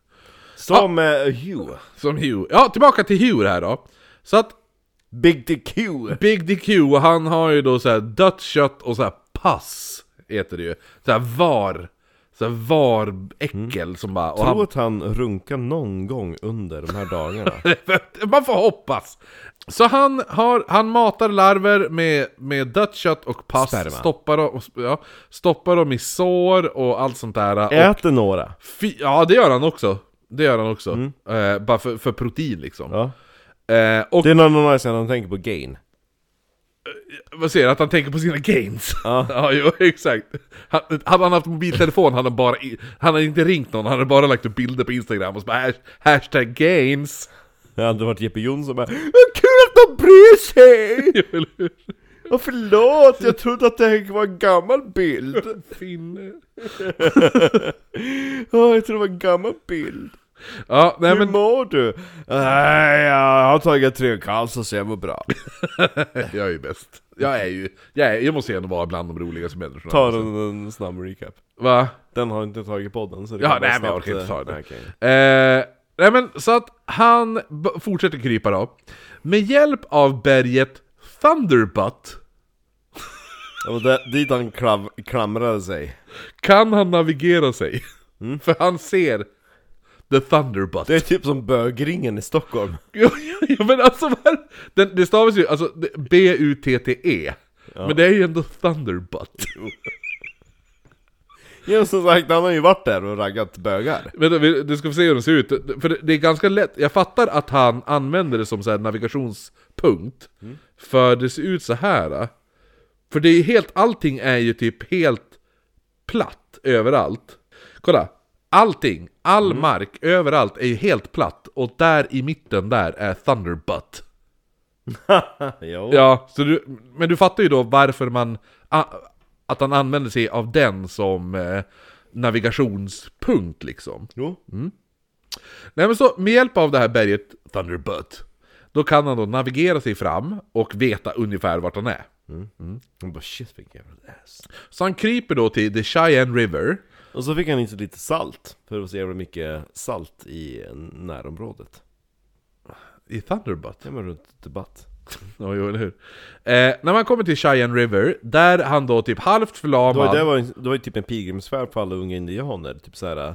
Som eh, Hugh. Som Hugh. Ja, tillbaka till Hugh här då. Så att Big Dick Hugh! Big Dick Hugh, han har ju då så här dött kött och så här pass, heter det ju. Så här var, så här var-äckel som bara... Och Jag tror han, att han runkar någon gång under de här dagarna. man får hoppas! Så han, har, han matar larver med, med dött kött och pass, Sperma. stoppar dem, och sp- ja, stoppar dem i sår och allt sånt där. Och Äter några. fy, ja, det gör han också. Det gör han också. Eh, bara för, för protein liksom. Mm. Ja. Eh, och Det är någon annan sen han tänker på gain. vad säger du? Att han tänker på sina gains. Ja. ja jo, exakt. Han, hade han haft mobiltelefon hade han bara... i- Han hade inte ringt någon, han hade bara lagt upp bilder på Instagram och så bara hash, hashtag gains. Det hade varit Jeppe Jonsson bara Vad kul att de bryr sig! Eller hur? Och förlåt, jag trodde att det här var en gammal bild. Finne. Ja, jag trodde det var en gammal bild. Ja, nej Hur men... mår du? Nej, jag har tagit tre cancer så jag mår bra. Jag är ju bäst. Jag är ju, jag, är, jag måste ju ändå vara bland de roligaste människorna. Ta en, en snabb recap. Va? Den har inte tagit podden så det Ja, kan vara nej, men jag snabbt, orkar inte ta den. eh, okej. Eh, nej men så att han b- fortsätter krypa då. Med hjälp av berget Thunderbutt Det var där- dit han klav, klamrade sig. kan han navigera sig. För han ser The Thunderbutt. Det är typ som bögringen i Stockholm. Jo, jo, jo, men alltså, vad- den, det stavas ju alltså, det- E. B-U-T-T-E. Men det är ju ändå Thunderbutt. Ja som sagt, han har ju varit där och raggat bögar. Vänta, vi- du ska få se hur den ser ut. För det- det är ganska lätt, jag fattar att han använder det som så här navigationspunkt. För det ser ut så här. För det är helt, allting är ju typ helt platt överallt. Kolla! Allting, all mark, överallt är ju helt platt. Och där i mitten där är Thunderbutt. Jo. Ja, så du, men du fattar ju då varför man... A, att han använder sig av den som eh, navigationspunkt liksom. Jo. Nej men så med hjälp av det här berget Thunderbutt Då kan han då navigera sig fram och veta ungefär vart han är Han bara shit vilken jävla ass. Så han kryper då till The Cheyenne River Och så fick han inte lite salt, för det var så jävla mycket salt i eh, närområdet. I Thunderbutt Ja men runt debatt. Ja jo eller hur eh, När man kommer till Cheyenne River Där han då typ halvt Det var, förlamad det, var, ju- det var ju typ en pilgrimsfärd för alla unga indianer, typ såhär uh,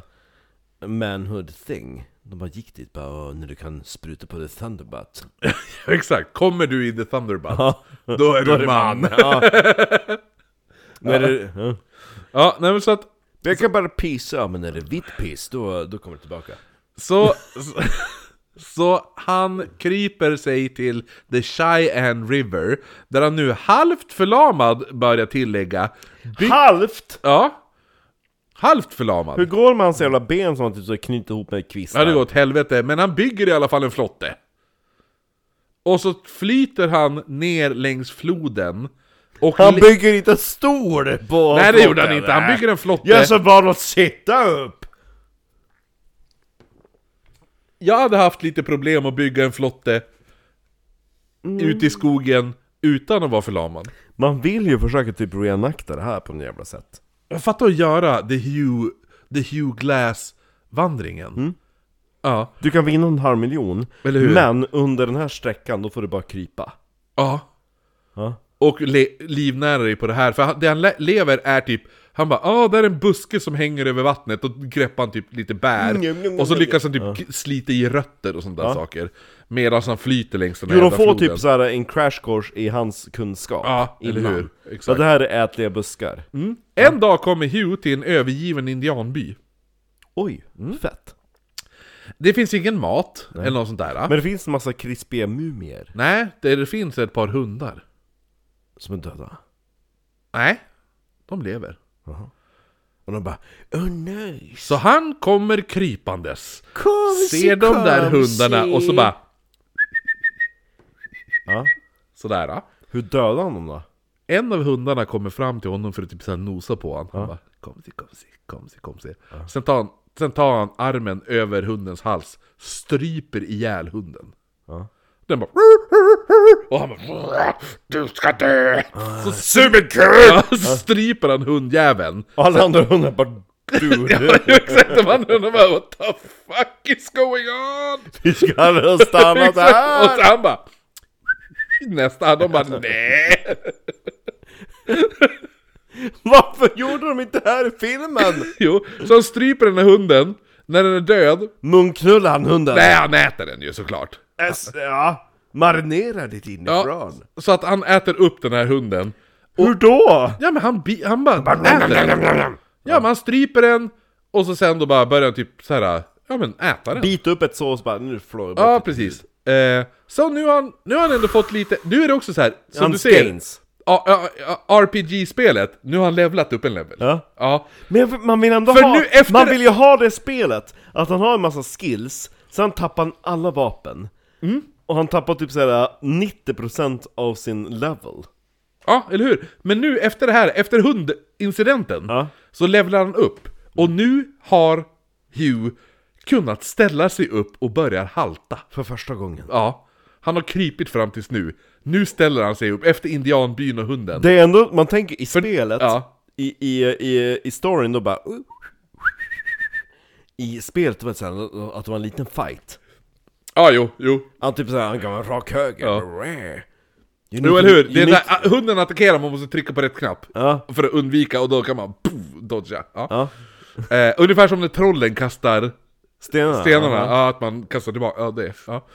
manhood thing. De bara gick dit bara "Åh, när du kan spruta på the thunderbutt. Exakt, kommer du i The Thunderbutt Då är du man Ja. Men är det, ja. Ja nej men så att Jag kan bara pissa, men är det vitt piss då, då kommer det tillbaka. Så, så, så han kryper sig till The Cheyenne River, där han nu halvt förlamad, börjar tillägga. Halvt! Ja, halvt Hur förlamad. går det med hans jävla ben som han typ så knyter ihop med kvistar? Ja, det går åt helvete, men han bygger i alla fall en flotte. Och så flyter han ner längs floden. Och Han le- bygger inte en stol på Nej det gjorde han flotten. inte, han bygger en flotte. Jag är så van att sitta upp! Jag hade haft lite problem att bygga en flotte Mm. ute i skogen utan att vara förlamad. Man vill ju försöka typ reenakta det här på något jävla sätt. Jag fattar att göra The Hugh, The Hugh Glass-vandringen. Mm. Ja, Du kan vinna en halv miljon, Eller hur? men under den här sträckan då får du bara krypa. ja. Ja. Och le- livnära dig på det här. För han, det han le- lever är typ, han bara ah, där är en buske som hänger över vattnet. Och greppar han typ lite bär. Mm, mm, mm, och så mm, lyckas han typ k- slita i rötter och sånt där saker. Medan han flyter längs den här Jo, de jävla får floden. typ såhär en crash course i hans kunskap. Ja, eller innan. hur? Så Exakt. Mm. det här är ätliga buskar. En dag kommer Hugh till en övergiven indianby. Oj, Mm. fett. Det finns ingen mat, eller något sånt där. Men det finns en massa krispiga mumier Nej, det, det finns ett par hundar. som är döda. Nej, de lever. Och de bara oh, nej. Så han kommer krypandes. Kom, Ser de där hundarna och så bara Ja. sådär. ja. Hur dödar han dem då? En av hundarna kommer fram till honom för att typ så här nosa på honom. Han bara kom se, kom se, kom se, kom se. Sen, tar han, sen tar han armen över hundens hals, stryper ihjäl hunden. Ja. Den bara och han bara Du ska dö! Så super ja, så stryper han hundjäveln. Och alla andra hundar bara dude, Exakt, de andra hundarna bara What the fuck is going on? vi ska rösta annat Exakt. Och här! så han bara... Nästa, de bara nej. Varför gjorde de inte det här i filmen? Jo, så han stryper den här hunden. När den är död, Munknullar han hunden? nej han äter den ju såklart. S- ja. Marinera ditt Ja, inifrån. så att han äter upp den här hunden. Hur då? Ja men han, bi- han bara äter den. Ja men han stryper den, och så sen då bara börjar han typ så här. ja men äta den. Bita upp ett sås bara, nu flår jag bort Ja det. precis. Eh, så nu har, han, nu har han ändå fått lite, nu är det också så här som Han du ser, stains. ja, ja, ja, RPG-spelet, nu har han levlat upp en level. Ja. ja. Men jag- man vill ändå För ha, nu efter- man vill ju ha det spelet, att han har en massa skills, sen tappar han alla vapen. Mm. Och han tappar typ såhär 90% av sin level. Ja, eller hur? Men nu efter det här, efter hundincidenten, Ja. så levlar han upp. Och nu har Hugh kunnat ställa sig upp och börjar halta. För första gången. Ja, han har krypit fram tills nu. Nu ställer han sig upp efter indianbyn och hunden. Det är ändå, man tänker i spelet, ja. i, i, i, i storyn då bara... I spelet var det såhär, att det var en liten fight. Ja, jo, jo. Han typ såhär, han kan vara rak höger. Ja. You Jo, need- eller hur? you Det är need- där, ah, hunden attackerar, man måste trycka på rätt knapp. Ja. För att undvika, och då kan man poof, dodga. Ja. Ja, Eh, ungefär som när trollen kastar stenarna. stenarna, ja, Mm. att man kastar tillbaka. Ja, det. Ja.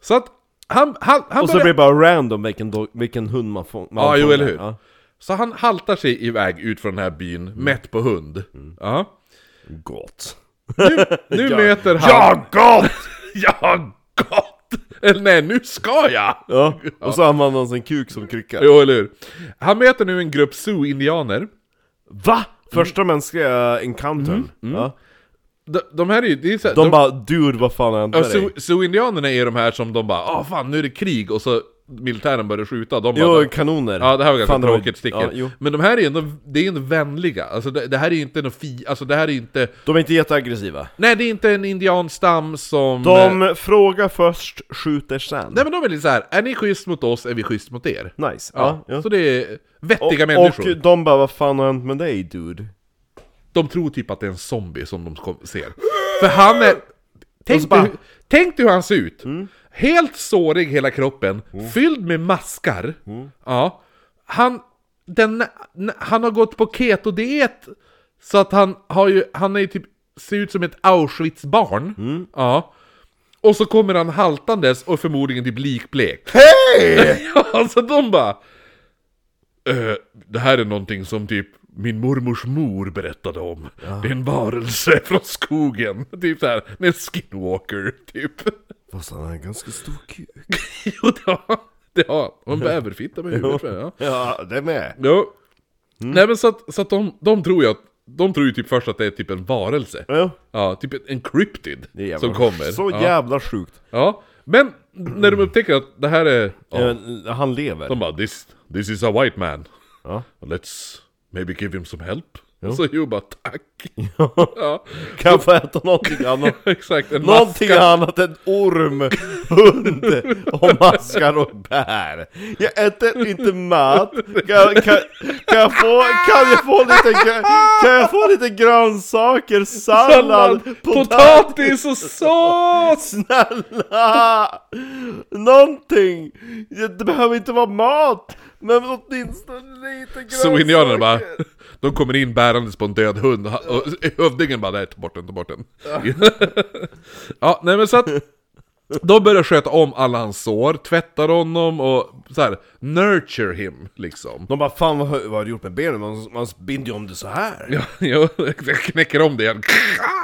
Så att han, han, han Och så börjar- blir det bara random vilken, do- vilken hund man får. man Ja, jo, fångar. eller hur? Ja. Så han haltar sig iväg ut från den här byn, mätt på hund. Ja. Gott. Nu möter han... Ja, gott! Ja, gott! Eller nej, nu ska jag! Ja, och så använder han sin kuk som krycka. Jo, eller hur? Han möter nu en grupp Sioux-indianer. Va? Första mänskliga encountern. Ja. De, Mm. de Alltså, här är ju... Det är så här, De bara, dude vad fan hände ja, med dig? Sioux- Sioux-indianerna är de här som de bara ah fan nu är det krig” och så militären börjar skjuta. De bara, Jo, kanoner. Ja, det här var ganska Fan, det tråkigt sticker. Ja, jo. Men de här är ändå, det är ändå vänliga. Alltså det, det här är ju inte någon fi... Alltså det här är inte... De är inte jätteaggressiva. Nej, det är inte en indianstam som... De frågar först, skjuter sen. Nej men de är lite så här. är ni schysst mot oss är vi schysst mot er. Nice. Ja. ja. Så det är vettiga Och, människor. och de bara, vad fan har hänt med dig dude? De tror typ att det är en zombie som de kom- ser. För han är... så Tänk, bara- Mm. dig, hur- tänk dig hur han ser ut! Helt sårig hela kroppen, fylld med maskar. Mm. Ja. Han, den, n- han har gått på keto-diet, så att han har ju, han är ju typ, ser ut som ett Auschwitz-barn. Mm. Ja. Och så kommer han haltandes och förmodligen typ likblek. Hej! Ja, alltså de bara... "Eh, det här är någonting som typ min mormors mor berättade om. Det är en varelse från skogen. Typ såhär, med en skinwalker, typ. Fast han har en ganska stor kuk. jo, det har det har Hon bäverfitta med huvudet. tror jag, Ja. Ja, det med. Jo. Nej men så att, så att de, de tror ju att... De tror ju typ först att det är typ en varelse. Ja. Ja, typ en- en cryptid Det är jävla- som kommer. Så ja. jävla sjukt. ja. Men när de upptäcker att det här är... Ja, Eh, Han lever. De bara this, this is a white man. Ja. Let's maybe give him some help. Så Hugh bara tack. Ja. Kan jag få äta någonting annat? Exakt, en Någonting maska. annat än orm, hund och maskar och bär. Jag äter inte mat. Kan, kan, kan, jag, få, kan, jag, få lite, grö- kan jag få lite grönsaker, sallad, potatis? potatis och sås! Snälla! Någonting! Det det behöver inte vara mat! Men åtminstone lite grönsaker! Så indianerna bara, de kommer in bärandes på en död hund och- och hövdingen bara nej ta bort den, ta bort den. ja, nej men så att de börjar sköta om alla hans sår, tvättar honom och så här, nurture him liksom. De bara 'Fan vad, har- vad har du gjort med benen? Man, man binder ju om det så här. Ja, jag knäcker om det igen.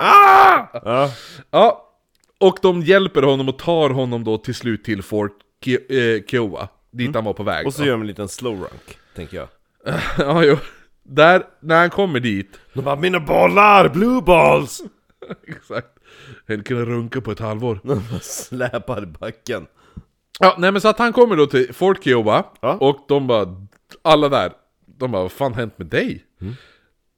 Ja. Ja, och de hjälper honom och tar honom då till slut till Fort Ki- eh, Kiowa, dit han var på väg. Mm. Och så gör de en liten slow rank, tänker jag. ja, jo. Där, när han kommer dit, De bara 'Mina bollar! Blue balls!' exakt, han kunde runka på ett halvår. De bara släpar i backen. Ja, nej men så att han kommer då till Fort Kiowa, Ja. och de bara, alla där, de bara 'Vad fan har hänt med dig?' Mm.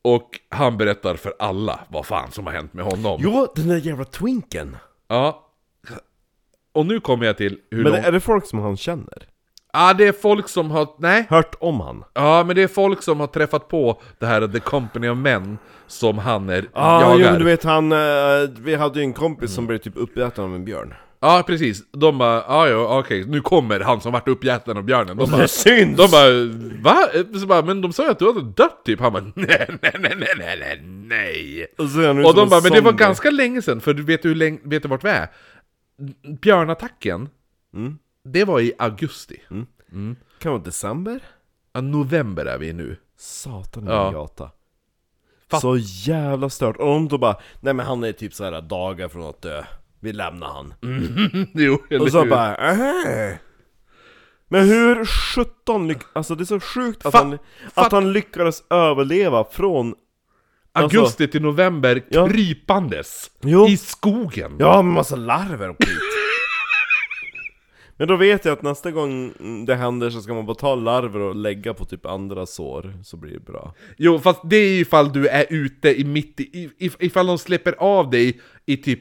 Och han berättar för alla vad fan som har hänt med honom. Jo, den där jävla twinken! Ja. Och nu kommer jag till hur Men lång... är det folk som han känner? Ja, det är folk som har... Nej. Hört om han? Ja, men det är folk som har träffat på det här The Company of Men som han är, Ja, Ah, jo, jagar. men du vet han, eh, vi hade ju en kompis som blev typ uppäten av en björn. Ja, precis. De bara, ja, ja, okej, nu kommer han som vart uppjäten av björnen. De bara, syns! de bara, va? Så bara, men de sa ju att du hade dött typ. Han bara, nej, nej, nej, nej, nej, nej, nej. Och, så är han ju Och som de en bara, men det var zombie. ganska länge sedan, för du vet, hur länge, vet du vart vi är? Björnattacken, Mm. det var i augusti. Kan vara december? Ja, november är vi nu. Satan Ja. ja. gata. Så jävla stört. Och de då bara, nej men han är typ så här dagar från att dö. Vi lämnar han. jo, eller Och så hur? bara, "Ähä." Men hur 17 lyck... Alltså det är så sjukt att, Fa- han, att han lyckades överleva från... Augusti till november alltså- Ja. krypandes Jo. i skogen. Ja, med massa larver och skit. Men då vet jag att nästa gång det händer så ska man bara ta larver och lägga på typ andra sår, så blir det bra. Jo, fast det är ifall du är ute i mitt i, i, if- ifall de släpper av dig i typ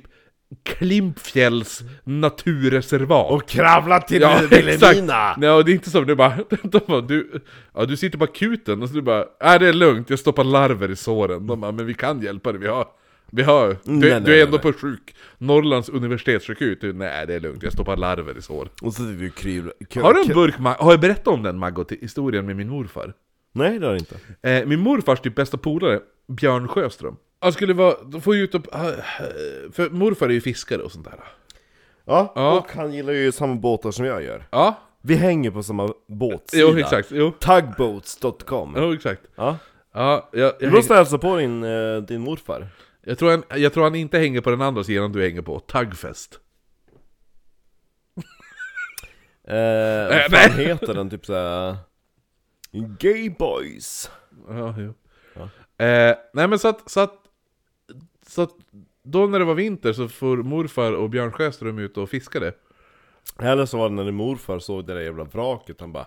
Klimpfjälls naturreservat. Och kravla till Ja, exakt! Vilhelmina! Nej, och det är inte som du bara, de bara du, ja, du sitter på akuten och så du bara Nej det är lugnt, jag stoppar larver i såren. De bara, men vi kan hjälpa dig, vi har, vi har, du, Nej, nej, du är nej, ändå på nej. sjuk, Norrlands universitetssjukhus. Du, nej det är lugnt, jag stoppar larver i sår. Och så typ kryvla... Har du en burk, Ma- har jag berättat om den Maggot, historien med min morfar? Nej det har jag inte. Eh, min morfars typ bästa polare, Björn Sjöström. Han skulle vara, de får ju ut upp, ah, för morfar är ju fiskare och sånt där. Ja, Ja. och han gillar ju samma båtar som jag gör. Ja, Vi hänger på samma båtsida. Jo, exakt. Jo, Tugboats.com. jo exakt. Ja. Ja, jag, Du jag, hänger, måste hälsa på din, eh, din morfar. jag, tror han, jag tror han inte hänger på den andra sidan du hänger på, taggfest. Eh, vad Äh, fan heter den? Typ såhär... Gay boys. Ja, jo. Ja. Eh, nej men så att, så att, så att då när det var vinter så får morfar och Björn Sjöström ut och fiskade. Eller så var det när din morfar såg det där jävla vraket, han bara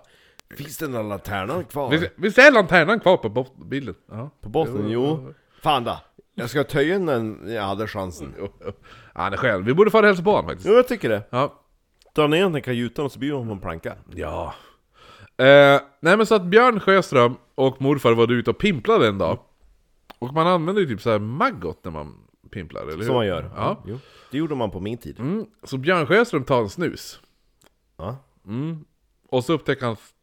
Finns det några lanternan kvar? Visst, visst är lanternan kvar på bot- bilden? Ja. På botten? Jo. Fan då. Jag ska töja den jag hade chansen. Jo, jo. Han är själv. Vi borde fara och hälsa på honom faktiskt. Jo, jag tycker det. Ja. Dra ner den i kajutan och så bjuder man på en planka. Ja. Eh, nej men så att Björn Sjöström och morfar var ute och pimplade en dag. Och man använder ju typ så här maggot när man pimplar, eller hur? Som man gör. Ja. Jo. Det gjorde man på min tid. Mm. Så Björn Sjöström tar en snus. Ja. Mm. Och så upptäcker han... att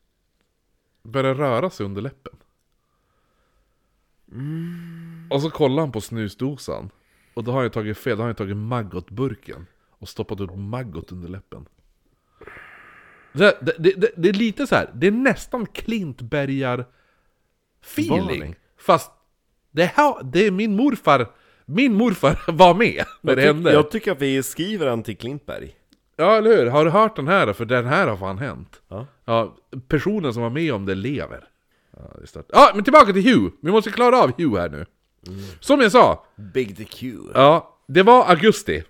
Börjar röra sig under läppen. Mm. Och så kollar han på snusdosan. Och då har han ju tagit fel, då har han ju tagit maggotburken. Och stoppat upp maggot under läppen. Det, det, det, det, det är lite så här. det är nästan Klintbergar-feeling. Varning. Fast det, här, det är min morfar, min morfar var med när det Jag, tyck- hände. jag tycker att vi skriver den till Klintberg. Ja, eller hur? Har du hört den här då? För den här har fan hänt. Ja. personen som var med om det lever. Ja, det är stört. ja, men tillbaka till Hugh. Vi måste klara av Hugh här nu. Som jag sa, Big the Q. ja, det var augusti.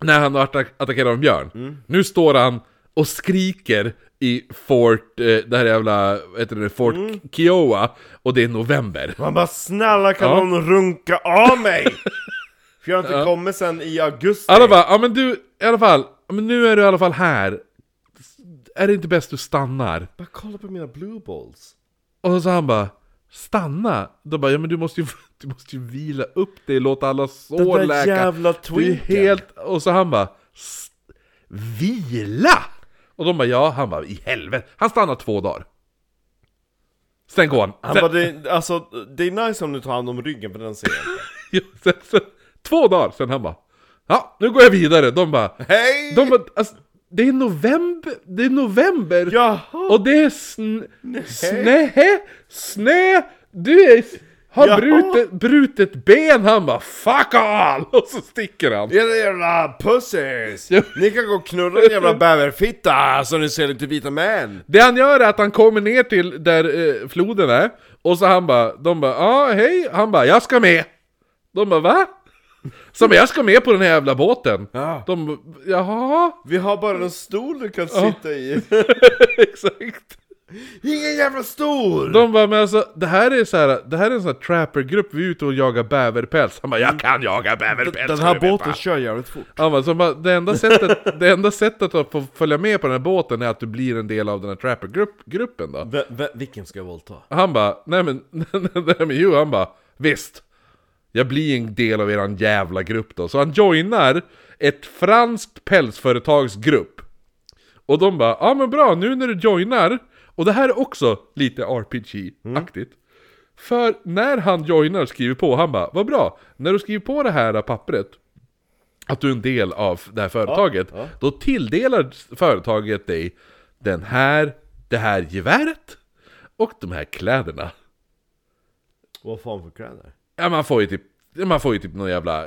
När han attack attackerade av en björn. Nu står han och skriker i Fort, eh, det här jävla, vad heter det, Fort Kiowa. Och det är november. Man bara snälla kan Ja. någon runka av mig? För jag har inte kommit sen i augusti. Alla bara, ja men du, i alla fall, ja, men nu är du i alla fall här. Är det inte bäst du stannar? Bara kolla på mina blue balls. Och så han bara Stanna! Då bara, ja men du måste ju, du måste ju vila upp dig, låta alla Den sår där läka. jävla Det är tweaken. helt... Och så han bara "S- Vila! Och de bara, ja, han bara, i helvete. Han stannar två dagar. Sen går han. Han Sen- bara, det, alltså, det är nice om du tar hand om ryggen för den ser jag. Ja, sen, sen, två dagar sen han bara, ja, nu går jag vidare. De bara, Hej! de bara, alltså, det är november, det är november. Jaha! Och det är sn... Snö... Snö! Du är... Har Jaha. brutet, brutet ben! Han bara 'Fuck all!' Och så sticker han! Era jävla pussies! Jo. Ni kan gå och knulla en jävla bäverfitta så ni ser lite vita män! Det han gör är att han kommer ner till där eh, floden är Och så han bara, de bara 'Ja, hej' Han bara 'Jag ska med' De bara 'Va?' Så han bara 'Jag ska med på den här jävla båten' Ja. De bara 'Jaha?' Vi har bara en stol du kan sitta i. Exakt! Ingen jävla stol! De bara 'Men alltså, det här är så här, det här är en sån här trappergrupp, vi är ute och jagar bäverpäls' Han bara 'Jag kan jaga bäverpäls' ska Den du här veta." båten kör jävligt fort. Ja, men så bara, det, enda sättet, det enda sättet att få följa med på den här båten är att du blir en del av den här trappergruppen då. V- v- vilken ska jag våldta? Han bara, nej men, nej men Hugh, han bara, visst. Jag blir en del av eran jävla grupp då. Så han joinar ett franskt pälsföretags grupp. Och de bara, ja men bra, nu när du joinar, och det här är också lite RPG-aktigt. För när han joinar och skriver på, han bara, vad bra, när du skriver på det här pappret, att du är en del av det här företaget, ja. då tilldelar företaget dig den här, det här geväret och de här kläderna. Vad fan för kläder? Ja, man får ju typ, man får ju typ någon jävla...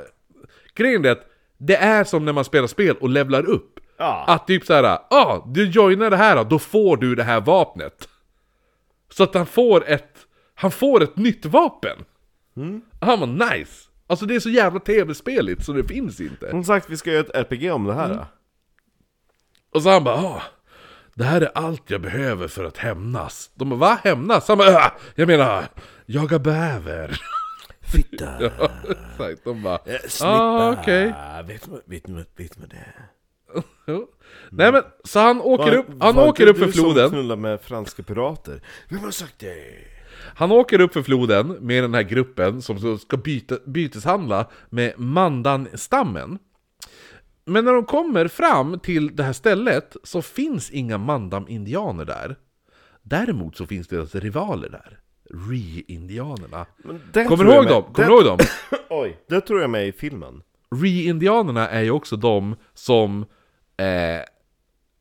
Grejen är att det är som när man spelar spel och levlar upp. Ja. Att typ såhär, ja, ah, du joinar det här då, då får du det här vapnet. Så att han får ett, han får ett nytt vapen. Mm. Han var nice. Alltså det är så jävla tv-speligt så det finns inte. Som sagt, vi ska göra ett RPG om det här. då. Och så han bara, ah, det här är allt jag behöver för att hämnas. De bara, va? Hämnas? Han bara, "Ah, jag menar, jaga bäver. Fitta! Ja, exakt. De bara, Snippa! ah, okej. Vet ni vet, ni- vet ni det? Jo. Nej men, så han åker upp, Var- han var åker det upp för du som floden, knullar med franska pirater? Vem har sagt det? han åker upp för floden med den här gruppen som så ska byta, byteshandla med mandanstammen. Men när de kommer fram till det här stället så finns inga mandamindianer där. Däremot så finns deras rivaler där. Re-indianerna. det Kommer tror du jag ihåg mig- dem? Kommer det- du ihåg dem? Oj, det tror jag med i filmen. Re-indianerna är ju också de som eh,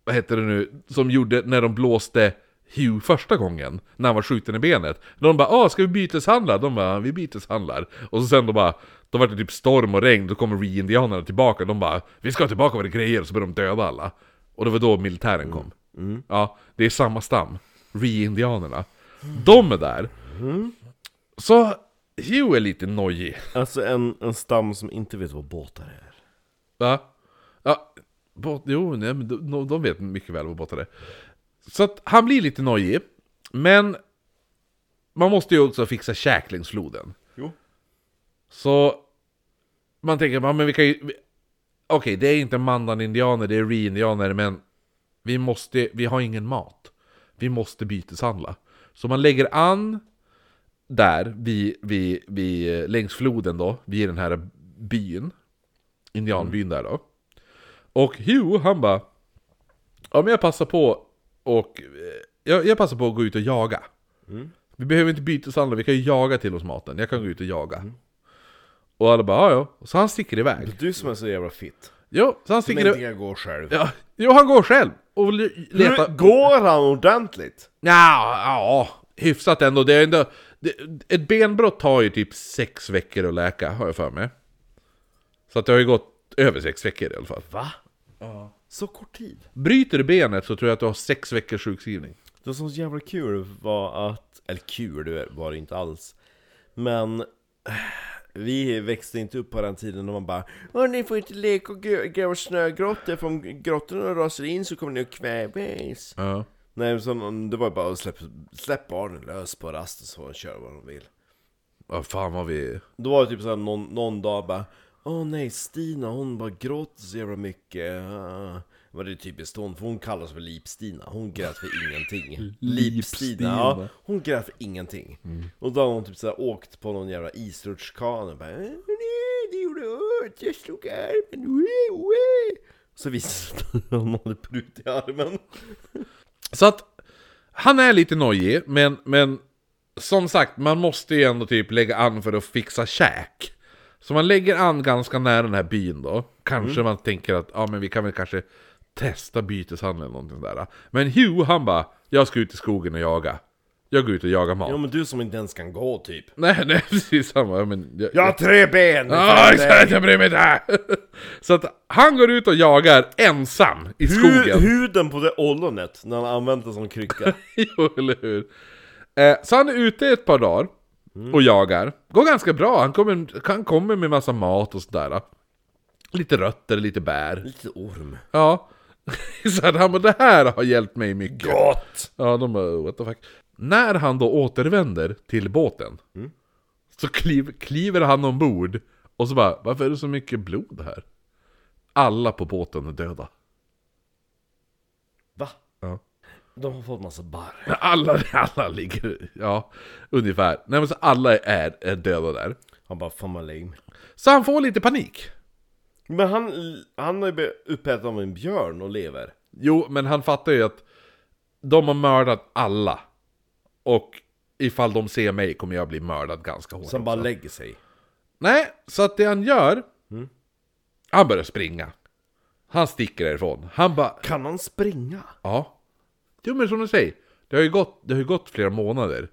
vad heter det nu, som gjorde när de blåste Hugh första gången, när han var skjuten i benet. De bara ”Åh, ska vi byteshandla?” De bara ”Vi byteshandlar”. Och så sen de bara, då var det typ storm och regn, då kommer re-indianerna tillbaka, de bara ”Vi ska ha tillbaka våra grejer” och så började de döda alla. Och det var då militären kom. Ja, det är samma stam. Re-indianerna. De är där. Så Hugh är lite nojig. Alltså en, en stam som inte vet vad båtar är. Va? Ja, bot, jo, nej, men de, de- de vet mycket väl vad båtar är. Så att han blir lite nojig, men man måste ju också fixa käk längs floden. Jo. Så man tänker, ja, men vi kan ju... vi- Okej, det är inte mandan-indianer, det är re-indianer, men vi, måste, vi har ingen mat. Vi måste byteshandla. Så man lägger an där, vid, vid, vid, längs floden då, vid den här byn. Indianbyn där då. Och Hugh, han bara... Ja men jag passar på och... eh, Jag, jag passar på att gå ut och jaga. Vi behöver inte byteshandla, vi kan ju jaga till oss maten. Jag kan gå ut och jaga. Och alla bara, ja ja. Så han sticker iväg. Du som är så jävla fit. Jo, så han Som sticker inte iväg. kan gå själv. Ja, jo, han går själv. Och le- letar... Hur går han ordentligt? Ja, ja, hyfsat ändå. Det är ändå det, ett benbrott tar ju typ sex veckor att läka, har jag för mig. Så att det har ju gått över sex veckor i alla fall. Va? Så kort tid? Bryter du benet så tror jag att du har sex veckors sjukskrivning. Det som var så jävla kul var att, eller kul det var det inte alls Men eh, vi växte inte upp på den tiden när man bara Åh, ni får inte leka och gr- gräva snögrottor för om grottorna rasar in så kommer ni att kvävas Ja. Nej, så, mm, det var bara att släpp, släpp barnen lös på rasten så får de köra vad de vill Vad fan var vi... Då var det typ såhär någon, någon dag bara Åh nej, Stina hon bara gråter så jävla mycket Ah." Det var det typiskt hon, för hon kallas för Lip-Stina Hon grät för ingenting Lip-Stina, ja, hon grät för ingenting Och då har hon typ såhär åkt på någon jävla isrutschkana och bara "Eh, Nej, det gjorde ont, jag slog armen, Ue, ue." Så visste hon att hon hade prut i armen Så att han är lite nojig, men, men som sagt, man måste ju ändå typ lägga an för att fixa käk. Så man lägger an ganska nära den här byn då. Kanske man tänker att ja, men vi kan väl kanske testa byteshandel eller någonting där. Men Hugh, han bara, jag ska ut i skogen och jaga. Jag går ut och jagar mat. Ja men du som inte ens kan gå typ Nej, nej, precis samma. Ja, Men jag, Jag har tre ben! Ja, exakt, jag bryr mig inte! Så att han går ut och jagar ensam i skogen. Hu- huden på det ollonet när han använder det som krycka jo, eller hur? Eh, så han är ute ett par dagar och jagar. Går ganska bra, han kommer, han kommer med massa mat och sådär. Lite rötter, lite bär. Lite orm. Ja. så att han bara, det här har hjälpt mig mycket. Gott! Ja, de bara, what the fuck. När han då återvänder till båten så kliv, kliver han ombord och så bara, varför är det så mycket blod här? Alla på båten är döda. Va? Ja. De har fått massa barr. Alla, alla ligger, ja, ungefär. Nej men så alla är, är döda där. Han bara, fan vad lame. Så han får lite panik. Men han, han har ju blivit uppäten av en björn och lever. Jo, men han fattar ju att de har mördat alla. Och ifall de ser mig kommer jag bli mördad ganska hårt. Så han bara lägger sig. Nej, så att det han gör, Mm. han börjar springa. Han sticker därifrån. Han bara, Kan han springa? ja. Jo men som du säger, det har ju gått, det har ju gått flera månader.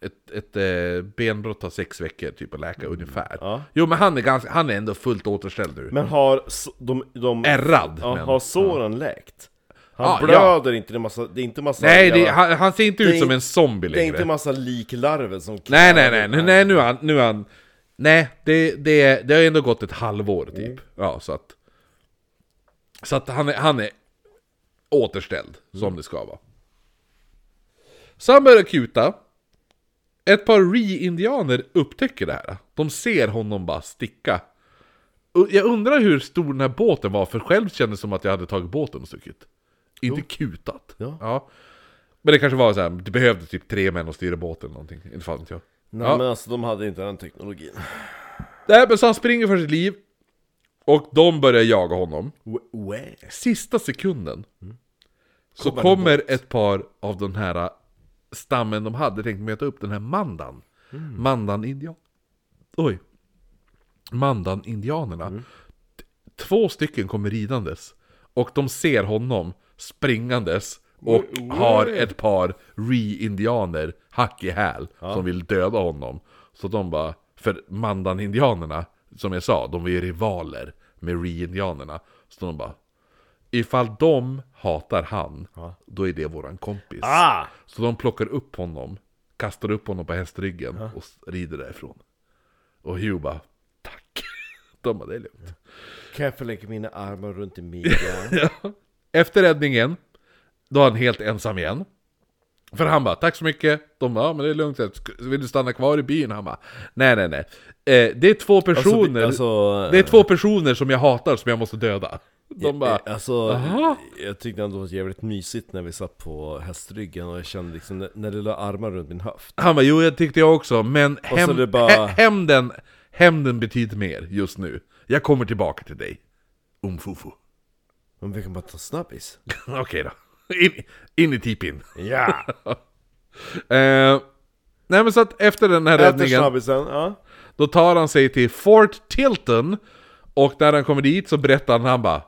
Ett, ett eh, benbrott tar sex veckor typ att läka ungefär. Mm. Ja. Jo men han är, ganska, han är ändå fullt återställd nu. Men har s- de... de Ärrad! ja, men. har såren läkt? Han Ja, blöder inte, det är, massa, det är inte massa... Nej, det, jävla- han, han ser inte Det är ut som inte- en zombie det är inte längre. massa liklarver som... Nej, nej, nej, nej, nej, nu är han... Nu är han nej, det, det, det har ändå gått ett halvår typ. Ja, så att... Så att han är, han är återställd, som det ska vara. Så han börjar kuta. Ett par re-indianer upptäcker det här. De ser honom bara sticka. Och Jag undrar hur stor den här båten var, för själv kändes det som att jag hade tagit båten och stuckit. Inte kutat. Ja. Men det kanske var så här, det behövde typ tre män att styra båten eller någonting. Inte fan vet jag. Nej Ja. men alltså de hade inte den teknologin. Nej, men så han springer för sitt liv. Och de börjar jaga honom. Sista sekunden. Så Kommer kommer, en ett par av den här äh, stammen de hade tänkt möta upp, den här mandan. Mandan-indian. Oj. Mandan-indianerna. T- Två stycken kommer ridandes. Och de ser honom. springandes och har ett par re-indianer hack i häl som vill döda honom. Så de bara, för mandan-indianerna, som jag sa, de är ju rivaler med re-indianerna. Så de bara, ifall de hatar han, då är det våran kompis. Ah! Så de plockar upp honom, kastar upp honom på hästryggen och s- rider därifrån. Och Hugh bara, tack. De bara, det är lugnt. Kan jag få lägga mina armar runt din midja? Efter räddningen, då är han helt ensam igen. För han bara, tack så mycket. De bara, ja men det är lugnt. Sk- Vill du stanna kvar i byn? Han bara, nej nej nej. Eh, det är två personer. alltså- det är två personer som jag hatar som jag måste döda. De bara, Eh, Alltså, Aha. jag tyckte ändå det var jävligt mysigt när vi satt på hästryggen och jag kände liksom, när- när du la armar runt min höft han bara, jo jag tyckte jag också, men så hem, det bara- hä- hämnden, hämnden betyder mer just nu. Jag kommer tillbaka till dig. Umfufu. Men vi kan bara ta snabbis Okej då. In, in i tipin. Ja! Eh, nej men så att efter den här Äter räddningen, snabbisen, ja då tar han sig till Fort Tilton och när han kommer dit så berättar han, han bara...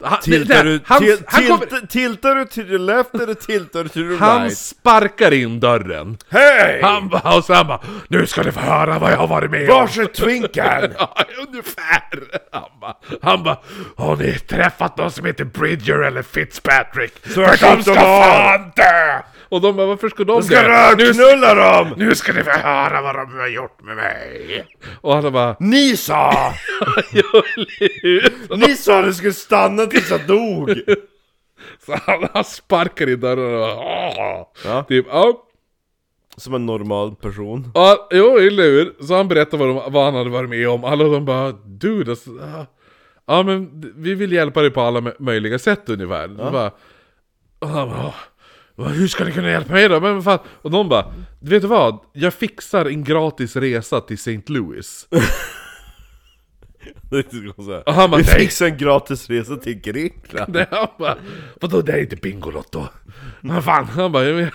Han, Tiltar du, han, til, han, kommer, tilt, tiltar du till the left eller tiltar du till the han right? sparkar in dörren. Hej! Han bara, och så han bara, nu ska ni få höra vad jag har varit med om. Varsitt twinken! Ja, ungefär! Han bara, han bara, har ni träffat någon som heter Bridger eller Fitzpatrick? För skit de ska de har." fan dö! Och de bara, varför ska de Ska rökknulla dem! Nu ska ni få höra vad de har gjort med mig! Och han bara... Ni sa! Ni sa att du skulle stanna tills jag dog! Så han, han sparkar i dörren och... "Åh!" Ja. Typ, ja. Som en normal person ja, jo, eller hur? Så han berättar vad, de, vad han hade varit med om. Alla de bara... Dude, alltså, ja. ja men d- vi vill hjälpa dig på alla mö- möjliga sätt ungefär. Ja. Bara, och han bara... "Åh, vad- Hur ska ni kunna hjälpa mig då? Men vad fan? Och de bara, vet du vad? Jag fixar en gratis resa till St. Louis. Det skulle jag säga. Och han bara, Vi "Nej." fixar en gratis resa till Grekland Nej, han bara, vadå det är inte Bingolotto? Men fan, han bara, jag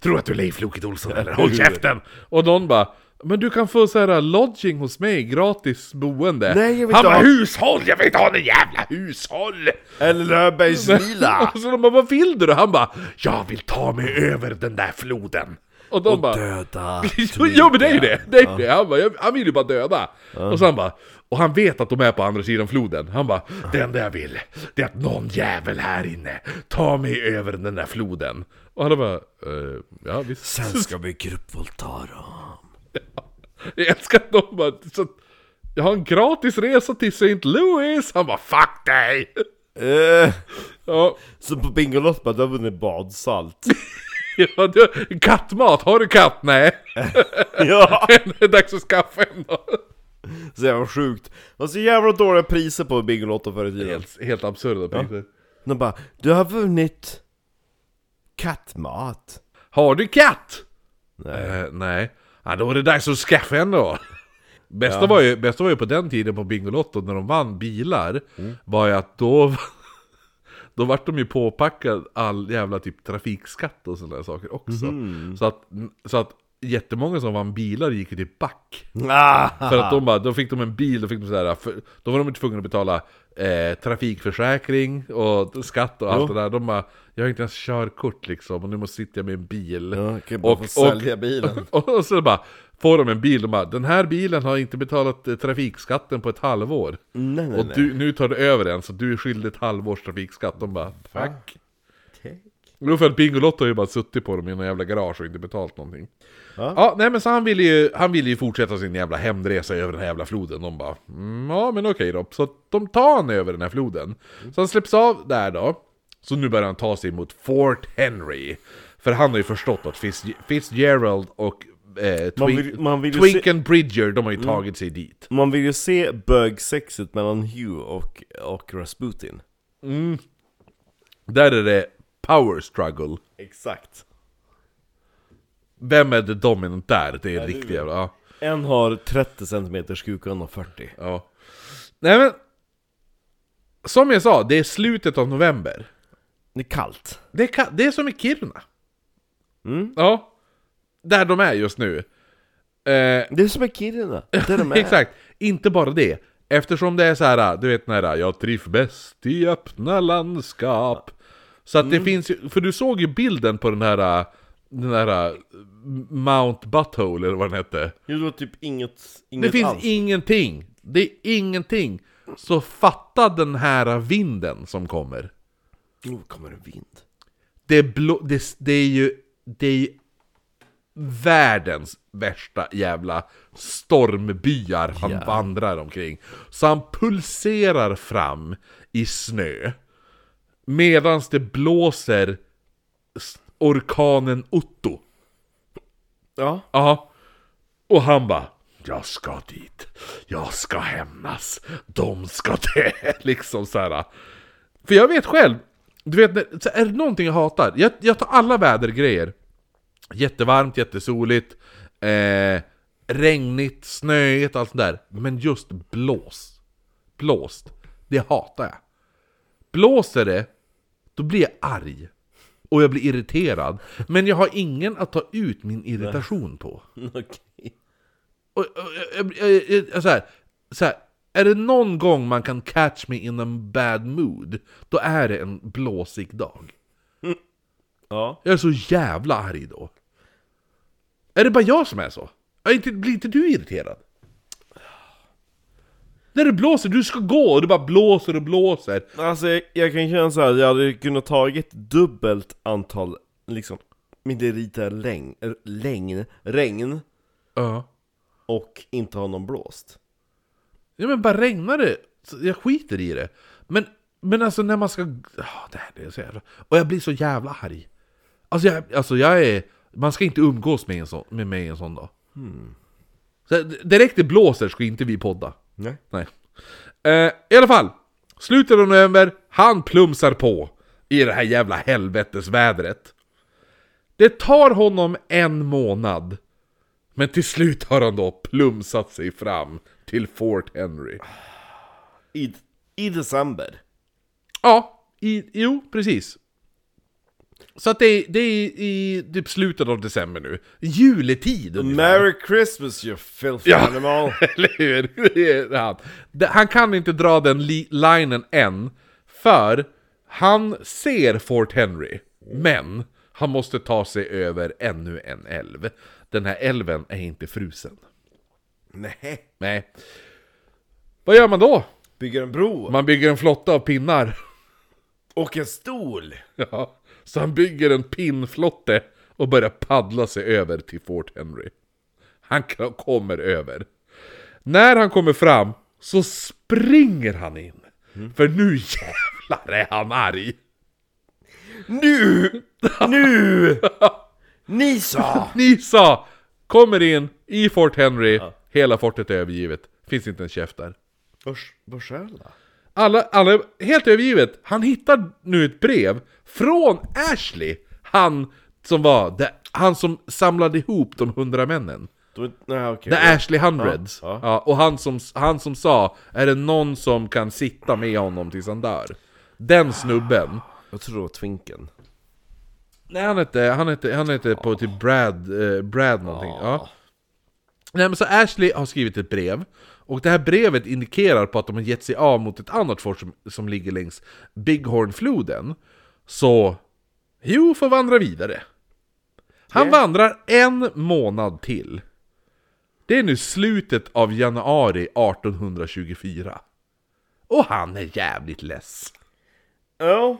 tror att du är Leif Loket Olsson eller? Håll käften! Och någon bara, men du kan få så här lodging hos mig, gratis boende. Nej, jag vill han inte bara, ha- hushåll! Jag vill inte ha någon jävla hushåll! Eller Löfbergslila! Och så de bara, vad vill du då? Han bara, jag vill ta mig över den där floden. Och de bara, Döda! Jo men det är ju det! det, är ju det. Han, bara, jag, han vill ju bara döda! Och så han bara, och han vet att de är på andra sidan floden. Han bara, det enda jag vill, det är att någon jävel här inne tar mig över den där floden. Och han bara, eh, ja visst. Sen ska vi gruppvåldta dem Jag älskar att de bara, så, att jag har en gratis resa till St. Louis! Han bara, fuck dig! Eh, Ja, Så på Bingolotto bara, du har vunnit badsalt ja, du, kattmat, har du katt? Nej! Ja! Det är dags att skaffa en då. Så jävla sjukt Det var så jävla dåliga priser på Bingolotto förr i tiden Helt, helt absurda priser. De bara, du har vunnit kattmat Har du katt? Nej. nej. Ja, då är det dags att skaffa en då. Bästa, var ju, bästa var ju på den tiden på Bingolotto när de vann bilar. Var ju att då... Då vart de ju påpackad all jävla typ trafikskatt och sådana där saker också. Så, att, så att jättemånga som vann bilar gick ju till back. ah. För att de bara, då fick de en bil, då fick de sådär, för, då var de inte tvungna att betala eh, trafikförsäkring och skatt och allt det där. De bara, jag har inte ens körkort liksom och nu måste sitta med en bil. Ja, kan bara få sälja bilen. Och, och så bara, får de en bil, de bara, den här bilen har inte betalat eh, trafikskatten på ett halvår. Nej nej och Mm. nej du, nu tar du över den, så du är skyldig ett halvårs trafikskatt. De bara, fuck. Jo för att Bingolotto har ju bara suttit på dem i någon jävla garage och inte betalt någonting. Ja, nej men så han ville ju, han ville ju fortsätta sin jävla hämndresa över den här jävla floden. De bara, mm, ja men okej då. Så de tar han över den här floden. Mm. Så han släpps av där då. Så nu börjar han ta sig mot Fort Henry. För han har ju förstått att Fitz, Fitzgerald och eh, Man Twink- vill- man vill ju Twink se- Mm. and Bridger, de har ju tagit sig dit. Man vill ju se bögsexet mellan Hugh och, och Rasputin Där är det power struggle. Exakt Vem är the dominant där? Det är riktigt jävla... Ja. En har 30 cm kukan och 40 Ja. Nej men... Som jag sa, det är slutet av november. Det är kallt Det är, ka- det är som i Kiruna. Ja. Där de är just nu. Eh, Det är som i Kiruna, där de är Exakt, inte bara det. Eftersom det är så här, du vet när jag trivs bäst i öppna landskap. Så att det finns ju, för du såg ju bilden på den här, äh, den här äh, Mount Butthole eller vad den hette. Det var typ inget, inget Det finns alls. ingenting! Det är ingenting! Så fatta den här vinden som kommer. Nu kommer en vind. Det är, blå, det, det är ju... Det är ju världens värsta jävla stormbyar han vandrar omkring. Så han pulserar fram i snö. Medan det blåser s- orkanen Otto. Ja. Ja. Och han bara Jag ska dit. Jag ska hämnas. De ska det. Liksom så här. För jag vet själv. Du vet, när- så är det någonting jag hatar? Jag, jag tar alla vädergrejer. Jättevarmt, jättesoligt. Eh, regnigt, snöigt, allt sånt där. Men just blås. Blåst. Det hatar jag. Blåser det, då blir jag arg. Och jag blir irriterad. Men jag har ingen att ta ut min irritation på. Okej. Och, och, jag- jag- jag- jag- jag- så här, så här, är det någon gång man kan catch me in a bad mood, då är det en blåsig dag. Ja. Jag är så jävla arg då. Är det bara jag som är så? Är inte, blir inte du irriterad? När det blåser, du ska gå och det bara blåser och blåser. Alltså jag, jag kan känna så här, jag hade kunnat tagit dubbelt antal, liksom, meteoriter läng, r- längn, regn Ja. och inte ha någon blåst. Ja men bara regnar det, så jag skiter i det. Men, men alltså när man ska... ah, det här det är så jävla... Och jag blir så jävla arg. Alltså jag, alltså jag är... Man ska inte umgås med, en sån, med mig en sån dag. Så d- direkt det blåser ska inte vi podda. Nej. Nej. Eh, I alla fall, slutet av november, han plumsar på i det här jävla helvetesvädret. Det tar honom en månad, men till slut har han då plumsat sig fram till Fort Henry. I, I december. Ja, i, jo, precis. Så att det är, det är i typ slutet av december nu. Juletid ungefär. Merry Christmas you filthy Ja. animal! Eller hur? Det är han. Det- Han kan inte dra den li- linen än, för han ser Fort Henry, men han måste ta sig över ännu en älv. Den här älven är inte frusen. Nej. Nej. Vad gör man då? Bygger en bro. Man bygger en flotta av pinnar. Och en stol! Ja. Så han bygger en pinnflotte och börjar paddla sig över till Fort Henry. Han k- kommer över. När han kommer fram så springer han in. För nu jävlar är han arg! Nu! Nu! Ni sa! Nisa kommer in i Fort Henry, hela fortet är övergivet. Finns inte en käft där. Börs, börsöla? Alla, alla, helt övergivet, han hittar nu ett brev från Ashley, han som var, det- han som samlade ihop de hundra männen. Då- Nej okej. The Ashley Hundreds. Ja, Ja, och han som, han som sa, är det någon som kan sitta med honom tills han dör? Den snubben. Jag tror det var Twinken. Nej han hette, han hette, han hette på typ Brad, eh, Brad någonting. Ja. Nej men så Ashley har skrivit ett brev. Och det här brevet indikerar på att de har gett sig av mot ett annat fort som, som ligger längs Bighornfloden. Så Hugh får vandra vidare. Han vandrar en månad till. Det är nu slutet av januari 1824. Och han är jävligt less. Ja.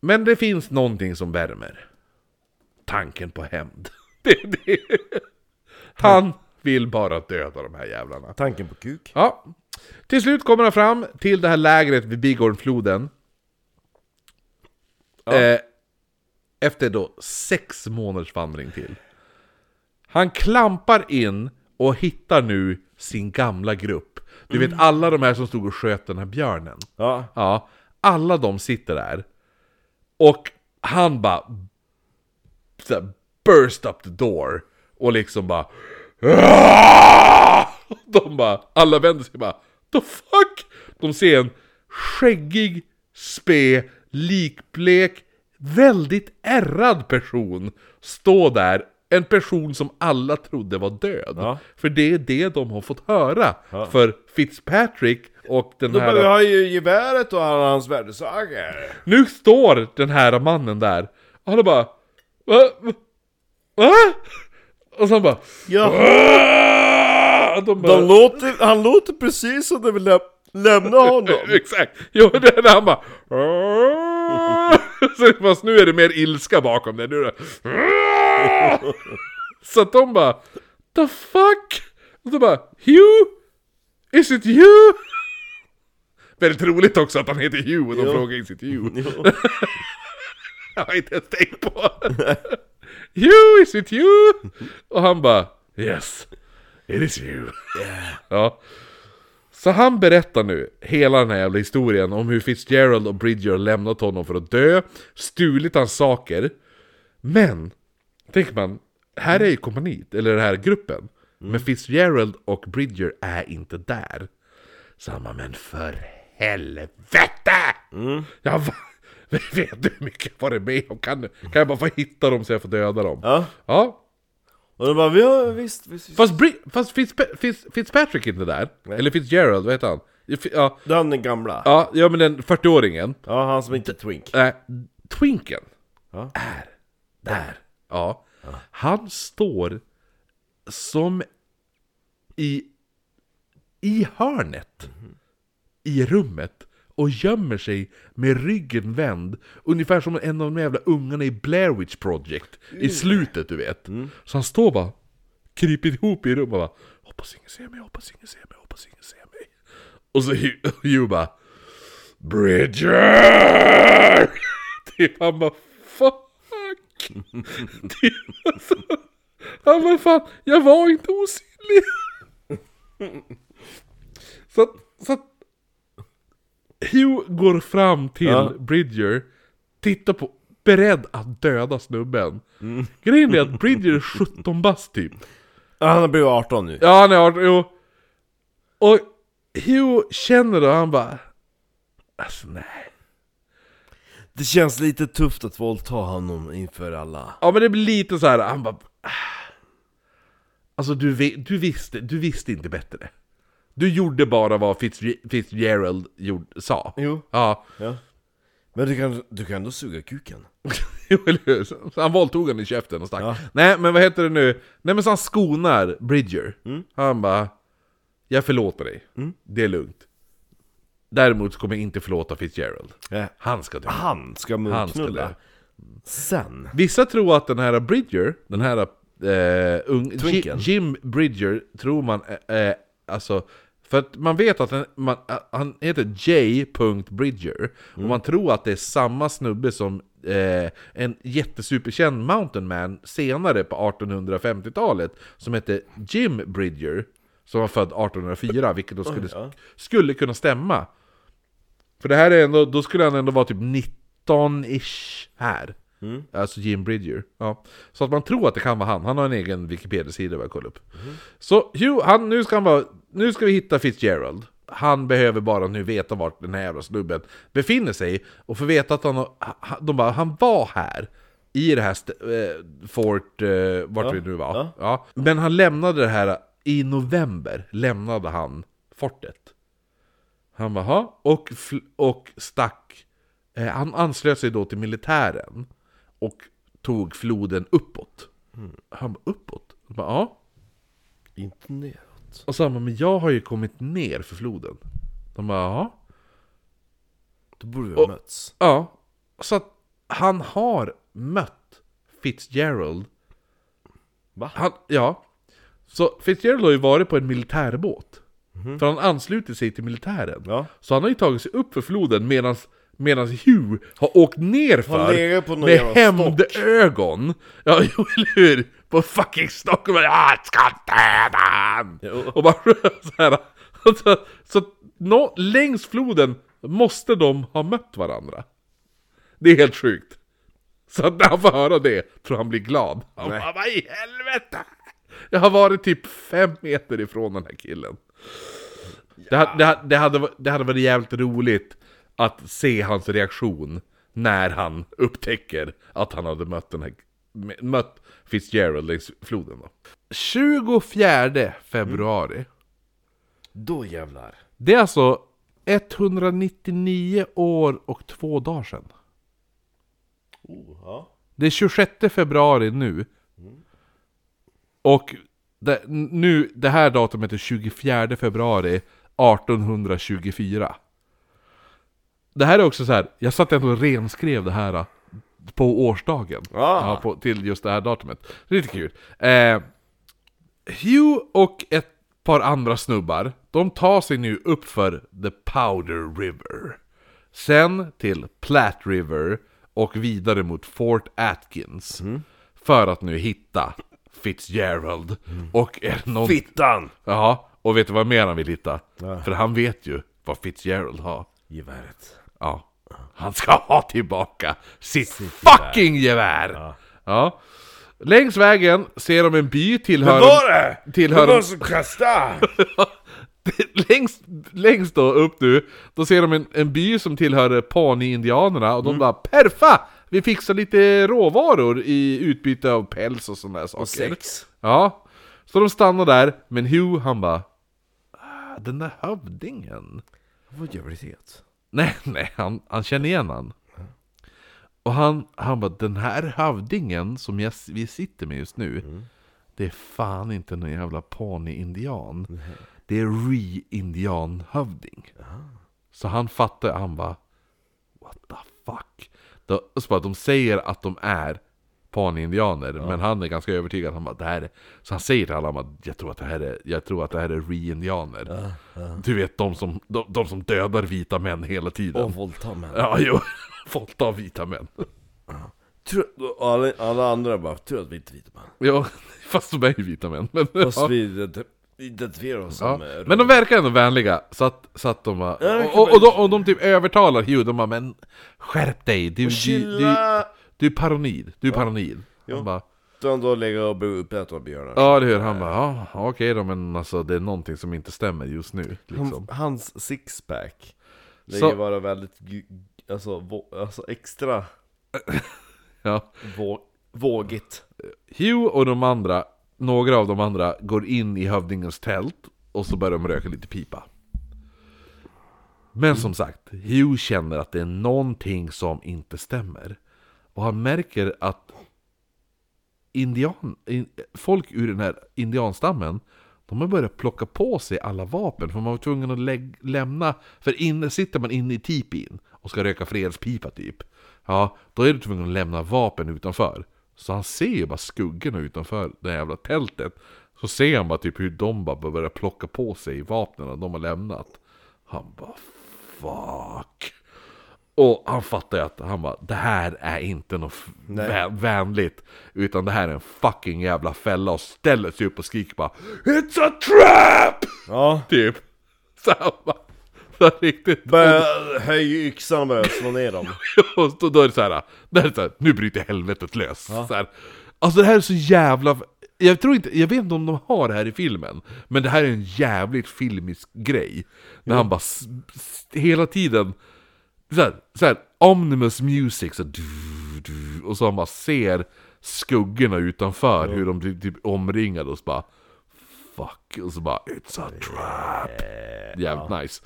Men det finns någonting som värmer. Tanken på hämnd. Det, det. Han vill bara döda de här jävlarna. Tanken på kuk. Ja. Till slut kommer han fram till det här lägret vid Bigornfloden. Eh, efter då sex månaders vandring till. Han klampar in och hittar nu sin gamla grupp. Du vet alla de här som stod och sköt den här björnen. Ja. Ja, alla de sitter där. Och han bara... Så här, burst up the door. Och liksom bara... "Aah!" De bara, alla vänder sig bara... The fuck? De ser en skäggig, spe, likblek, väldigt ärrad person stå där En person som alla trodde var död. Ja. För det är det de har fått höra för Fitzpatrick och den Då här... behöver jag ju geväret och alla hans värdesaker. Nu står den här mannen där. Och han bara... Va? Va? Va? Och sen bara... Ja, "Aah!" Och de bara... han, låter, han låter precis som när vi läm lämnar honom. Exakt! Jo, det är när han bara... "Aah!" Så, fast nu är det mer ilska bakom det. Nu är det... "Aah!" Så att de bara... The fuck? Och så bara... Hugh? Is it you? Väldigt roligt också att han heter Hugh och de Jo. frågar is it you? Jo. Jag har inte ens tänkt på det. You, is it you? Och han bara Yes, it is you. Ja. Så han berättar nu hela den här jävla historien om hur Fitzgerald och Bridger lämnat honom för att dö, stulit hans saker. Men, tänker man, här är ju kompaniet, eller den här gruppen. Men Fitzgerald och Bridger är inte där. Så han bara, men för helvete! Jag va- vet du hur mycket jag varit med om? Kan, kan jag bara få hitta dem så jag får döda dem? Ja. Ja. Och de bara, ja visst, visst. visst. Fast, Bri- fast Fitzpa- Fitz- Fitzpatrick är inte där. Eller Fitzgerald, vad heter han? Ja, Den den gamla. ja, ja men den 40-åringen. Ja, han som inte är twink. Nej, Äh, Twinken Ja. är där. Ja. Han står som i, i hörnet i rummet och gömmer sig med ryggen vänd. Ungefär som en av de jävla ungarna i Blair Witch Project i slutet du vet. Så han står bara, kryper ihop i rummet och bara Hoppas ingen ser mig, hoppas ingen ser mig, hoppas ingen ser mig. Och så Hugh- Hugh bara Bridger! Typ han bara fuck! typ alltså, han bara fan, jag var inte osynlig! så att, så att Hugh går fram till Ja. Bridger, tittar på, beredd att döda snubben. Grejen är att Bridger är 17 bast typ. Ja, Han har blivit 18 nu. Ja, han är 18, jo. Och Hugh känner det och han bara... Alltså nej. Det känns lite tufft att våldta honom inför alla. Ja men det blir lite så här. han bara... "Ah." Alltså du, vi- du, visste, du visste inte bättre. Du gjorde bara vad Fitzg- Fitzgerald gjorde, sa. Jo. Ja. Ja. Men du kan, du kan ändå suga kuken. Jo, eller hur? Så så han våldtog honom i käften och stack. Nej, men vad heter det nu? Nej, men så han skonar Bridger. Han bara... Jag förlåter dig. Det är lugnt. Däremot så kommer jag inte förlåta Fitzgerald. Nej. Han ska dö. Han ska Han ska munknulla. Sen. Vissa tror att den här Bridger, den här eh, ung, Jim, Twinken. Jim Bridger, tror man, eh, eh, alltså, för att man vet att den, man, eh, han heter J. Bridger, och man tror att det är samma snubbe som eh, en jättesuperkänd mountain man senare på 1850-talet, som hette Jim Bridger, som var född 1804, vilket då skulle, skulle kunna stämma. För det här är ändå, då skulle han ändå vara typ 19-ish här. Alltså Jim Bridger. Ja. Så att man tror att det kan vara han. Han har en egen Wikipedia-sida vad jag kollade upp. Så Hugh, han, nu, ska han vara, nu ska vi hitta Fitzgerald. Han behöver bara nu veta vart den här jävla snubben befinner sig. Och få veta att han, har- ha- de bara, han var här. I det här st- eh, Fort, eh, vart vi nu var. Ja. ja. Men han lämnade det här, i november lämnade han fortet. Han bara, "Ha?" och, fl- och stack. Eh, han anslöt sig då till militären och tog floden uppåt. Mm. Han bara, uppåt? Jag bara, ja. Inte neråt. Och så han bara, men jag har ju kommit ner för floden. De bara, ja. Då borde vi ha mötts. Ja, så att han har mött Fitzgerald. Va? Han, ja. Så Fitzgerald har ju varit på en militärbåt. För han ansluter sig till militären. Mhm. Ja. Så han har ju tagit sig upp för floden medan medans Hugh har åkt ner Han för ligger på någon med jävla hämndögon. Ja, jo, eller hur? På fucking stock och bara "Ah, "Jag ska döda han!" Och bara så här. Så, så nå, längs floden måste de ha mött varandra. Det är helt sjukt. Så att när han får höra det tror han blir glad. Han bara, vad i helvete! Jag har varit typ fem meter ifrån den här killen. Det, ha- det, ha- det, hade, va- det hade varit jävligt roligt att se hans reaktion när han upptäcker att han hade mött den här m- mött Fitzgerald längs floden då. 24 februari. Då jävlar. Det är alltså 199 år och två dagar sedan. Oh, ja. Det är 26 februari nu. Och det, nu, det här datumet är 24 februari 1824. Det här är också så här. jag satt ändå och renskrev det här eh, på årsdagen. Ah. Ja, på, till just det här datumet. Det är lite kul. Eh, Hugh och ett par andra snubbar, de tar sig nu upp för The Powder River. Sen till Platte River och vidare mot Fort Atkins. För att nu hitta Fitzgerald och är det någon... Fittan! Ja, och vet du vad mer han vill hitta? För han vet ju vad Fitzgerald har. Geväret. Ja. Han ska ha tillbaka sitt, fucking gevär! Ja. Längs vägen ser de en by tillhörande... det? Tillhör- som kastade! längst, längst då upp nu, då ser de en, en by som tillhör Pani-indianerna och Mm. de bara Perfa! Vi fixar lite råvaror i utbyte av päls och sådana där saker. Och sex. Ja. Så de stannar där, men Hugh han bara "Ah, Den där hövdingen. Vad gör det? Nej, nej, han, han känner igen han. Och han, han bara, den här hövdingen som jag, vi sitter med just nu, det är fan inte någon jävla pani-indian. Det är re-indian-hövding. Så han fattar, han bara, what the fuck? De, så bara, de säger att de är pani-indianer, men han är ganska övertygad. Han bara, det här är... Så han säger till alla, han bara, jag tror att det här är, jag tror att det här är re-indianer. Du vet, de som, de, de som dödar vita män hela tiden. Och våldta män. Ja, jo. Fått av vita män. Tror- och Alla, alla andra bara, tur att vi inte är vita man. Ja, fast de är ju vita män. Men, Fast ja, vi ident- identifierar oss ja. som... eh, men de verkar ändå vänliga, så att, så att de bara, Ja, det kan och, och, vara- de, och de typ övertalar Hugh, de bara 'Men skärp dig, du, du, du, Chilla! du är paranoid, du är paranoid' Jo. Han bara, Du har ändå legat och blivit uppäten av björnar. ja det hur han bara 'Ja, okej då men alltså det är någonting som inte stämmer just nu' liksom. Hans, hans sixpack Så- lägger vara väldigt, gu- gu- alltså, vå, alltså extra Ja. vå, vågigt. Hugh och de andra, några av de andra, går in i hövdingens tält och så börjar de röka lite pipa. Men som sagt, Hugh känner att det är någonting som inte stämmer. Och han märker att indian, in, folk ur den här indianstammen, de har börjat plocka på sig alla vapen, för man var tvungen att lägg, lämna, för inne, sitter man inne i tipin och ska röka fredspipa typ, ja, då är du tvungen att lämna vapen utanför. Så han ser ju bara skuggorna utanför det här jävla tältet, så ser han bara typ hur de bara börjar plocka på sig vapnen de har lämnat. Han bara fuck. Och han fattar ju att han bara, det här är inte något f- vä- vänligt. Utan det här är en fucking jävla fälla och ställer sig upp och skriker bara It's a trap! Ja. Typ. Så han bara, så här riktigt. Börjar höja yxan och börjar slå ner dem. Och då, då är det så här, det här är så här nu bryter helvetet lös. Så här. Alltså det här är så jävla... Jag tror inte, jag vet inte om de har det här i filmen, men det här är en jävligt filmisk grej. När han bara s- s- hela tiden, så här, så här omnibus music, så här, du, du, och så han bara ser skuggorna utanför, hur de blir typ omringade och så bara Fuck, och så bara It's a trap! Jävligt nice.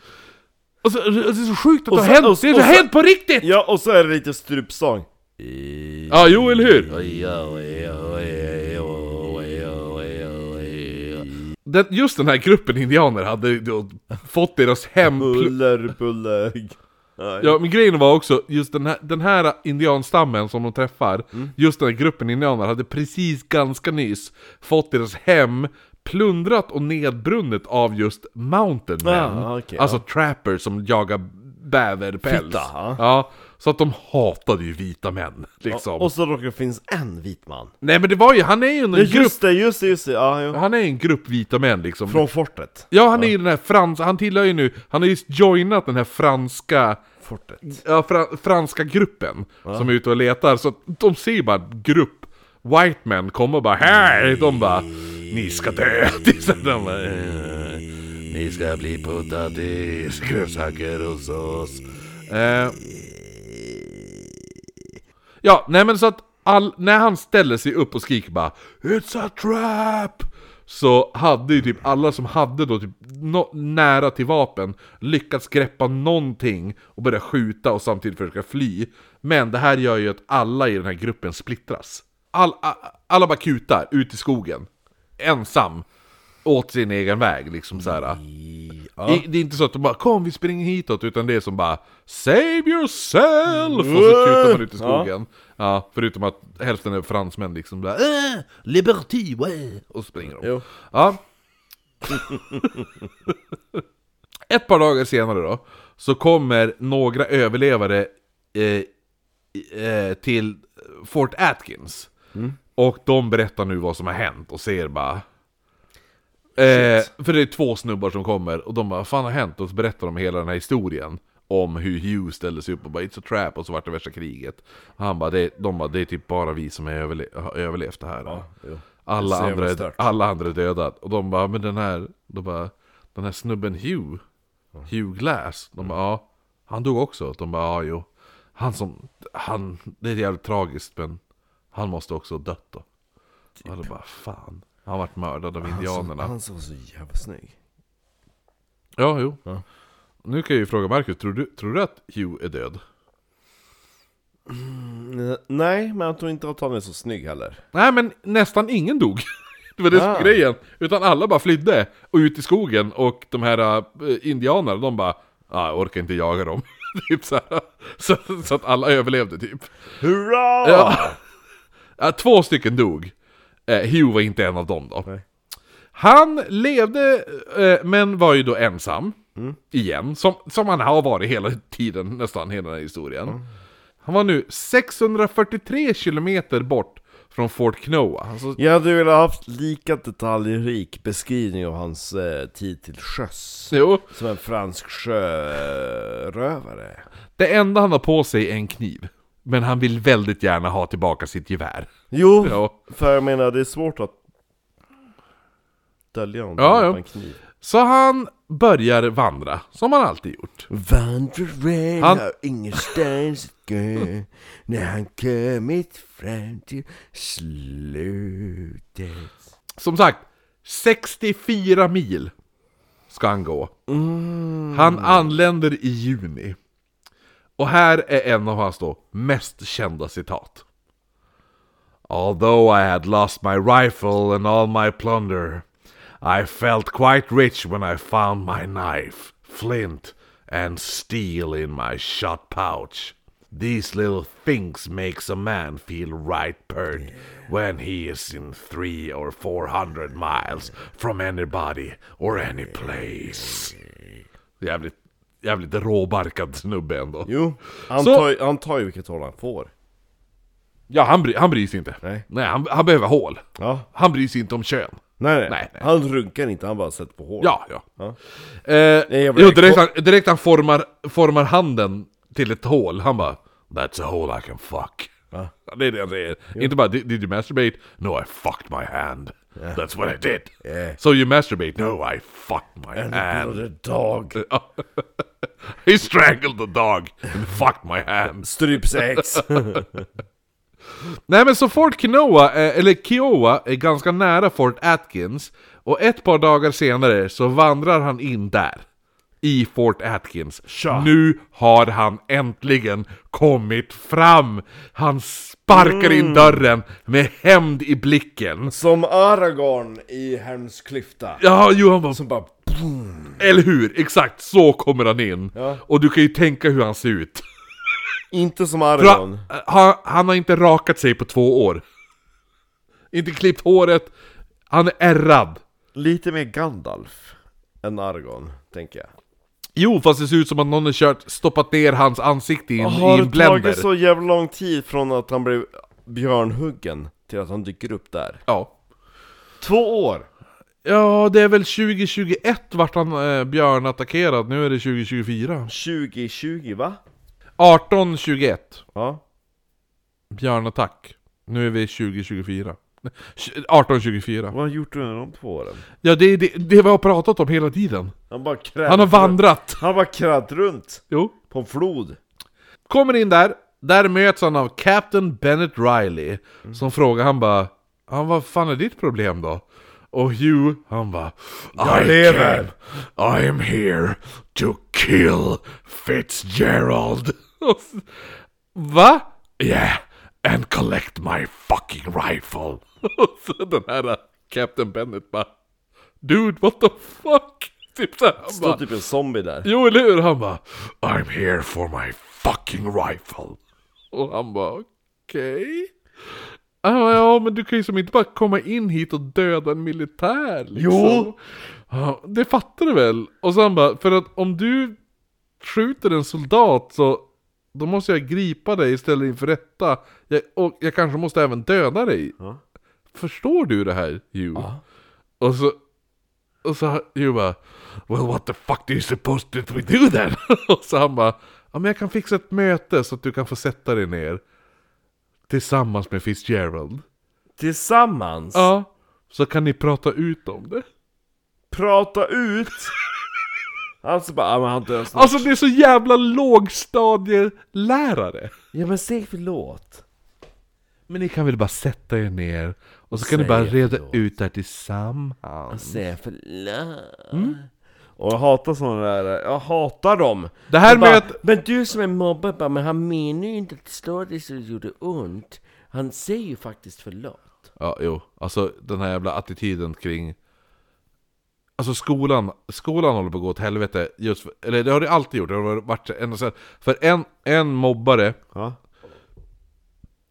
Och så, det är så sjukt att Eh, det Och så- har hänt, och- det och har så- hänt på riktigt! Ja, och så är det lite strupsång. Ja, ah, jo, eller hur? Den, just den här gruppen indianer hade ju då fått deras hem... pl- Buller, buller. Nej. Ja, men grejen var också, just den här, den här indianstammen som de träffar, Mm. just den här gruppen indianer hade precis ganska nyss fått deras hem plundrat och nedbrunnet av just mountain men. Ah, okej, alltså trappers som jagar bäverpäls. Fitta, ja. ja, så att de hatade ju vita män, liksom. Och så råkar det finnas en vit man. Nej men det var ju, han är ju en Ja, grupp, Just det, just det, just det. Ja, jo. han är en grupp vita män liksom. Från fortet. Ja han är ju den här frans, han tillhör ju nu, han har just joinat den här franska Fortet. ja, fra, franska gruppen som är ute och letar, så att de ser ju bara grupp white men komma och bara här De bara Ni ska dö! Så de bara, "Eh, Ni ska bli potatis, grönsaker och sås. Eh. Ja, nej men så att all, när han ställde sig upp och skrek bara It's a trap! Så hade ju typ alla som hade då typ nå- nära till vapen lyckats greppa någonting och börja skjuta och samtidigt försöka fly. Men det här gör ju att alla i den här gruppen splittras. All, a, alla bara kutar ut i skogen. Ensam. Åt sin egen väg liksom så här. I, det är inte så att de bara 'Kom vi springer hitåt' utan det är som bara 'Save yourself' och så kutar man ut i skogen. Ja. förutom att hälften är fransmän liksom bara äh, 'Liberty, ouais' och så springer de. Jo. Ja. Ett par dagar senare då, så kommer några överlevare eh, i- eh, till Fort Atkins. Och de berättar nu vad som har hänt och ser bara Eh, för det är två snubbar som kommer och de bara 'Fan har hänt?' och så berättar de hela den här historien Om hur Hugh ställde sig upp och bara 'It's a trap' och så vart det värsta kriget och han bara, det, De bara 'Det är typ bara vi som är överle- har överlevt det här' alla, Det är så andra jävla är, stört. alla andra är döda Och de bara 'Men den här' de bara, Den här snubben Hugh Hugh Glass De bara 'Ja, han dog också' De bara 'Ja, jo' Han som, han, det är jävligt tragiskt men Han måste också ha dött då Och då bara 'Fan' Han vart mördad Alltså, av indianerna Han som var så jävla snygg. Ja, jo. Ja. Nu kan jag ju fråga Marcus, tror du, tror du att Hugh är död? Mm, Nej, men jag tror inte att han är så snygg heller. Nej, men nästan ingen dog. Det var det som Ah. var grejen. Utan alla bara flydde och ut i skogen och de här äh, indianerna, de bara ah, jag orkar inte jaga dem. typ så, här. Så, så att alla överlevde typ. Hurra! Ja. Ja, två stycken dog. Eh, Hugh var inte en av dem då. Nej. Han levde, eh, men var ju då ensam. Igen, som, som han har varit hela tiden, nästan hela den här historien. Han var nu 643 kilometer bort från Fort Knoa. Alltså, Jag hade velat haft lika detaljrik beskrivning av hans eh, tid till sjöss. jo, Som en fransk sjörövare. det enda han har på sig är en kniv. Men han vill väldigt gärna ha tillbaka sitt gevär. Jo, Ja. för jag menar det är svårt att dölja honom Ja, med ja. en kniv. Så han börjar vandra, som han alltid gjort. Vandraren Han- har ingenstans att gå när han kommit fram till slutet. Som sagt, 64 mil ska han gå. Han anländer i juni. Och här är en av hans då mest kända citat. Although I had lost my rifle and all my plunder I felt quite rich when I found my knife, flint and steel in my shot pouch. These little things makes a man feel right pert when he is in three or four hundred miles from anybody or any place. Jävligt, jävligt råbarkad snubbe ändå. Jo, han, Så- tar, ju- han tar ju vilket håll han får. Ja, han, bry, han bryr sig inte. Nej. han, han behöver hål. Ja. Han bryr sig inte om kön. Nej, nej. Nej, nej. Han runkar inte, han bara sätter på hål. Ja, ja. Ja. Eh, är jävla jo, äckligt. direkt han, direkt han formar, formar handen till ett hål, han bara That's a hole I can fuck. Va? Ja, Det är det han säger. Inte bara did, did you masturbate? No I fucked my hand. That's what I did. Yeah. So you masturbate? No I fucked my hand. Another dog. Eh, He strangled the dog and fucked my hand. Strypsex. Nej men så Fort Kinoa, eh, eller Kiowa, är ganska nära Fort Atkins Och ett par dagar senare så vandrar han in där I Fort Atkins Tja. Nu har han äntligen kommit fram! Han sparkar in dörren med hämnd i blicken Som Aragorn i Helmsklyfta. Ja, Johan bara, Som bara... eller hur? Exakt så kommer han in Och du kan ju tänka hur han ser ut Inte som Bra. Aragorn. Han, han har inte rakat sig på två år. Inte klippt håret. Han är ärrad. Lite mer Gandalf än Aragorn, tänker jag. Jo, fast det ser ut som att någon har kört, stoppat ner hans ansikte i en, i Har en det blender. tagit så jävla lång tid från att han blev björnhuggen till att han dyker upp där? Ja. Två år! ja, det är väl 2021 vart han eh, björnattackerad. Nu är det 2024. 2020 va? 18-21. Ja. Björnattack. Nu är vi 2024. 18-24. Vad har han gjort under de två åren? Ja, det är det, det vi har pratat om hela tiden. Han bara krätt Han har vandrat. Han bara krätt runt Jo. på en flod. Kommer in där, Där möts han av Captain Bennett Riley Som frågar han bara han, Vad fan är ditt problem då? Och Hugh han bara Jag lever." I am here to kill Fitzgerald Och s- Va? Yeah, and collect my fucking rifle Och så den här äh, Captain Bennett bara Dude what the fuck? Typ så här, han Står bara, typ en zombie där. Jo, eller hur? Han bara I'm here for my fucking rifle. Och han bara okej. Han bara, ja, men du kan ju som inte bara komma in hit och döda en militär liksom. Jo. Ja, det fattar du väl? Och så han bara, för att om du skjuter en soldat så då måste jag gripa dig istället inför rätta. Jag, och jag kanske måste även döda dig. Ja. Förstår du det här, Hugh? Och så, och så Hugh bara Well what the fuck do you supposed to we do then? och så han bara Ja men jag kan fixa ett möte så att du kan få sätta dig ner Tillsammans med Fitzgerald Tillsammans. Ja Så kan ni prata ut om det Prata ut. Alltså bara, ah, men han dör snart. Alltså det är så jävla lågstadielärare Ja men säg förlåt. Men ni kan väl bara sätta er ner Och så kan ni Säg bara reda förlåt. ut det här tillsammans Säg förlåt. Mm. Och jag hatar sådana där, jag hatar dem. Det här Jag bara, mötet- Men du som är mobbad bara, men han menar ju inte att slå dig så det gjorde ont. Han säger ju faktiskt förlåt. Ja, jo. Alltså den här jävla attityden kring... Alltså skolan, skolan håller på att gå åt helvete. Just för, eller det har det alltid gjort. Det har varit ända sedan. För en, en mobbare, Ja.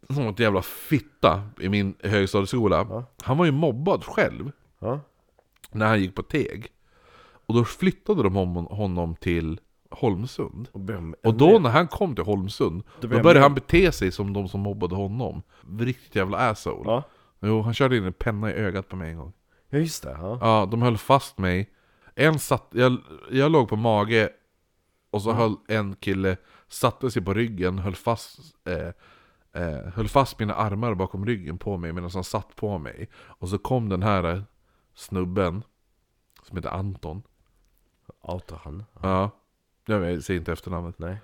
som var ett jävla fitta i min högstadieskola. Han var ju mobbad själv Ja. när han gick på Teg. Och då flyttade de hon- honom till Holmsund. Och vem- Och då när han kom till Holmsund, då började- började han bete sig som de som mobbade honom. Riktigt jävla asshole. Ja. Jo, han körde in en penna i ögat på mig en gång. Ja just det, ja. Ja, de höll fast mig. En satt, jag, jag låg på mage och så höll en kille, satte sig på ryggen, höll fast, eh, eh, höll fast mina armar bakom ryggen på mig medan han satt på mig. Och så kom den här eh, snubben, som heter Anton. Outa han. Ja, jag vet- jag säger inte efternamnet. Nej.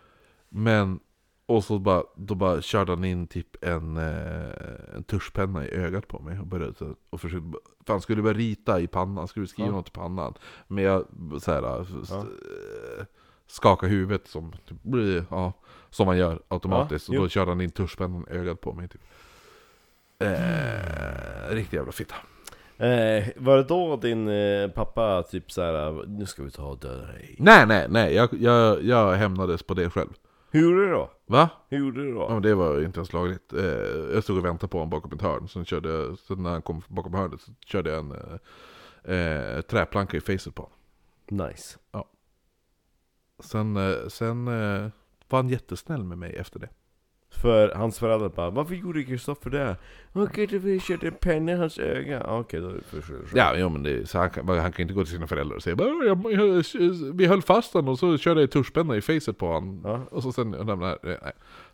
Men, och så bara, då bara körde han in typ en, eh, en tuschpenna i ögat på mig och började så- och försökte, för han skulle börja rita i pannan, han skulle skriva något i pannan. Men jag så här, s- eh, skakade huvudet som, typ, bli- ja, som man gör automatiskt. Ja, och då jo. körde han in tuschpennan i ögat på mig. Typ. Eh, riktig jävla fitta. Eh, var det då din eh, pappa typ så här, nu ska vi ta och döda dig? Nej, nej, nej, jag, jag, jag hämnades på det själv. Hur gjorde du då? Va? Hur gjorde du Ja, då? men det var ju inte ens lagligt. Eh, jag stod och väntade på honom bakom ett hörn. Sen, körde jag, sen när han kom bakom hörnet så körde jag en eh, eh, träplanka i facet på honom. Nice. Sen, eh, sen eh, var han jättesnäll med mig efter det. För hans föräldrar bara, varför gjorde Kristoffer det? Okej, okay, vi körde en penna i hans öga. Ja, Okej, då är det för för- för- Ja, ja men det, så han, kan, han kan inte gå till sina föräldrar och säga bara, "Åh, jag, jag, Vi höll fast honom och så körde jag tuschpenna i facet på honom. Ja. Och så sen... Nej, nej.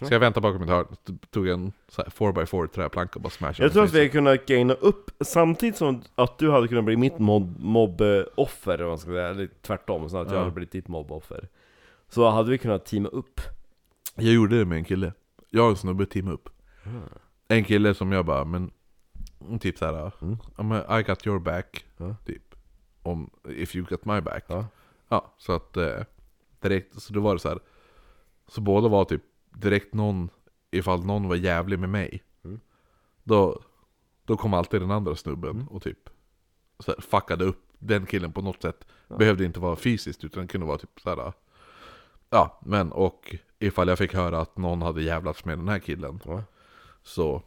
Så jag väntade bakom ett hörn, t- tog en så här 4x4 träplanka och bara smashade Jag tror honom i att vi facet. hade kunnat gaina upp samtidigt som att du hade kunnat bli mitt mob- mobboffer, eller vad man ska säga. Eller tvärtom, så att jag Ja. hade blivit ditt mobboffer. Så hade vi kunnat teama upp. Jag gjorde det med en kille. Jag och en snubbe teamade upp. Ah. En kille som jag bara, men typ såhär, Mm. Ah. ja men I got your back, Ja. typ. Om, if you got my back. Ja. Ja, så att eh, direkt, så då var det så här. Så båda var typ direkt någon, ifall någon var jävlig med mig. Mm. Då, då kom alltid den andra snubben och typ så här, fuckade upp den killen på något sätt. Ah. Behövde inte vara fysiskt utan kunde vara typ så här. Ja, men och ifall jag fick höra att någon hade jävlats med den här killen. Ja. Så,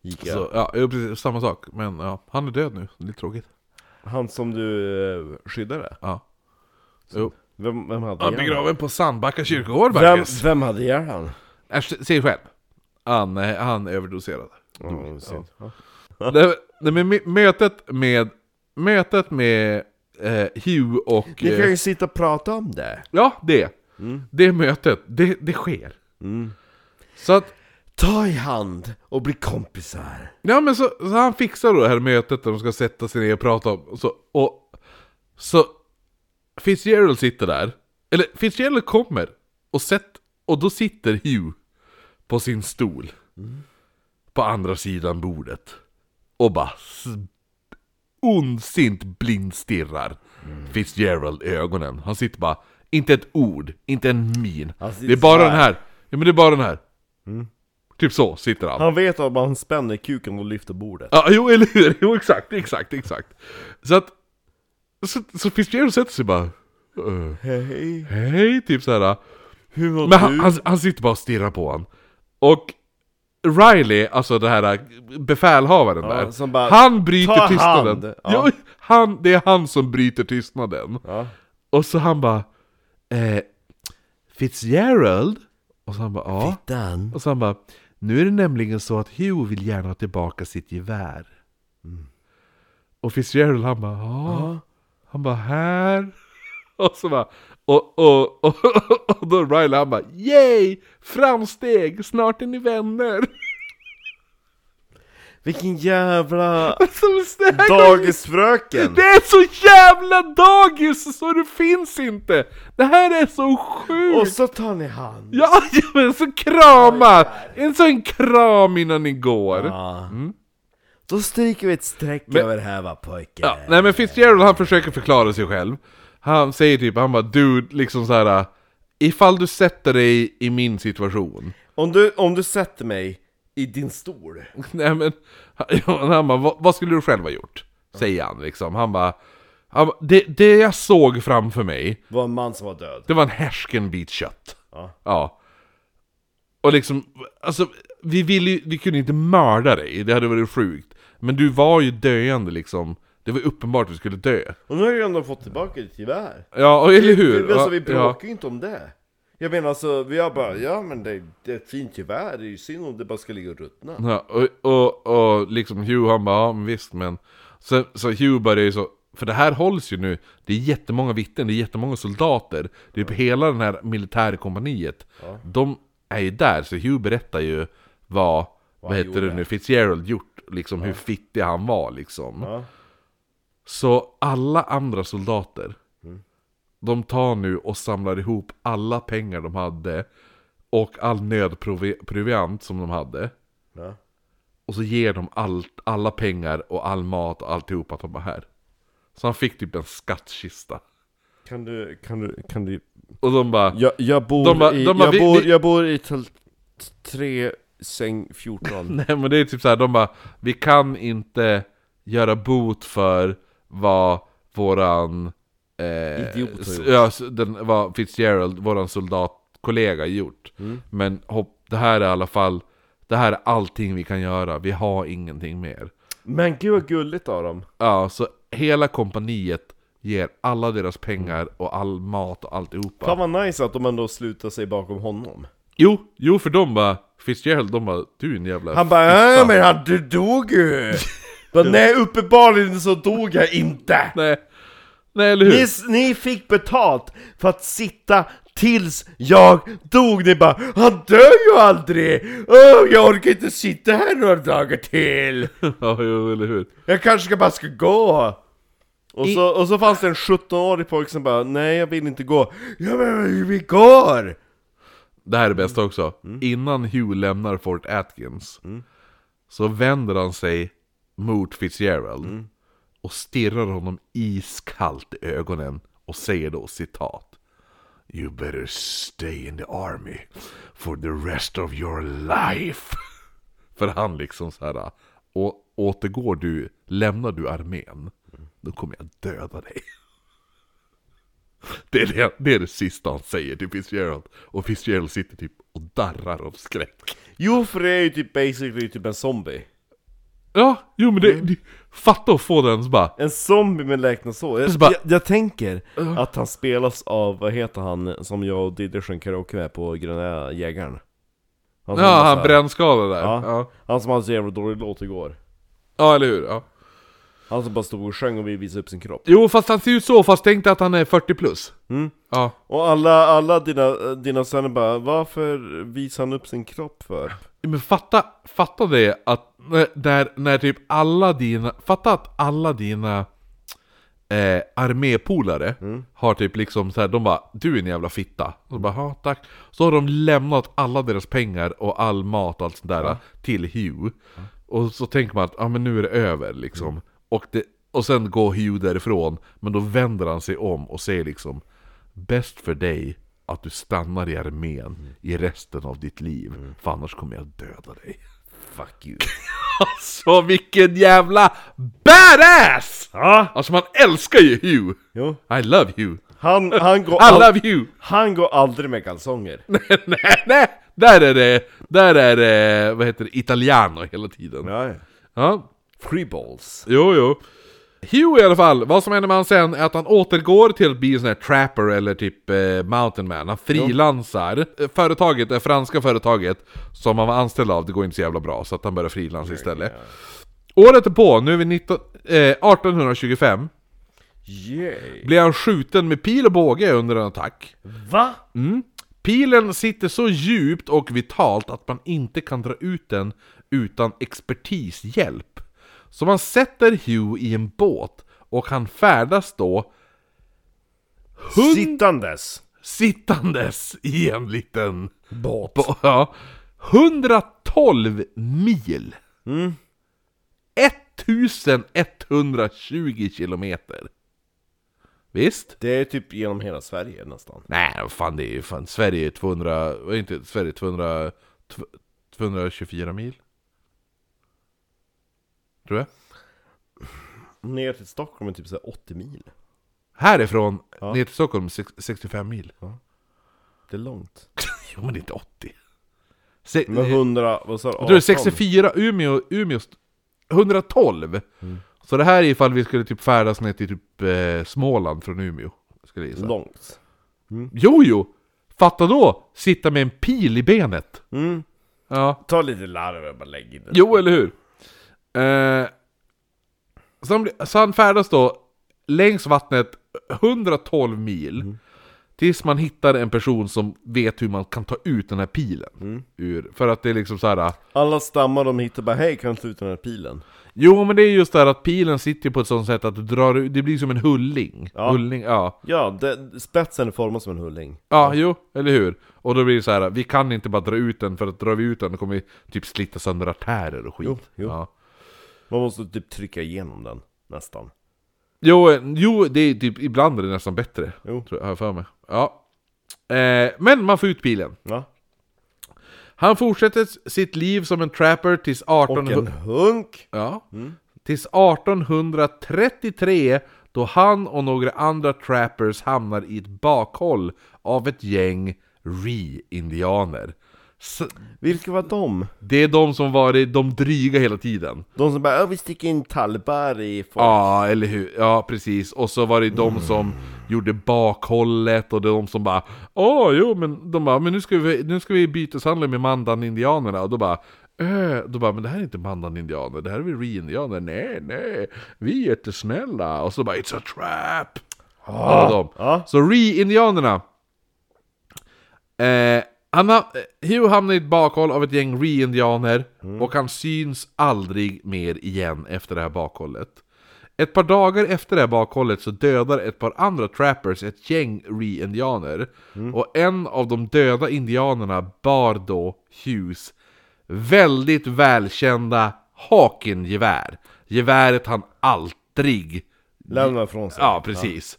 Gick jag. så ja, jo, precis, samma sak. Men ja, han är död nu, lite tråkigt. Han som du eh, skyddade? Ja. Jo. Vem, vem hade Han är ihjäl han? begraven på Sandbacka kyrkogård Vem, Marcus. vem hade ihjäl han? Äsch, Säg själv. Han, eh, han överdoserade. Mm, Ja, synd. Nej, men- nej, men mö- mötet med, mötet med eh, Hugh och... Ni kan Eh, ju Mm. sitta och prata om det. ja, det. Det mötet, det, det sker. Mm. Så att, Ta i hand och bli kompisar. ja men så, så han fixar då det här mötet där de ska sätta sig ner och prata om, och så, och, så Fitzgerald sitter där, eller Fitzgerald kommer och sätt, och då sitter Hugh på sin stol på andra sidan bordet och bara s- ondsint blindstirrar Fitzgerald i ögonen. Han sitter bara, inte ett ord, inte en min. Han Det sitter är bara så här. Mm. den här. Ja men det är bara den här. Typ så sitter han. Han vet att man spänner kuken och lyfter bordet. Ja, jo, eller hur? Jo, exakt, exakt, exakt. Så att... Så, så Fitzgerald sätter sig bara... eh, Hej, Hej, typ såhär. hur mår Men du? han, han, han sitter bara och stirrar på honom. Och Riley, alltså den här befälhavaren Ja, där. som bara, han bryter "Ta hand!" tystnaden. Ja. Jo, han, det är han som bryter tystnaden. Ja. Och så han bara... Eh, Fitzgerald? Och så han bara ja. Den. Och så han bara, nu är det nämligen så att Hugh vill gärna ha tillbaka sitt gevär. Mm. Och Fitzgerald han bara, ja. Han bara, här. Och så bara, och, och, och, och då Riley han bara, yay! Framsteg, snart är ni vänner. Vilken jävla Som snäck. dagisfröken! Alltså, Det är så jävla dagis så det finns inte! Det här är så sjukt! Och så tar ni hand. Ja, ja, men så krama! En sån kram innan ni går! Ja. Mm. Då stryker vi ett streck över det här va pojke. Ja, nej men Fitzgerald han försöker förklara sig själv. Han säger typ, han bara dude, liksom så här. Ifall du sätter dig i min situation. Om, du, om du sätter mig i din stol. Nej men, han, han bara, "Vad- vad skulle du själv ha gjort? Säger han liksom. Han bara, han, bara, det, det jag såg framför mig, var en man som var död. det var en härsken bit kött. Ja. ja. Och liksom, alltså vi ville ju- vi kunde inte mörda dig, det hade varit sjukt. Men du var ju döende liksom. Det var uppenbart att du skulle dö. Och nu har jag ändå fått tillbaka ditt gevär. Ja, och eller hur? Vi, alltså, vi Ja. bråkar ju inte om det. Jag menar alltså, vi har bara, ja men det, det är ett fint gevär, det är ju synd om det bara ska ligga och ruttna. Ja, och, och, och liksom Hugh han bara, ja men visst men så, så Hugh börjar ju så För det här hålls ju nu Det är jättemånga vittnen, det är jättemånga soldater Det är hela den här militärkompaniet De är ju där, så Hugh berättar ju vad, vad heter det nu, Fitzgerald gjort Liksom hur fittig han var liksom Ja. Så alla andra soldater De tar nu och samlar ihop alla pengar de hade Och all nödproviant som de hade Ja. och så ger de allt, alla pengar och all mat och alltihopa att de var här. Så han fick typ en skattkista. Kan du, kan du, kan du? Och de bara... Jag, jag bor De bara- i, de bara, jag, vi- bor, vi- jag bor i tält 3, säng 14. Nej men det är typ så här, de bara... Vi kan inte göra bot för vad våran... Eh, Idiot har s- gjort. ja, s- den, vad Fitzgerald, våran soldatkollega, gjort. Mm. Men hopp, det här är i alla fall... Det här är allting vi kan göra, vi har ingenting mer. Men gud vad gulligt av dem. Ja, så hela kompaniet ger alla deras pengar och all mat och alltihopa. Fan vad nice att de ändå slutar sig bakom honom. Jo, jo för de bara, Fitzgerald, de bara, du är en jävla... Han bara äh, men han, du dog ju! bara, Nej uppenbarligen så dog jag inte! nej, nej eller hur? Ni, ni fick betalt för att sitta tills jag dog! Ni bara Han dör ju aldrig! Åh, jag orkar inte sitta här några dagar till! ja, jo, eller hur? Jag kanske ska bara ska gå! Och så, och så fanns det en 17-årig pojke som bara Nej jag vill inte gå Ja men vi går! Det här är bäst också. Innan Hugh lämnar Fort Atkins så vänder han sig mot Fitzgerald och stirrar honom iskallt i ögonen och säger då citat. You better stay in the army for the rest of your life. För han liksom så här. "Å- återgår du, lämnar du armén, då kommer jag döda dig. Det är det, det är det sista han säger till Fitzgerald. Och Fitzgerald sitter typ och darrar av skräck. Jo för det är ju typ basically typ en zombie Ja, jo men det, det fatta att få den så bara... En zombie med läkna så. Jag, Så bara- jag, jag tänker att han spelas av, vad heter han som jag och Diddy sjöng karaoke med på Gröna Jägaren? Han som Ja, var han såhär- brännskadade där. Ja. Ja, ja. Han som hade så jävla dålig låt igår. eller hur? Ja. Han som bara stod och sjöng och ville visa upp sin kropp. Jo, fast han ser ut så, fast tänk dig att han är 40 plus. Mm. Ja. Och alla, alla dina, dina söner bara, varför visar han upp sin kropp för? Men fatta, fatta det att när, när, när typ alla dina, fatta att alla dina eh, armépolare Mm. har typ liksom så här, de bara Du är en jävla fitta. Och de bara ja tack. Så har de lämnat alla deras pengar och all mat och allt sånt där till Hugh. Och så tänker man att ah, men nu är det över liksom. Mm. Och, det, och sen går Hugh därifrån, men då vänder han sig om och säger liksom Bäst för dig att du stannar i armén Mm. i resten av ditt liv, för annars kommer jag döda dig. Fuck you. Alltså vilken jävla badass! Ja, Alltså man älskar ju Hugh! jo. I love Hugh! Han, han, går I all, love Hugh! han går aldrig med kalsonger. nej, nej! Där är det, där är det, vad heter det, italiano hela tiden. Ja. Ja, ja. Free balls. jo, jo. Hugh i alla fall, vad som händer med han sen är att han återgår till att bli en sån här trapper eller typ eh, mountain man. Han frilansar. Eh, Företaget, det franska företaget som han var anställd av, det går inte så jävla bra så att han börjar frilansa istället. Året är på, nu är vi 19, eh, 1825. Yay. blir han skjuten med pil och båge under en attack. Va? Pilen sitter så djupt och vitalt att man inte kan dra ut den utan expertishjälp. Så man sätter Hugh i en båt och han färdas då Sittandes. sittandes i en liten båt. ja, 112 mil! 1120 kilometer. Visst? Det är typ genom hela Sverige nästan. Nej, vad fan det är ju fan Sverige är 200, vad är inte Sverige 200, tv- 224 mil? Tror jag. Ner till Stockholm är typ så här 80 mil. Härifrån ner till Stockholm sex- 65 mil. Det är långt. Jo men det är inte 80. Se, Med eh, 100, vad sa du? jag tror det är 18? 64, Umeå, Umeå st- 112. Mm. Så det här är ifall vi skulle typ färdas ner till typ eh, Småland från Umeå. Skulle jag gissa. Långt. Jo jo! Fatta då! Sitta med en pil i benet. Mm. Ja. Ta lite larv och bara lägg in det. Jo, eller hur? Eh, så, han, blir- så han färdas då längs vattnet 112 mil Mm. Tills man hittar en person som vet hur man kan ta ut den här pilen Mm. ur, För att det är liksom så här. Alla stammar de hittar bara hej kan du sluta den här pilen? Jo men det är just det här att pilen sitter på ett sånt sätt att du drar ut- det blir som en hulling Ja. Hulling, ja Ja, det, spetsen är formad som en hulling. Ja, jo, eller hur? Och då blir det så här, vi kan inte bara dra ut den för att drar vi ut den då kommer vi typ slita sönder artärer och skit Jo, jo. Ja. Man måste typ trycka igenom den, nästan. Jo, eh, jo det är typ, ibland är det nästan bättre. Jo. Tror jag, har jag för mig. Ja. Eh, men man får ut pilen. Ja. Han fortsätter s- sitt liv som en trapper tills Och 1800... en Mm. hunk! Ja. Tills 1833 då han och några andra trappers hamnar i ett bakhåll av ett gäng re-indianer. S- Vilka var de? Det är de som varit de dryga hela tiden. De som bara "Ja, vi sticker in talbar i folk. Ja, eller hur? Ja, precis. Och så var det de som gjorde bakhållet och de som bara Åh, jo, men de bara, men nu ska vi, nu ska vi byteshandla med mandan-indianerna och då bara "Äh." då bara, men det här är inte mandan-indianer, det här är väl re-indianer? Nej, nej, vi är jättesnälla. Och så bara, it's a trap! Alla de. Ja. Så re-indianerna eh, han ha, eh, Hugh hamnar i ett bakhåll av ett gäng re-indianer och han syns aldrig mer igen efter det här bakhållet. Ett par dagar efter det här bakhållet så dödar ett par andra trappers ett gäng re-indianer och en av de döda indianerna bar då Hughes väldigt välkända Hawken-gevär. Geväret han aldrig Lämna ifrån sig. Ja, precis.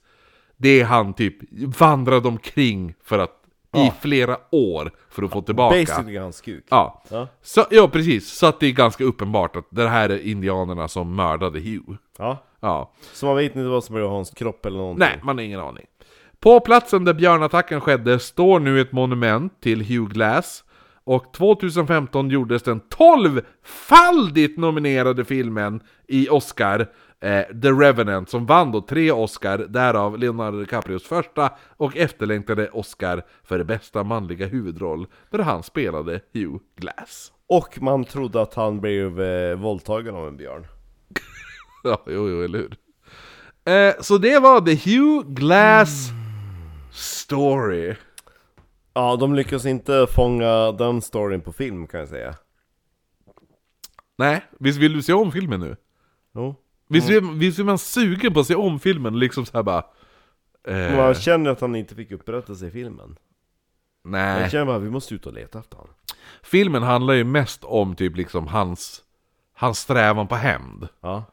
Det är han typ vandrade omkring för att i flera år för att få tillbaka. Basically hans kuk. Ja. Ja. Så, ja, precis. Så att det är ganska uppenbart att det här är indianerna som mördade Hugh. Ja. Ja. Så man vet inte vad som är hans kropp eller någonting. Nej, man har ingen aning. På platsen där björnattacken skedde står nu ett monument till Hugh Glass. Och 2015 gjordes den 12-faldigt nominerade filmen i Oscar, eh, The Revenant, som vann då tre Oscar, därav Leonardo DiCaprios första och efterlängtade Oscar för bästa manliga huvudroll, där han spelade Hugh Glass. Och man trodde att han blev eh, våldtagen av en björn. Ja, jo, jo, eller hur? Eh, så det var The Hugh Glass Story. Ja, de lyckas inte fånga den storyn på film kan jag säga. Nej, visst vill du se om filmen nu? Jo. Visst, blir- visst blir man sugen på att se om filmen liksom så här bara... Eh, Man känner att han inte fick upprättelse i filmen. nej. Jag känner bara, vi måste ut och leta efter honom. Filmen handlar ju mest om typ liksom hans, hans strävan på hämnd. Ja.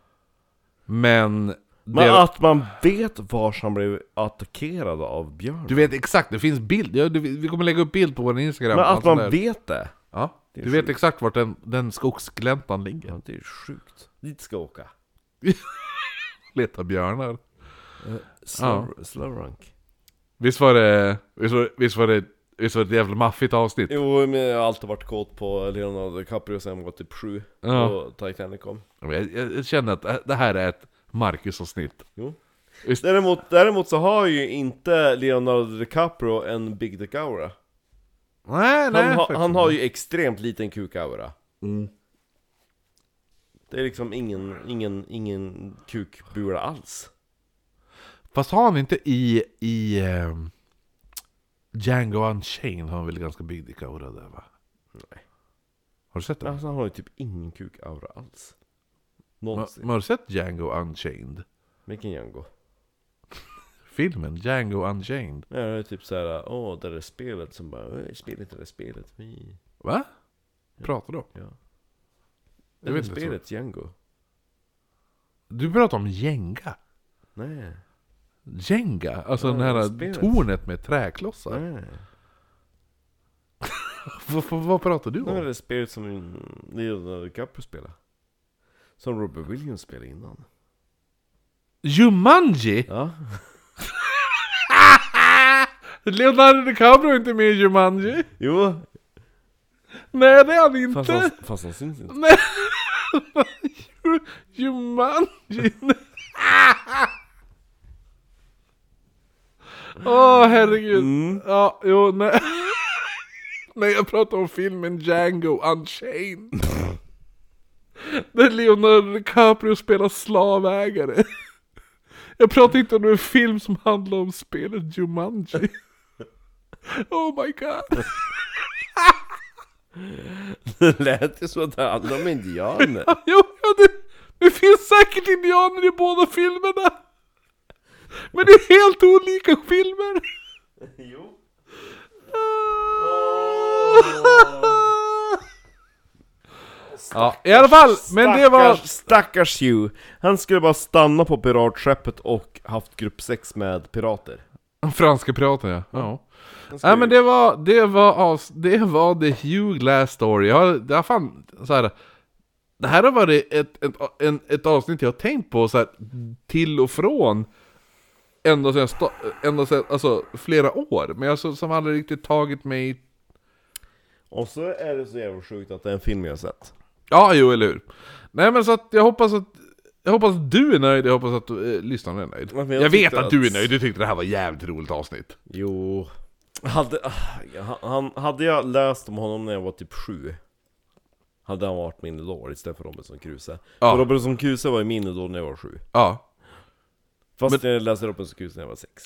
Men... Men det- att man vet vars han blev attackerad av björn. Du vet exakt, det finns bild. Ja, du, vi kommer lägga upp bild på vår Instagram. Men och att allt man sånt där. vet det. Ja, är du vet exakt vart den, den skogsgläntan ligger. Ja, det är sjukt. Dit ska jag åka. Leta björnar. Slow, slow rank. Visst var det... Visst var, visst var det... Visst var det ett jävla maffigt avsnitt? Jo, men jag har alltid varit kåt på Leonardo DiCaprio sen jag var typ sju. Ja. Och Titanic kom. Jag, jag, jag känner att det- det här är ett Marcus-avsnitt. Jo. Just- Däremot, däremot så har ju inte Leonardo DiCaprio en Big Dick Aura. Nej, Han, nej. ha, faktiskt. Mm. han har ju extremt liten kukaura. Det är liksom ingen, ingen, ingen kukbula alls. Fast har han inte i... i ehm, Django Unchained har han väl ganska big dick aura där va? Nej. Har du sett den? Alltså, han har ju typ ingen kukaura alls. Ma- Någonsin. Men har du sett Django Unchained? Vilken Django? Filmen Django Unchained. Ja, det är typ såhär, åh, det där är spelet som bara, "Åh, spelet, det där är spelet, vi... Va? Pratar du om? Ja. Jag Det där vet inte. spelet, Django. Du pratar om Jenga. Nej, Jenga? Alltså Ja, den här spelet. tornet med träklossar. nej. Vad- vad- vad pratar du Det är om? det spelet som Leonardo DiCaprio spelade. Som Robert Williams spelade innan. Jumanji? Ja. Leonardo DiCaprio är inte med i Jumanji? Jo, Nej det är han inte! fast han, fast han syns inte. Jumanji! Åh herregud! Ja, jo, nej. nej, jag pratar om filmen Django Unchained. Där Leonardo DiCaprio spelar slavägare. Jag pratar inte om en film som handlar om spelet Jumanji. Oh my god. Det lät ju som att det handlade om indianer. Jo, ja, det, det finns säkert indianer i båda filmerna. Men det är helt olika filmer. Jo. Ja, i alla fall. Men det var... Stackars- Stackars Hugh. Han skulle bara stanna på piratskeppet och haft grupp sex med pirater. Franska piraten ja. ja. skulle Nej men det var, det var, avs- det var the Hugh Glass story. Jag har, det har fan, så här, Det här har varit ett, ett, en, ett avsnitt jag har tänkt på så här, till och från. Ända sedan, jag sta- ända sedan, alltså flera år. Men jag så, som aldrig riktigt tagit mig... Och så är det så jävla sjukt att det är en film jag har sett. Ja, jo eller hur. Nej men så att jag hoppas att... Jag hoppas att du är nöjd, jag hoppas att eh, lyssnaren är nöjd. Ja, men Jag, jag vet tyckte att, du är att- nöjd, du tyckte det här var jävligt roligt avsnitt. Jo. Hade, ah, han, hade jag läst om honom när jag var typ sju Hade han varit min idol istället för Robinson Crusoe Ja. För Robinson Crusoe var ju min idol när jag var sju Ja. Fast jag läste Robinson Crusoe när jag var sex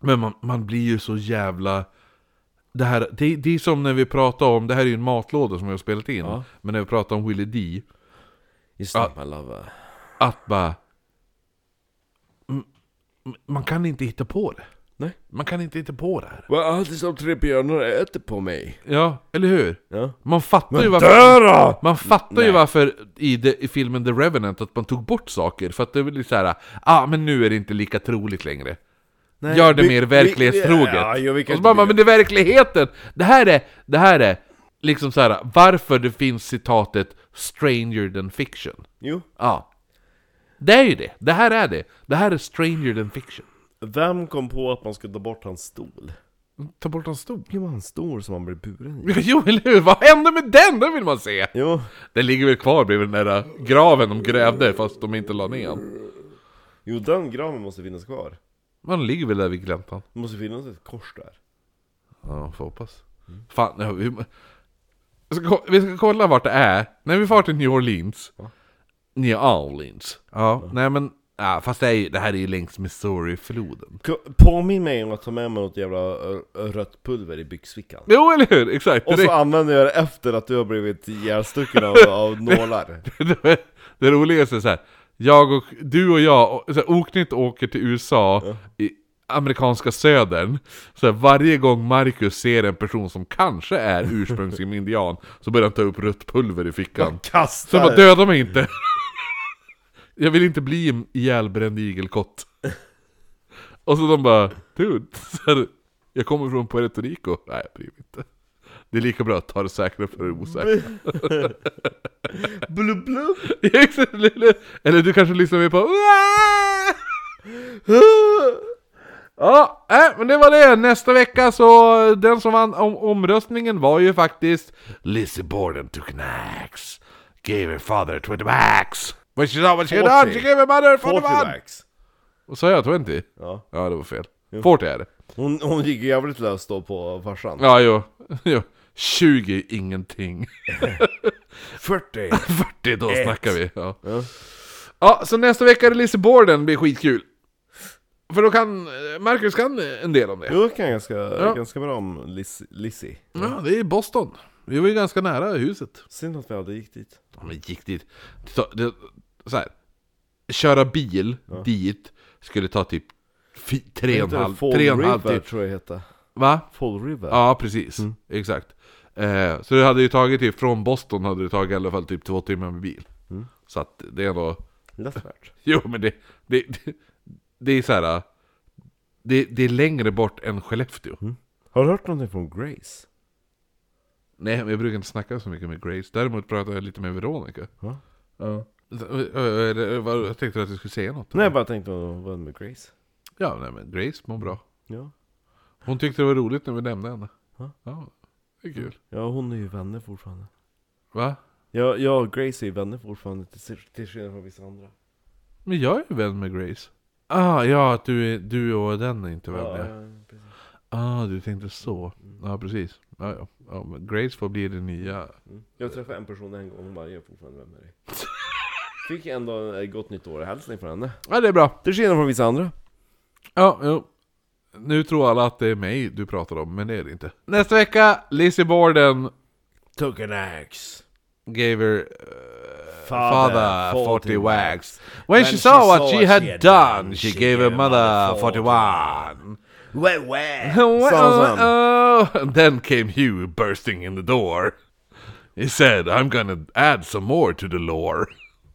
Men man, man blir ju så jävla... Det, här, det, det är som när vi pratar om, det här är ju en matlåda som jag har spelat in, Ja. men när vi pratar om Willy D, Just Ja. ja. my love att bara... M- m- Man kan inte hitta på det. Nej Man kan inte hitta på det här. Vad alltid som tre björnar äter på mig Ja, eller hur? Ja Man fattar ju varför... Dö då! Man fattar ju Nej. varför i, det- i filmen The Revenant att man tog bort saker, för att det var lite såhär, ah men nu är det inte lika troligt längre. Nej, Gör det vi- mer vi- verklighetstroget. Ja, jo, vi och kan så inte bara, bygga- men det är verkligheten! Det här är, det här är, liksom såhär, varför det finns citatet 'stranger than fiction' Jo Ja. Det är ju det, det här är det. Det här är 'stranger than fiction' Vem kom på att man skulle ta bort hans stol? Ta bort hans stol. Jo, hans stol som han blev buren i Jo, eller hur? Vad hände med den? Den vill man se! Jo Den ligger väl kvar bredvid den där graven de grävde, fast de inte la ner den. Jo, den graven måste finnas kvar Men den ligger väl där vid gläntan. Det måste finnas ett kors där Ja, får hoppas. Fan, ja, vi, vi, ska, ko- vi ska kolla vart det är. När vi far till New Orleans. New Orleans. Ja, nej men... Ja, fast det, är, ju- det här är ju längs Missouri-floden. Ko- Påminn mig om att ta med mig något jävla ö, ö, rött pulver i byxfickan. Jo, eller hur? Exakt! Och det, så använder jag det efter att du har blivit ihjälstucken av, av nålar. det, det roligaste är så här. jag och, du och jag, och- så här, oknytt åker till USA, i amerikanska södern, så här, varje gång Marcus ser en person som kanske är ursprungsindian, så börjar han ta upp rött pulver i fickan. Så Kastar! jag bara, döda mig inte! Jag vill inte bli en ihjälbränd igelkott. Och så de bara, dude, så här, jag kommer från Puerto Rico. Nej, jag bryr mig inte. Det är lika bra att ta det säkra för det osäkra. Blub, blub. Exakt, eller- Eller du kanske lyssnar mer på "Wah!" Ja, äh, men det var det. Nästa vecka så, den som vann om, omröstningen var ju faktiskt Lizzie Borden took an axe, gave her father 20 backs. When she saw what she had done, she gave her mother 40 backs. Fortivax. Och sa jag 20? Ja. Ja, det var fel. 40 är det. Hon, hon gick jävligt löst då på farsan. Ja, jo. jo. 20 är ingenting. 40! 40, då snackar vi. Ja. ja, så nästa vecka är det Lizzie Borden, blir skitkul. För då kan, Marcus kan en del om det. Jo, det kan jag ganska, ganska bra om Liz, Lizzie. Ja, det är Boston. Vi var ju ganska nära huset. Synd att vi aldrig gick dit. Ja, men gick dit. Så, det, så här. Köra bil dit skulle ta typ fi- tre och en halv, Fall tre och en halv River timme. tror jag det hette. Va? Fall River. Ja, precis. Mm. Exakt. Eh, så det hade ju tagit typ, från Boston hade det tagit i alla fall typ två timmar med bil. Mm. Så att det är ändå... Lätt värt. Jo, men det, det, det, det är så här. eh, Det, det är längre bort än Skellefteå. Mm. Har du hört någonting från Grace? Nej, men jag brukar inte snacka så mycket med Grace. Däremot pratar jag lite med Veronica. Ja. Ja. eh, Ö, ö, vad- Jag tänkte att du skulle säga något. Nej, jag bara tänkte vad med Grace. Ja, nej, men Grace mår bra. Ja. Hon tyckte det var roligt när vi nämnde henne. Ja. Ja, det är kul. ja, hon är ju vänner fortfarande. Va? Ja, jag och Grace är ju vänner fortfarande till, till skillnad från vissa andra. Men jag är ju vän med Grace. Ah, ja, att du, är- du och den är inte vänner. precis. Ah, du tänkte så. Ja, precis. Ja, ja. ja men Grace får bli det nya. Mm. Jag träffade en person en gång och hon bara, jag är fortfarande vän med dig. Fick ändå ett gott nytt år hälsning från henne. Ja, det är bra. Till skillnad från vissa andra. Ja, jo. Nu tror alla att det är mig du pratar om, men det är det inte. Nästa vecka, Lizzie Borden Took an axe. gave her uh, father, 40 wags. When, When she saw what she had, done, she gave her mother 41. Wah, wah. Well, Sa han. oh, and then came Hugh bursting in the door. He said, I'm gonna add some more to the lore.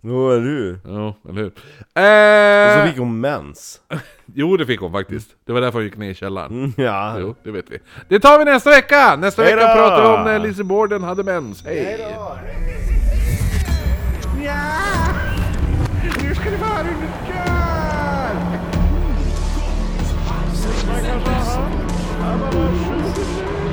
Jo, är du. Ja, eller hur? Och Eh, så fick hon mens. Jo, det fick hon faktiskt. Det var därför hon gick ner i källaren. Ja. Jo, det vet vi. Det tar vi nästa vecka! Nästa Mm. Hej då! vecka pratar vi om när Lizzie Borden hade mens. Hej! Stackars Aha. Han har varit sjuk.